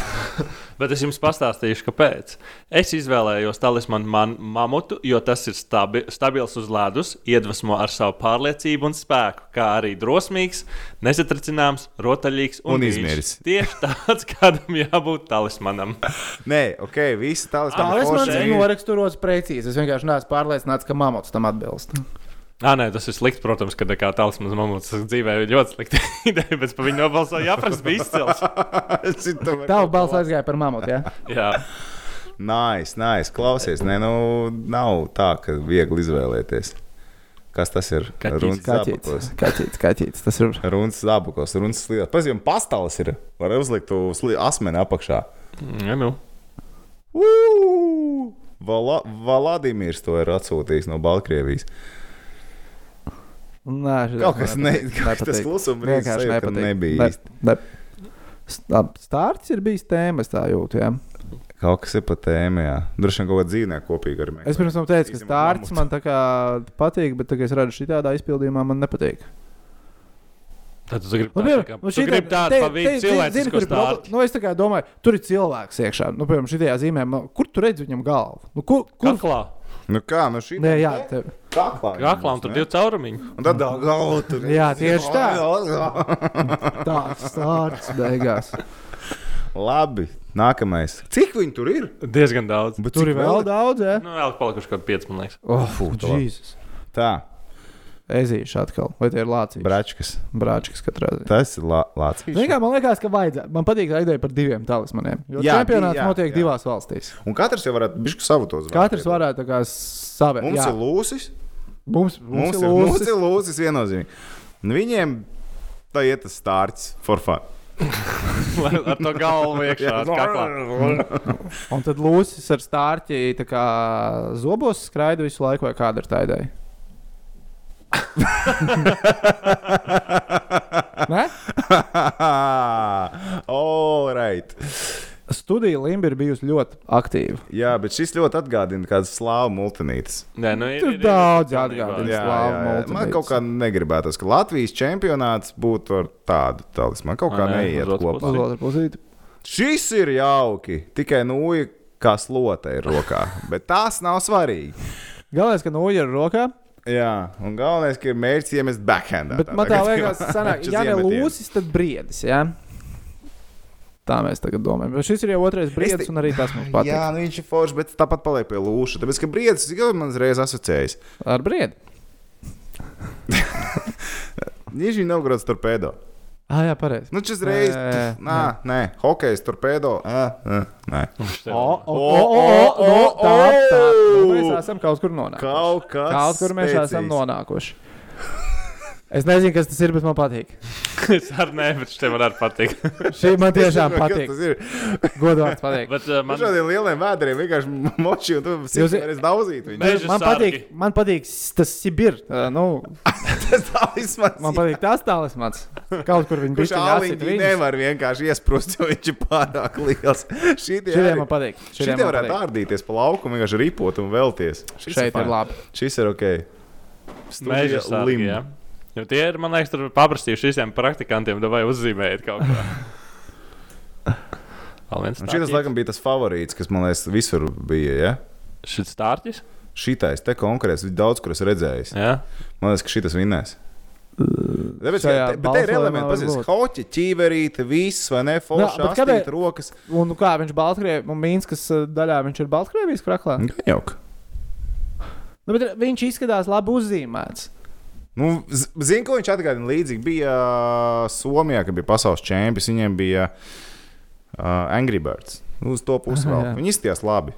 Speaker 3: bet es jums pastāstīšu, kāpēc. Es izvēlējos talismanu man, mamutu, jo tas ir stabi, stabils uz ledus, iedvesmo ar savu pārliecību un spēku, kā arī drosmīgs, nesatricināms, rotaļīgs un,
Speaker 2: Un
Speaker 3: mīļš.
Speaker 2: izmēris.
Speaker 3: (laughs) Tieši tāds, kādam jābūt talismanam.
Speaker 2: Nē, ok, visi tālāk.
Speaker 1: Tā es man
Speaker 3: forši.
Speaker 1: zinu, noraksturots precīzi. Es vienkārši neesmu pārliecināts, ka mamuts tam atbilst.
Speaker 3: Ah, nē, tas ir slikti, protams, kad kā talismans mamuts dzīvē ir ļoti slikta (laughs) ideja, bet par viņu nobalsoja jāprasa bija izcils.
Speaker 1: Tava balss aizgāja par mamutu,
Speaker 2: (laughs)
Speaker 1: jā.
Speaker 3: Jā.
Speaker 2: Nē, nē, klausies. Nē, nu, nav tā, ka viegli izvēlēties. Kas tas ir?
Speaker 3: Kaķis.
Speaker 2: Runas
Speaker 1: Kaķīts,
Speaker 2: zābakos.
Speaker 1: kaķīts, kaķīts. Tas ir.
Speaker 2: Runas zābakos, runas slīdās. Pazīm, pastāles ir. Var uzlikt uz sli- asmeni apakšā.
Speaker 3: Jā, nu.
Speaker 2: Ū! Vala, Vladimirs to ir atsūtījis no Baltkrievijas.
Speaker 1: Nē, šis
Speaker 2: Kaut kas
Speaker 1: man
Speaker 2: ne-
Speaker 1: nepatīk.
Speaker 2: kaut kas tas
Speaker 1: Nepatīk.
Speaker 2: klusums brīdis
Speaker 1: Vienkārši
Speaker 2: sajūta, ka
Speaker 1: nepatīk.
Speaker 2: nebija
Speaker 1: Ne-
Speaker 2: īsti.
Speaker 1: ne. Stā- Stārts ir bijis tēma, es tā jūtu. Jā.
Speaker 2: Kaut kas ir pa tēmu, jā. Droši vien kaut kāda dzīvnieka kopīga ar
Speaker 1: Es pirms tam teicu, ka stārts man tā kā patīk, bet tagad es redzu, ka šādā izpildījumā man nepatīk.
Speaker 3: Tad tu gribi
Speaker 1: Nu,
Speaker 3: tādu,
Speaker 1: piemēram,
Speaker 3: kā,
Speaker 1: nu,
Speaker 3: tu
Speaker 1: šitai-
Speaker 3: gribi tādu
Speaker 1: te-
Speaker 3: pa vidu
Speaker 1: te- zini,
Speaker 3: cilvēcisku
Speaker 1: kur ir
Speaker 3: stāstu.
Speaker 1: problēma? Nu, es tā kā domāju, tur ir cilvēks iekšā. Nu, piemēram, šajā zīmē, man- kur tu redzi viņam galvu? Nu, kur? kur?
Speaker 3: Kaklā,
Speaker 2: Nu kā, nu šī
Speaker 1: Nē, jā, te,
Speaker 2: kaklā.
Speaker 3: kaklā un tur divi caurumiņi.
Speaker 2: Un tad tā galva tur.
Speaker 1: Jā, tieši
Speaker 2: tā.
Speaker 1: tāds stārts beigās.
Speaker 2: (laughs) Labi, nākamais. Cik viņi tur ir?
Speaker 3: Diezgan daudz.
Speaker 2: Nu, Bet
Speaker 1: Tur
Speaker 2: cik
Speaker 1: ir vēl daudz, e? jā?
Speaker 3: Nu, vēl palikuši kaut kādi pieci, man liekas.
Speaker 1: Oh,
Speaker 2: Fū, tā labi.
Speaker 1: Jēzus.
Speaker 2: Tā,
Speaker 1: Ezīšu atkal, vai tie ir lācīši?
Speaker 2: bračkas.
Speaker 1: Brāčkas katrā ziņā.
Speaker 2: Tas ir lā- lācis.
Speaker 1: Zini, kā, man liekas, ka vajadzētu. Man patīk tā ideja par diviem talismaniem. Jo jā,
Speaker 2: Jā,
Speaker 1: čempionāts jā,
Speaker 2: jā,
Speaker 1: notiek jā.
Speaker 2: jā.
Speaker 1: divās valstīs.
Speaker 2: Un katrs jau varētu bišku savu tos.
Speaker 1: Katrs
Speaker 2: varētu
Speaker 1: varētu tā kā savēt.
Speaker 2: iedot.
Speaker 1: jā.
Speaker 2: Mums ir lūsis.
Speaker 1: mums, mums,
Speaker 2: Mums ir
Speaker 1: lūzis.
Speaker 2: lūsis. Mums ir lūsis viennozīmīgi. Un Viņiem tā iet tas stārts for fun. (laughs)
Speaker 3: Lai Ar to galvu iekšā. ar kaklā. (laughs)
Speaker 1: Un tad lūsis ar stārķi tā kā zobos skraida visu laiku, vai kāda ir tā ideja? Nē?
Speaker 2: All right.
Speaker 1: Studija Limba ir bijusi ļoti aktīva.
Speaker 2: Jā, bet šis ļoti atgādina kādas slāvu multinītes.
Speaker 3: Nē, nu, ir,
Speaker 1: Tur
Speaker 3: ir, ir,
Speaker 1: daudz
Speaker 3: pilnībā.
Speaker 1: jāatgādina.
Speaker 2: Jā,
Speaker 1: Slāvu
Speaker 2: jā, jā. Man
Speaker 1: multinītes.
Speaker 2: kaut kā negribētos, ka Latvijas čempionāts būtu ar tādu talismanu. Man kaut kā
Speaker 3: Ai, nē,
Speaker 2: neiet
Speaker 3: uz otru
Speaker 1: Uz
Speaker 2: kopā.
Speaker 1: otru pusi.
Speaker 2: Šis ir jauki, tikai nūja kā slote ir rokā, bet tās nav svarīgi.
Speaker 1: Galvenais, ka nūja ir rokā.
Speaker 2: Jā, un galvenais, ka ir mērķis iemest backhandā.
Speaker 1: Bet man tā
Speaker 2: kā (laughs)
Speaker 1: liekas, sanāk,
Speaker 2: mačus
Speaker 1: ja ne
Speaker 2: iemetienus.
Speaker 1: lūsis, tad briedis. Jā? Tā mēs tagad domājam. Bet šis ir jau otrais briedis,
Speaker 2: te-
Speaker 1: un arī tas mums
Speaker 2: Jā,
Speaker 1: patīk.
Speaker 2: nu viņš ir foršs, bet tāpat paliek pie lūša. Tāpēc, ka brīvdienas jau man uzreiz asociējas.
Speaker 1: Ar briedi.
Speaker 2: Viņš ir Novgorods torpedo.
Speaker 1: Ah, jā, pareizi.
Speaker 2: Nu, šis reizes.
Speaker 1: Nē,
Speaker 2: Nē, nē, hokejs torpedo. Ā, ā, Nē.
Speaker 3: Šitā.
Speaker 1: O, o,
Speaker 2: O,
Speaker 1: o, o,
Speaker 2: o,
Speaker 1: o, tā, tā.
Speaker 2: o!
Speaker 1: Nu, Mēs esam kaut kur nonākuši.
Speaker 2: Kaut kas.
Speaker 1: Kaut kur mēs
Speaker 2: spēcīgs.
Speaker 1: esam nonākuši. Es nezinu, kas tas ir, bet man patīk.
Speaker 3: (laughs) Es ar nē, bet šitiem man arī patīk.
Speaker 1: Šī man tiešām
Speaker 2: Kas
Speaker 1: patīk.
Speaker 2: Tas ir.
Speaker 1: Godvārds patīk.
Speaker 3: (laughs) Bet, uh,
Speaker 2: Man...
Speaker 3: man,
Speaker 2: Šādiem lieliem vēderiem vienkārši moči, un tu
Speaker 1: Jūs-
Speaker 2: vari daudzīt viņu.
Speaker 1: Man
Speaker 3: Bet- Meža
Speaker 1: patīk,
Speaker 3: sargi.
Speaker 1: man patīk s- tas Sibir. Uh, nu,
Speaker 2: (laughs) Tas talismans.
Speaker 1: man patīk tās talismans. Kaut kur viņi
Speaker 2: Kurš
Speaker 1: bija.
Speaker 2: āliņķi nevar vienkārši iesprūst, jo viņš ir pārāk liels. Šitie
Speaker 1: Šitiem
Speaker 2: arī-
Speaker 1: man patīk.
Speaker 2: Šitie
Speaker 1: Šitiem man
Speaker 2: varētu
Speaker 1: patīk.
Speaker 2: ārdīties pa laukumu, vienkārši ripot un vēlties. Šis
Speaker 1: Šeit ir
Speaker 2: fajn.
Speaker 1: labi.
Speaker 2: Šis ir ok.
Speaker 3: Meža
Speaker 2: Studija
Speaker 3: sargi,
Speaker 2: Lim.
Speaker 3: jā. Jo tie ir, man liekas, tur paprastījuši visiem praktikantiem, nu, vai uzzīmējiet kaut ko.
Speaker 1: (laughs)
Speaker 3: Vēl viens.
Speaker 2: Un šis,
Speaker 3: stārķis.
Speaker 2: laikam, bija tas favorīts, kas man liekas, visur bija. Ja?
Speaker 3: Šis stārķis?
Speaker 2: Šitais te konkrēts, viņš daudz kur es redzēju.
Speaker 3: Jā.
Speaker 2: Man liekas, ka šitas vinnēs. Tāpēc, ka,
Speaker 1: šajā
Speaker 2: te, bet te ir
Speaker 1: balsojumā
Speaker 2: elementi,
Speaker 1: var
Speaker 2: kas ir
Speaker 1: būt.
Speaker 2: hoci, ķīverīte, viss vai ne, forši,
Speaker 1: bet
Speaker 2: apskatīt
Speaker 1: kādēļ-
Speaker 2: rokas.
Speaker 1: Un nu kā viņš Baltkrievijas, un Mīnskas uh, daļā viņš ir Baltkrievijas kraklā. eh,
Speaker 2: Gan Jauk.
Speaker 1: Nu, bet viņš izskatās labi uzzīmēts.
Speaker 2: Nu, Zinu, ko viņš atgādina līdzīgi. Bija uh, Somijā, kad bija pasaules čempions, viņiem bija uh, Angry Birds. Nu, uz to pusi
Speaker 1: Aha,
Speaker 2: vēl.
Speaker 1: jā.
Speaker 2: Viņi izties labi.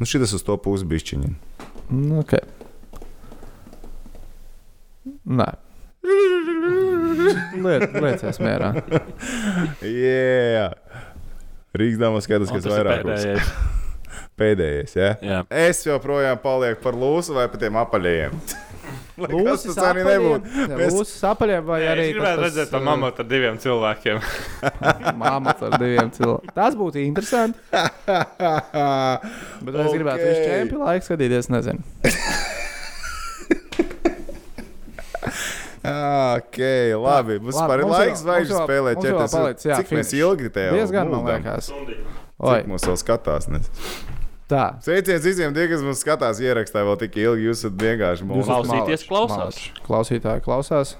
Speaker 2: Nu, šis uz to pusi bija šķiņķi.
Speaker 1: Nu, okay. Nē. Liet, lieciet mierā.
Speaker 2: Jā, Rīgas dāmas skatās,
Speaker 3: Un
Speaker 2: kas
Speaker 3: tas ir
Speaker 2: vairāk būs
Speaker 3: pēdējais.
Speaker 1: (laughs)
Speaker 2: pēdējais. Ja?
Speaker 3: Jā.
Speaker 2: Es joprojām palieku par lūsu vai par tiem apaļajiem. (laughs) Lai kas
Speaker 1: Lūsis
Speaker 2: tas arī nebūtu. (laughs) Mēs-
Speaker 1: Lūsis apaļiem vai
Speaker 3: Jā,
Speaker 1: arī.
Speaker 3: es gribētu
Speaker 1: tas-
Speaker 3: redzēt to
Speaker 1: (laughs)
Speaker 3: mammu ar diviem cilvēkiem.
Speaker 1: Māmas ar diviem cilvēkiem. Tas būtu interesanti. Bet okay. es gribētu visu čempionu laiku skatīties, nezinu.
Speaker 2: Ok, labi. Mums
Speaker 1: Labi,
Speaker 2: par
Speaker 1: mums
Speaker 2: laiks
Speaker 1: vēl-
Speaker 2: vajag
Speaker 1: mums vēl-
Speaker 2: spēlēt
Speaker 1: mums vēl
Speaker 2: četras.
Speaker 1: paliec, jā,
Speaker 2: Cik mēs
Speaker 1: finish.
Speaker 2: ilgi te jau
Speaker 1: Diezgan, man
Speaker 2: mūžam?
Speaker 1: liekas. Oi,
Speaker 2: Cik mums vēl skatās? Nes?
Speaker 1: tā.
Speaker 2: Sveiciens visiem, tie, kas mums skatās, ierakstā vēl tik ilgi. Jūs esat vienkārši
Speaker 1: Jūs
Speaker 2: mūsu
Speaker 1: esat
Speaker 3: Klausīties,
Speaker 1: malači,
Speaker 3: klausās.
Speaker 1: malači. Klausītāji klausās.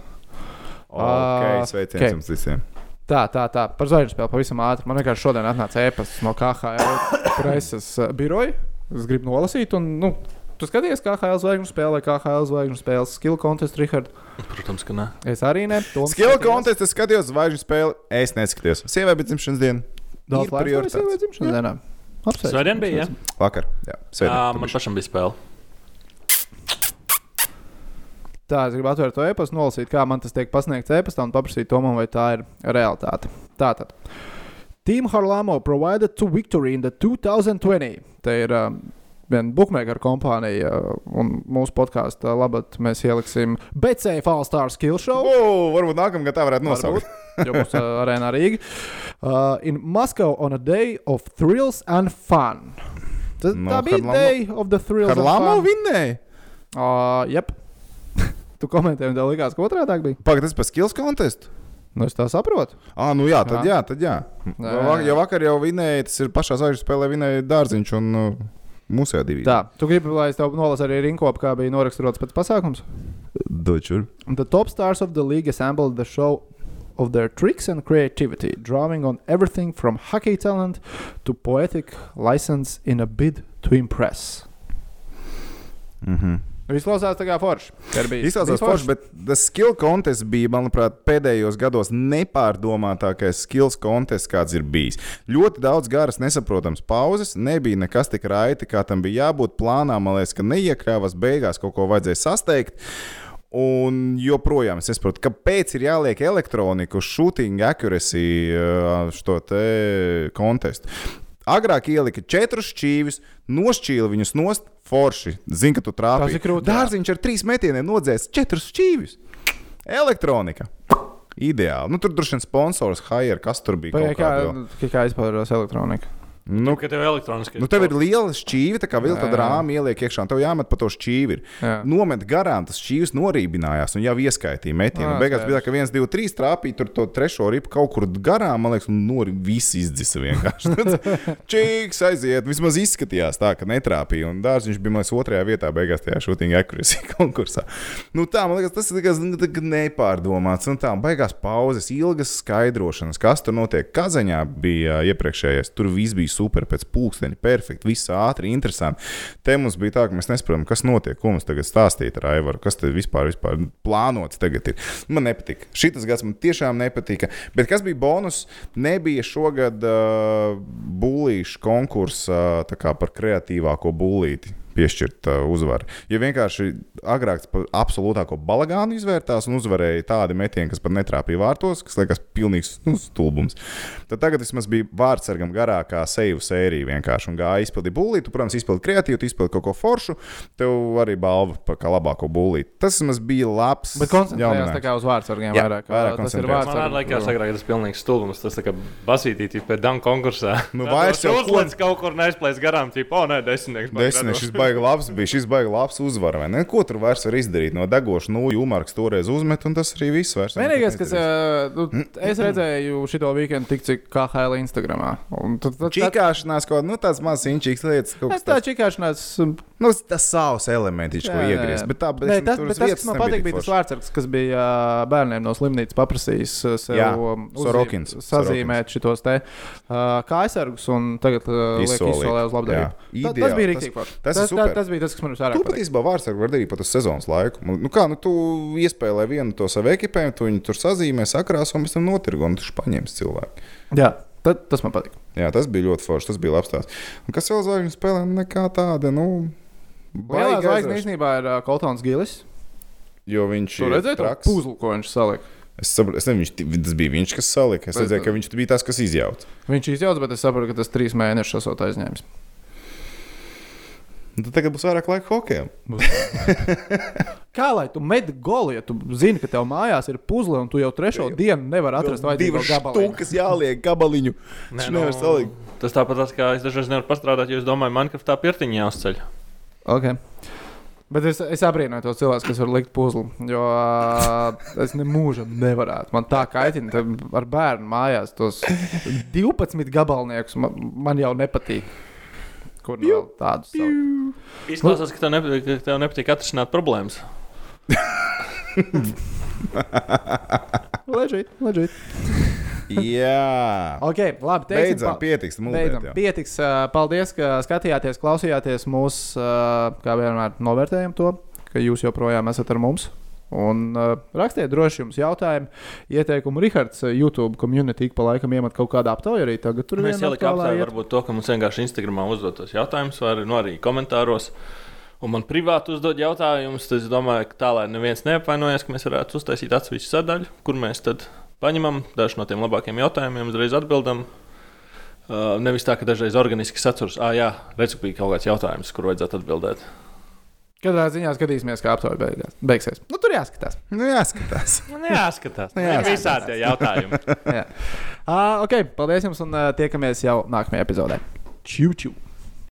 Speaker 2: Ok,
Speaker 1: Ah,
Speaker 2: sveiciens
Speaker 1: ok.
Speaker 2: okay. jums visiem.
Speaker 1: Tā, tā, tā. Par zvaigžņu spēli pavisam ātri. Man vienkārši šodien atnāca ēpasts no KHL preses eh, biroja. Es gribu nolasīt, un nu, tu skaties, kā HL zvaigžņu spēlē, kā HL zvaigžņu spēlē skill kontestu, Richard.
Speaker 3: Protams, ka nē.
Speaker 1: Es arī ne. Toms
Speaker 2: Skill
Speaker 1: skatījās.
Speaker 2: kontekstā es skatījos zvaigžņu spēli. Es neskatījos. Sievai bija dzimšanas diena.
Speaker 1: Daudz
Speaker 2: Ir
Speaker 1: laika
Speaker 2: prioritātes.
Speaker 1: sievai dzimšanas dienā. Apsveicam.
Speaker 3: Svētdien bija, jā?
Speaker 2: Vakar. Jā,
Speaker 3: jā
Speaker 2: sveiciens.
Speaker 3: Ah, man pašam bija spēle.
Speaker 1: Tā, es gribu atvērt to e-pastu, nolasīt, kā man tas tiek pasniegts e-pastā un paprasīt to man, vai tā ir realitāte. Tātad. Team Harlamo provided to victory in the 2020. Tā ir um, viena bookmaker kompānija uh, un mūsu podkāstā labāk mēs ieliksim BC Fall Star Skill
Speaker 2: (laughs)
Speaker 1: Show.
Speaker 2: Oh, varbūt nākamā gada tā varētu nosaukt.
Speaker 1: jo mums uh, arēnā Rīga. Uh, in Moscow on a day of thrills and fun. Tas,
Speaker 2: No,
Speaker 1: no, tā bija
Speaker 2: Harlamo-
Speaker 1: day of the thrills
Speaker 2: Ar Lamo
Speaker 1: and fun.
Speaker 2: vinnēja.
Speaker 1: Uh, jep. (laughs) tu komentēji, un tev likās, ka otrādi bija.
Speaker 2: Pagaidiet, tas par skills kontekstu.
Speaker 1: Nu, es tā saprotu.
Speaker 2: Ah, nu jā, tad
Speaker 1: Jā.
Speaker 2: jā, tad jā.
Speaker 1: Jā,
Speaker 2: Jo
Speaker 1: jā,
Speaker 2: vak-
Speaker 1: jā.
Speaker 2: Jo vakar jau vinnēja, tas ir pašā zvaigžņu spēlē, vinnēja dārziņš un uh, mūsu divi.
Speaker 1: Tā, tu gribi, lai es tev nolasu arī rinkopu, kā bija noraksturots pēc pasākums.
Speaker 2: dočur.
Speaker 1: The top stars of the league assembled the show of their tricks and creativity, drawing on everything from hockey talent to poetic license in a bid to impress.
Speaker 2: Mhm.
Speaker 1: Nu, Izklausās tā kā forši. Tā ir bijusi.
Speaker 2: Izklausās forši, bet tas skill kontests bija, manuprāt, pēdējos gados nepārdomātākais skills kontests, kāds ir bijis. Ļoti daudz garas, nesaprotams pauzes, nebija nekas tik raiti, kā tam bija jābūt plānā. Man liekas, ka neiekļāvās beigās kaut ko vajadzēja sasteigt. Un joprojām es saprotu, kāpēc ir jāliek elektronika uz shooting accuracy ā, šo te kontestu. Agrāk ielika četrus šķīvis, nošķīla viņus nost, forši. Zini, ka tu trāpīji.
Speaker 1: Tas ir krūti, jā.
Speaker 2: Dārziņš ar trīs metieniem nodzēs četrus šķīvis. Elektronika. Ideāli. Nu, tur droši vien sponsors, Haier, kas tur bija.
Speaker 1: Pagaid,
Speaker 2: Kaut
Speaker 1: kā, nu,
Speaker 2: kā, kā,
Speaker 1: kā, kā izpaužās elektronika.
Speaker 2: nu,
Speaker 3: Ka tev elektroniski.
Speaker 2: nu, tev ir liela šķīve, tā kā
Speaker 1: Jā,
Speaker 2: vilta
Speaker 1: jā.
Speaker 2: drāma ieliek iekšā, un tev jāmet pa to šķīvi. ir.
Speaker 1: Jā.
Speaker 2: Nomet garām, tas šķīvis norībinājās, un jau ieskaitīja metienu.
Speaker 1: Ā,
Speaker 2: Nu, Beigās
Speaker 1: skaidrs.
Speaker 2: bija tā, ka viens, divi, trīs trāpīja tur to trešo ripu kaut kur garām, man liekas, un nori visi izdzisa vienkārši. (laughs) Čīks aiziet, vismaz izskatījās tā, ka netrāpīja, un dārziņš bija, man liekas, otrajā vietā beigās tajā shooting accuracy (laughs) konkursā. Nu tā, man liekas, tas ir tikai nu, tā kā nepārdomāts, un tā, un beigās pauzes, ilgas skaidrošanas, kas tur notiek. Kazaņā bija iepriekšējais, tur viss bija super, pēc pulksteņa, perfekti, viss ātri, interesanti. Te mums bija tā, ka mēs nesaprotam, kas notiek, ko mums tagad stāstīt ar Aivaru, kas te vispār, vispār plānots tagad ir. Man nepatika. Šis gads man tiešām nepatika. Bet kas bija bonus? Nebija šogad uh, būlīšu konkursa uh, tā kā par kreatīvāko būlīti. Piešķirt uh, uzvaru. Ja vienkārši agrāk par absolūtāko balagānu izvērtās un uzvarēja tādi metieni, kas pat netrāpīja vārtos, kas liekas pilnīgs nu, stulbums, tad tagad vismaz bija vārdsargam garākā seju sērija vienkārši un gāja izpildīt būlīti. Tu, Protams, izpildīt kreatīvu, tu izpildīt kaut ko foršu, tev arī balva par kā labāko būlīti. Tas vismaz bija labs.
Speaker 1: Bet koncentrējās
Speaker 2: jauninājums.
Speaker 1: tā kā uz vārdsargiem
Speaker 2: Jā,
Speaker 1: vairāk. tas ir
Speaker 2: vairāk koncentrējās.
Speaker 1: vārds.
Speaker 3: Man arī liekas, agrāk tas bija pilnīgs stulbums. Tas tā kā basītīja pēc dāmas konkursā.
Speaker 2: (laughs) Nu,
Speaker 3: Tad
Speaker 2: vairs
Speaker 3: jau
Speaker 2: jau ko-
Speaker 3: uzlēdz kaut kur neaizplēs garām, tipo, o, nē, desmitnieks. man
Speaker 2: Desmit,
Speaker 3: grados."
Speaker 2: šis baigs labs bija, šis baigs labs uzvara. vai ne? Ko tur vairs var izdarīt? No degoša nūja Umarks toreiz uzmet, un tas arī viss. Vairs,
Speaker 1: Vienīgais,
Speaker 2: neko
Speaker 1: kas
Speaker 2: neizdarīs.
Speaker 1: ā, nu, es redzēju šo weekendu, tik cik KHL Instagramā. Un tad- tad- tad-
Speaker 2: Čikāšanās kaut kāda nu, tāda mazā inčīgas lietas, kaut
Speaker 1: Es
Speaker 2: kas
Speaker 1: tā
Speaker 2: tāds
Speaker 1: čikāšanās. um,
Speaker 2: - nu, tas savs elements, ko
Speaker 1: Jā, jā,
Speaker 2: iegriezt.
Speaker 1: jā.
Speaker 2: Bet tā, bet
Speaker 1: Nē, tas,
Speaker 2: tur
Speaker 1: bet
Speaker 2: uz
Speaker 1: tas,
Speaker 2: vietas
Speaker 1: kas man
Speaker 2: nebija
Speaker 1: patīk,
Speaker 2: tik
Speaker 1: bija tas
Speaker 2: forši.
Speaker 1: vārds, kas bija ā, bērniem no slimnīcas paprasījis ā, sev
Speaker 2: Jā,
Speaker 1: um, uzzīm-
Speaker 2: Sorokins,
Speaker 1: sazīmēt šitos te uh, kājasargus un tagad uh, liek
Speaker 2: Izsolīt.
Speaker 1: izsolē uz labdarību.
Speaker 2: Jā.
Speaker 1: Ta- Tas bija
Speaker 2: Ideāli,
Speaker 1: rīktīgi.
Speaker 2: Tas, tas ir
Speaker 1: tā,
Speaker 2: super.
Speaker 1: tas bija tas, kas man
Speaker 2: Tu
Speaker 1: vairāk
Speaker 2: pat
Speaker 1: patīk.
Speaker 2: īstenībā vārdsargu var darīt pat uz sezonas laiku. Man- Nu, kā, nu, tu iespēlē vienu to savu ekipējumu, tu viņu tur sazīmē, sakrāsā un pēc tam notirgo, un tu paņemsi cilvēku.
Speaker 1: Jā, tad, tas man patīk.
Speaker 2: Jā, tas bija ļoti forši, tas bija labs stāsts. Un kas vēl zvaigžņu spēlē, nu, nekā tāda, nu,
Speaker 1: Lielā
Speaker 2: baigi
Speaker 1: zvaigznē
Speaker 2: aizraujoša,
Speaker 1: īstenībā ir uh, Koltons Gilis.
Speaker 2: Jo viņš
Speaker 1: Tur
Speaker 2: ir
Speaker 1: redzēja to
Speaker 2: traks.
Speaker 1: puzlu, ko viņš salika.
Speaker 2: Es saprotu, es nezinu, viņš ti- tas bija viņš, kas salika. Es
Speaker 1: Bet-
Speaker 2: redzēju, ka viņš bija tas, kas izjauca.
Speaker 1: Viņš izjauca, bet es saprotu, ka tas trīs mēnešus esot aizņēmis.
Speaker 2: Un Tad tagad būs vairāk laika hokeja.
Speaker 1: Kā lai tu met goli, ja tu zini, ka tev mājās ir puzle un tu jau trešo dienu nevari atrast vajadzīgo gabalu?
Speaker 2: stūkas jāliek gabaliņu.
Speaker 3: Nē, nu.
Speaker 2: Viņš nevar salikt.
Speaker 3: Tas tāpat tas, kā es dažreiz nevaru pastrādāt, jo es domāju, Minecraftā pirtiņā jāuzceļ.
Speaker 1: Okay. Bet es, es abrīnoju tos cilvēkus, kas var likt puzli. Jo ā, es nemūžam nevarētu. Man tā kaitina tā ar bērnu mājās tos 12 gabalniekus. Man, man jau nepatīk. Kur nu no tādus? salikt?
Speaker 3: Izklausās, ka tev nepatīk, ka tev nepatīk atrisināt problēmas.
Speaker 1: Ležīt, ležīt.
Speaker 2: (laughs) Jā.
Speaker 1: Ok, labi. Teiksim,
Speaker 2: Beidzam,
Speaker 1: pa-
Speaker 2: pietiks. muldēt,
Speaker 1: Beidzam.
Speaker 2: jā.
Speaker 1: Pietiks. ā, Paldies, ka skatījāties, klausījāties mūsu, kā vienmēr, novērtējam to, ka jūs joprojām esat ar mums. Un uh, rakstiet, droši jums jautājumu, ieteikumu. Rahards, uh, YouTube komunitī ik pa laikam iemet kaut kādu aptauju arī tagad. Tur
Speaker 3: Mēs
Speaker 1: viena
Speaker 3: ielikām
Speaker 1: aktuālā
Speaker 3: aptvērumu,
Speaker 1: iet.
Speaker 3: varbūt to, ka mums vienkārši Instagramā uzdot tos jautājumus, vai nu arī komentāros. Un man privāti uzdod jautājumus, tad es domāju, ka tā, lai neviens neapvainojas, ka mēs varētu uztaisīt atsevišķu sadaļu, kur mēs tad paņemam dažus no tiem labākiem jautājumiem, uzreiz atbildam. Uh, nevis tā, ka dažreiz organiski saturas, ah, jā, redzu, bija kaut kāds jautājums, kur vajadzētu atbildēt.
Speaker 1: Katrā ziņā skatīsimies, kā aptauja beigās- beigsies. Nu, tur jāskatās.
Speaker 2: Nu, jāskatās.
Speaker 3: Man nu, jāskatās. Jā,
Speaker 2: jāskatās.
Speaker 3: visādi tie jautājumi.
Speaker 1: Jā. Uh, ok, paldies jums un uh, tiekamies jau nākamajā epizodē. Čiu, čiu!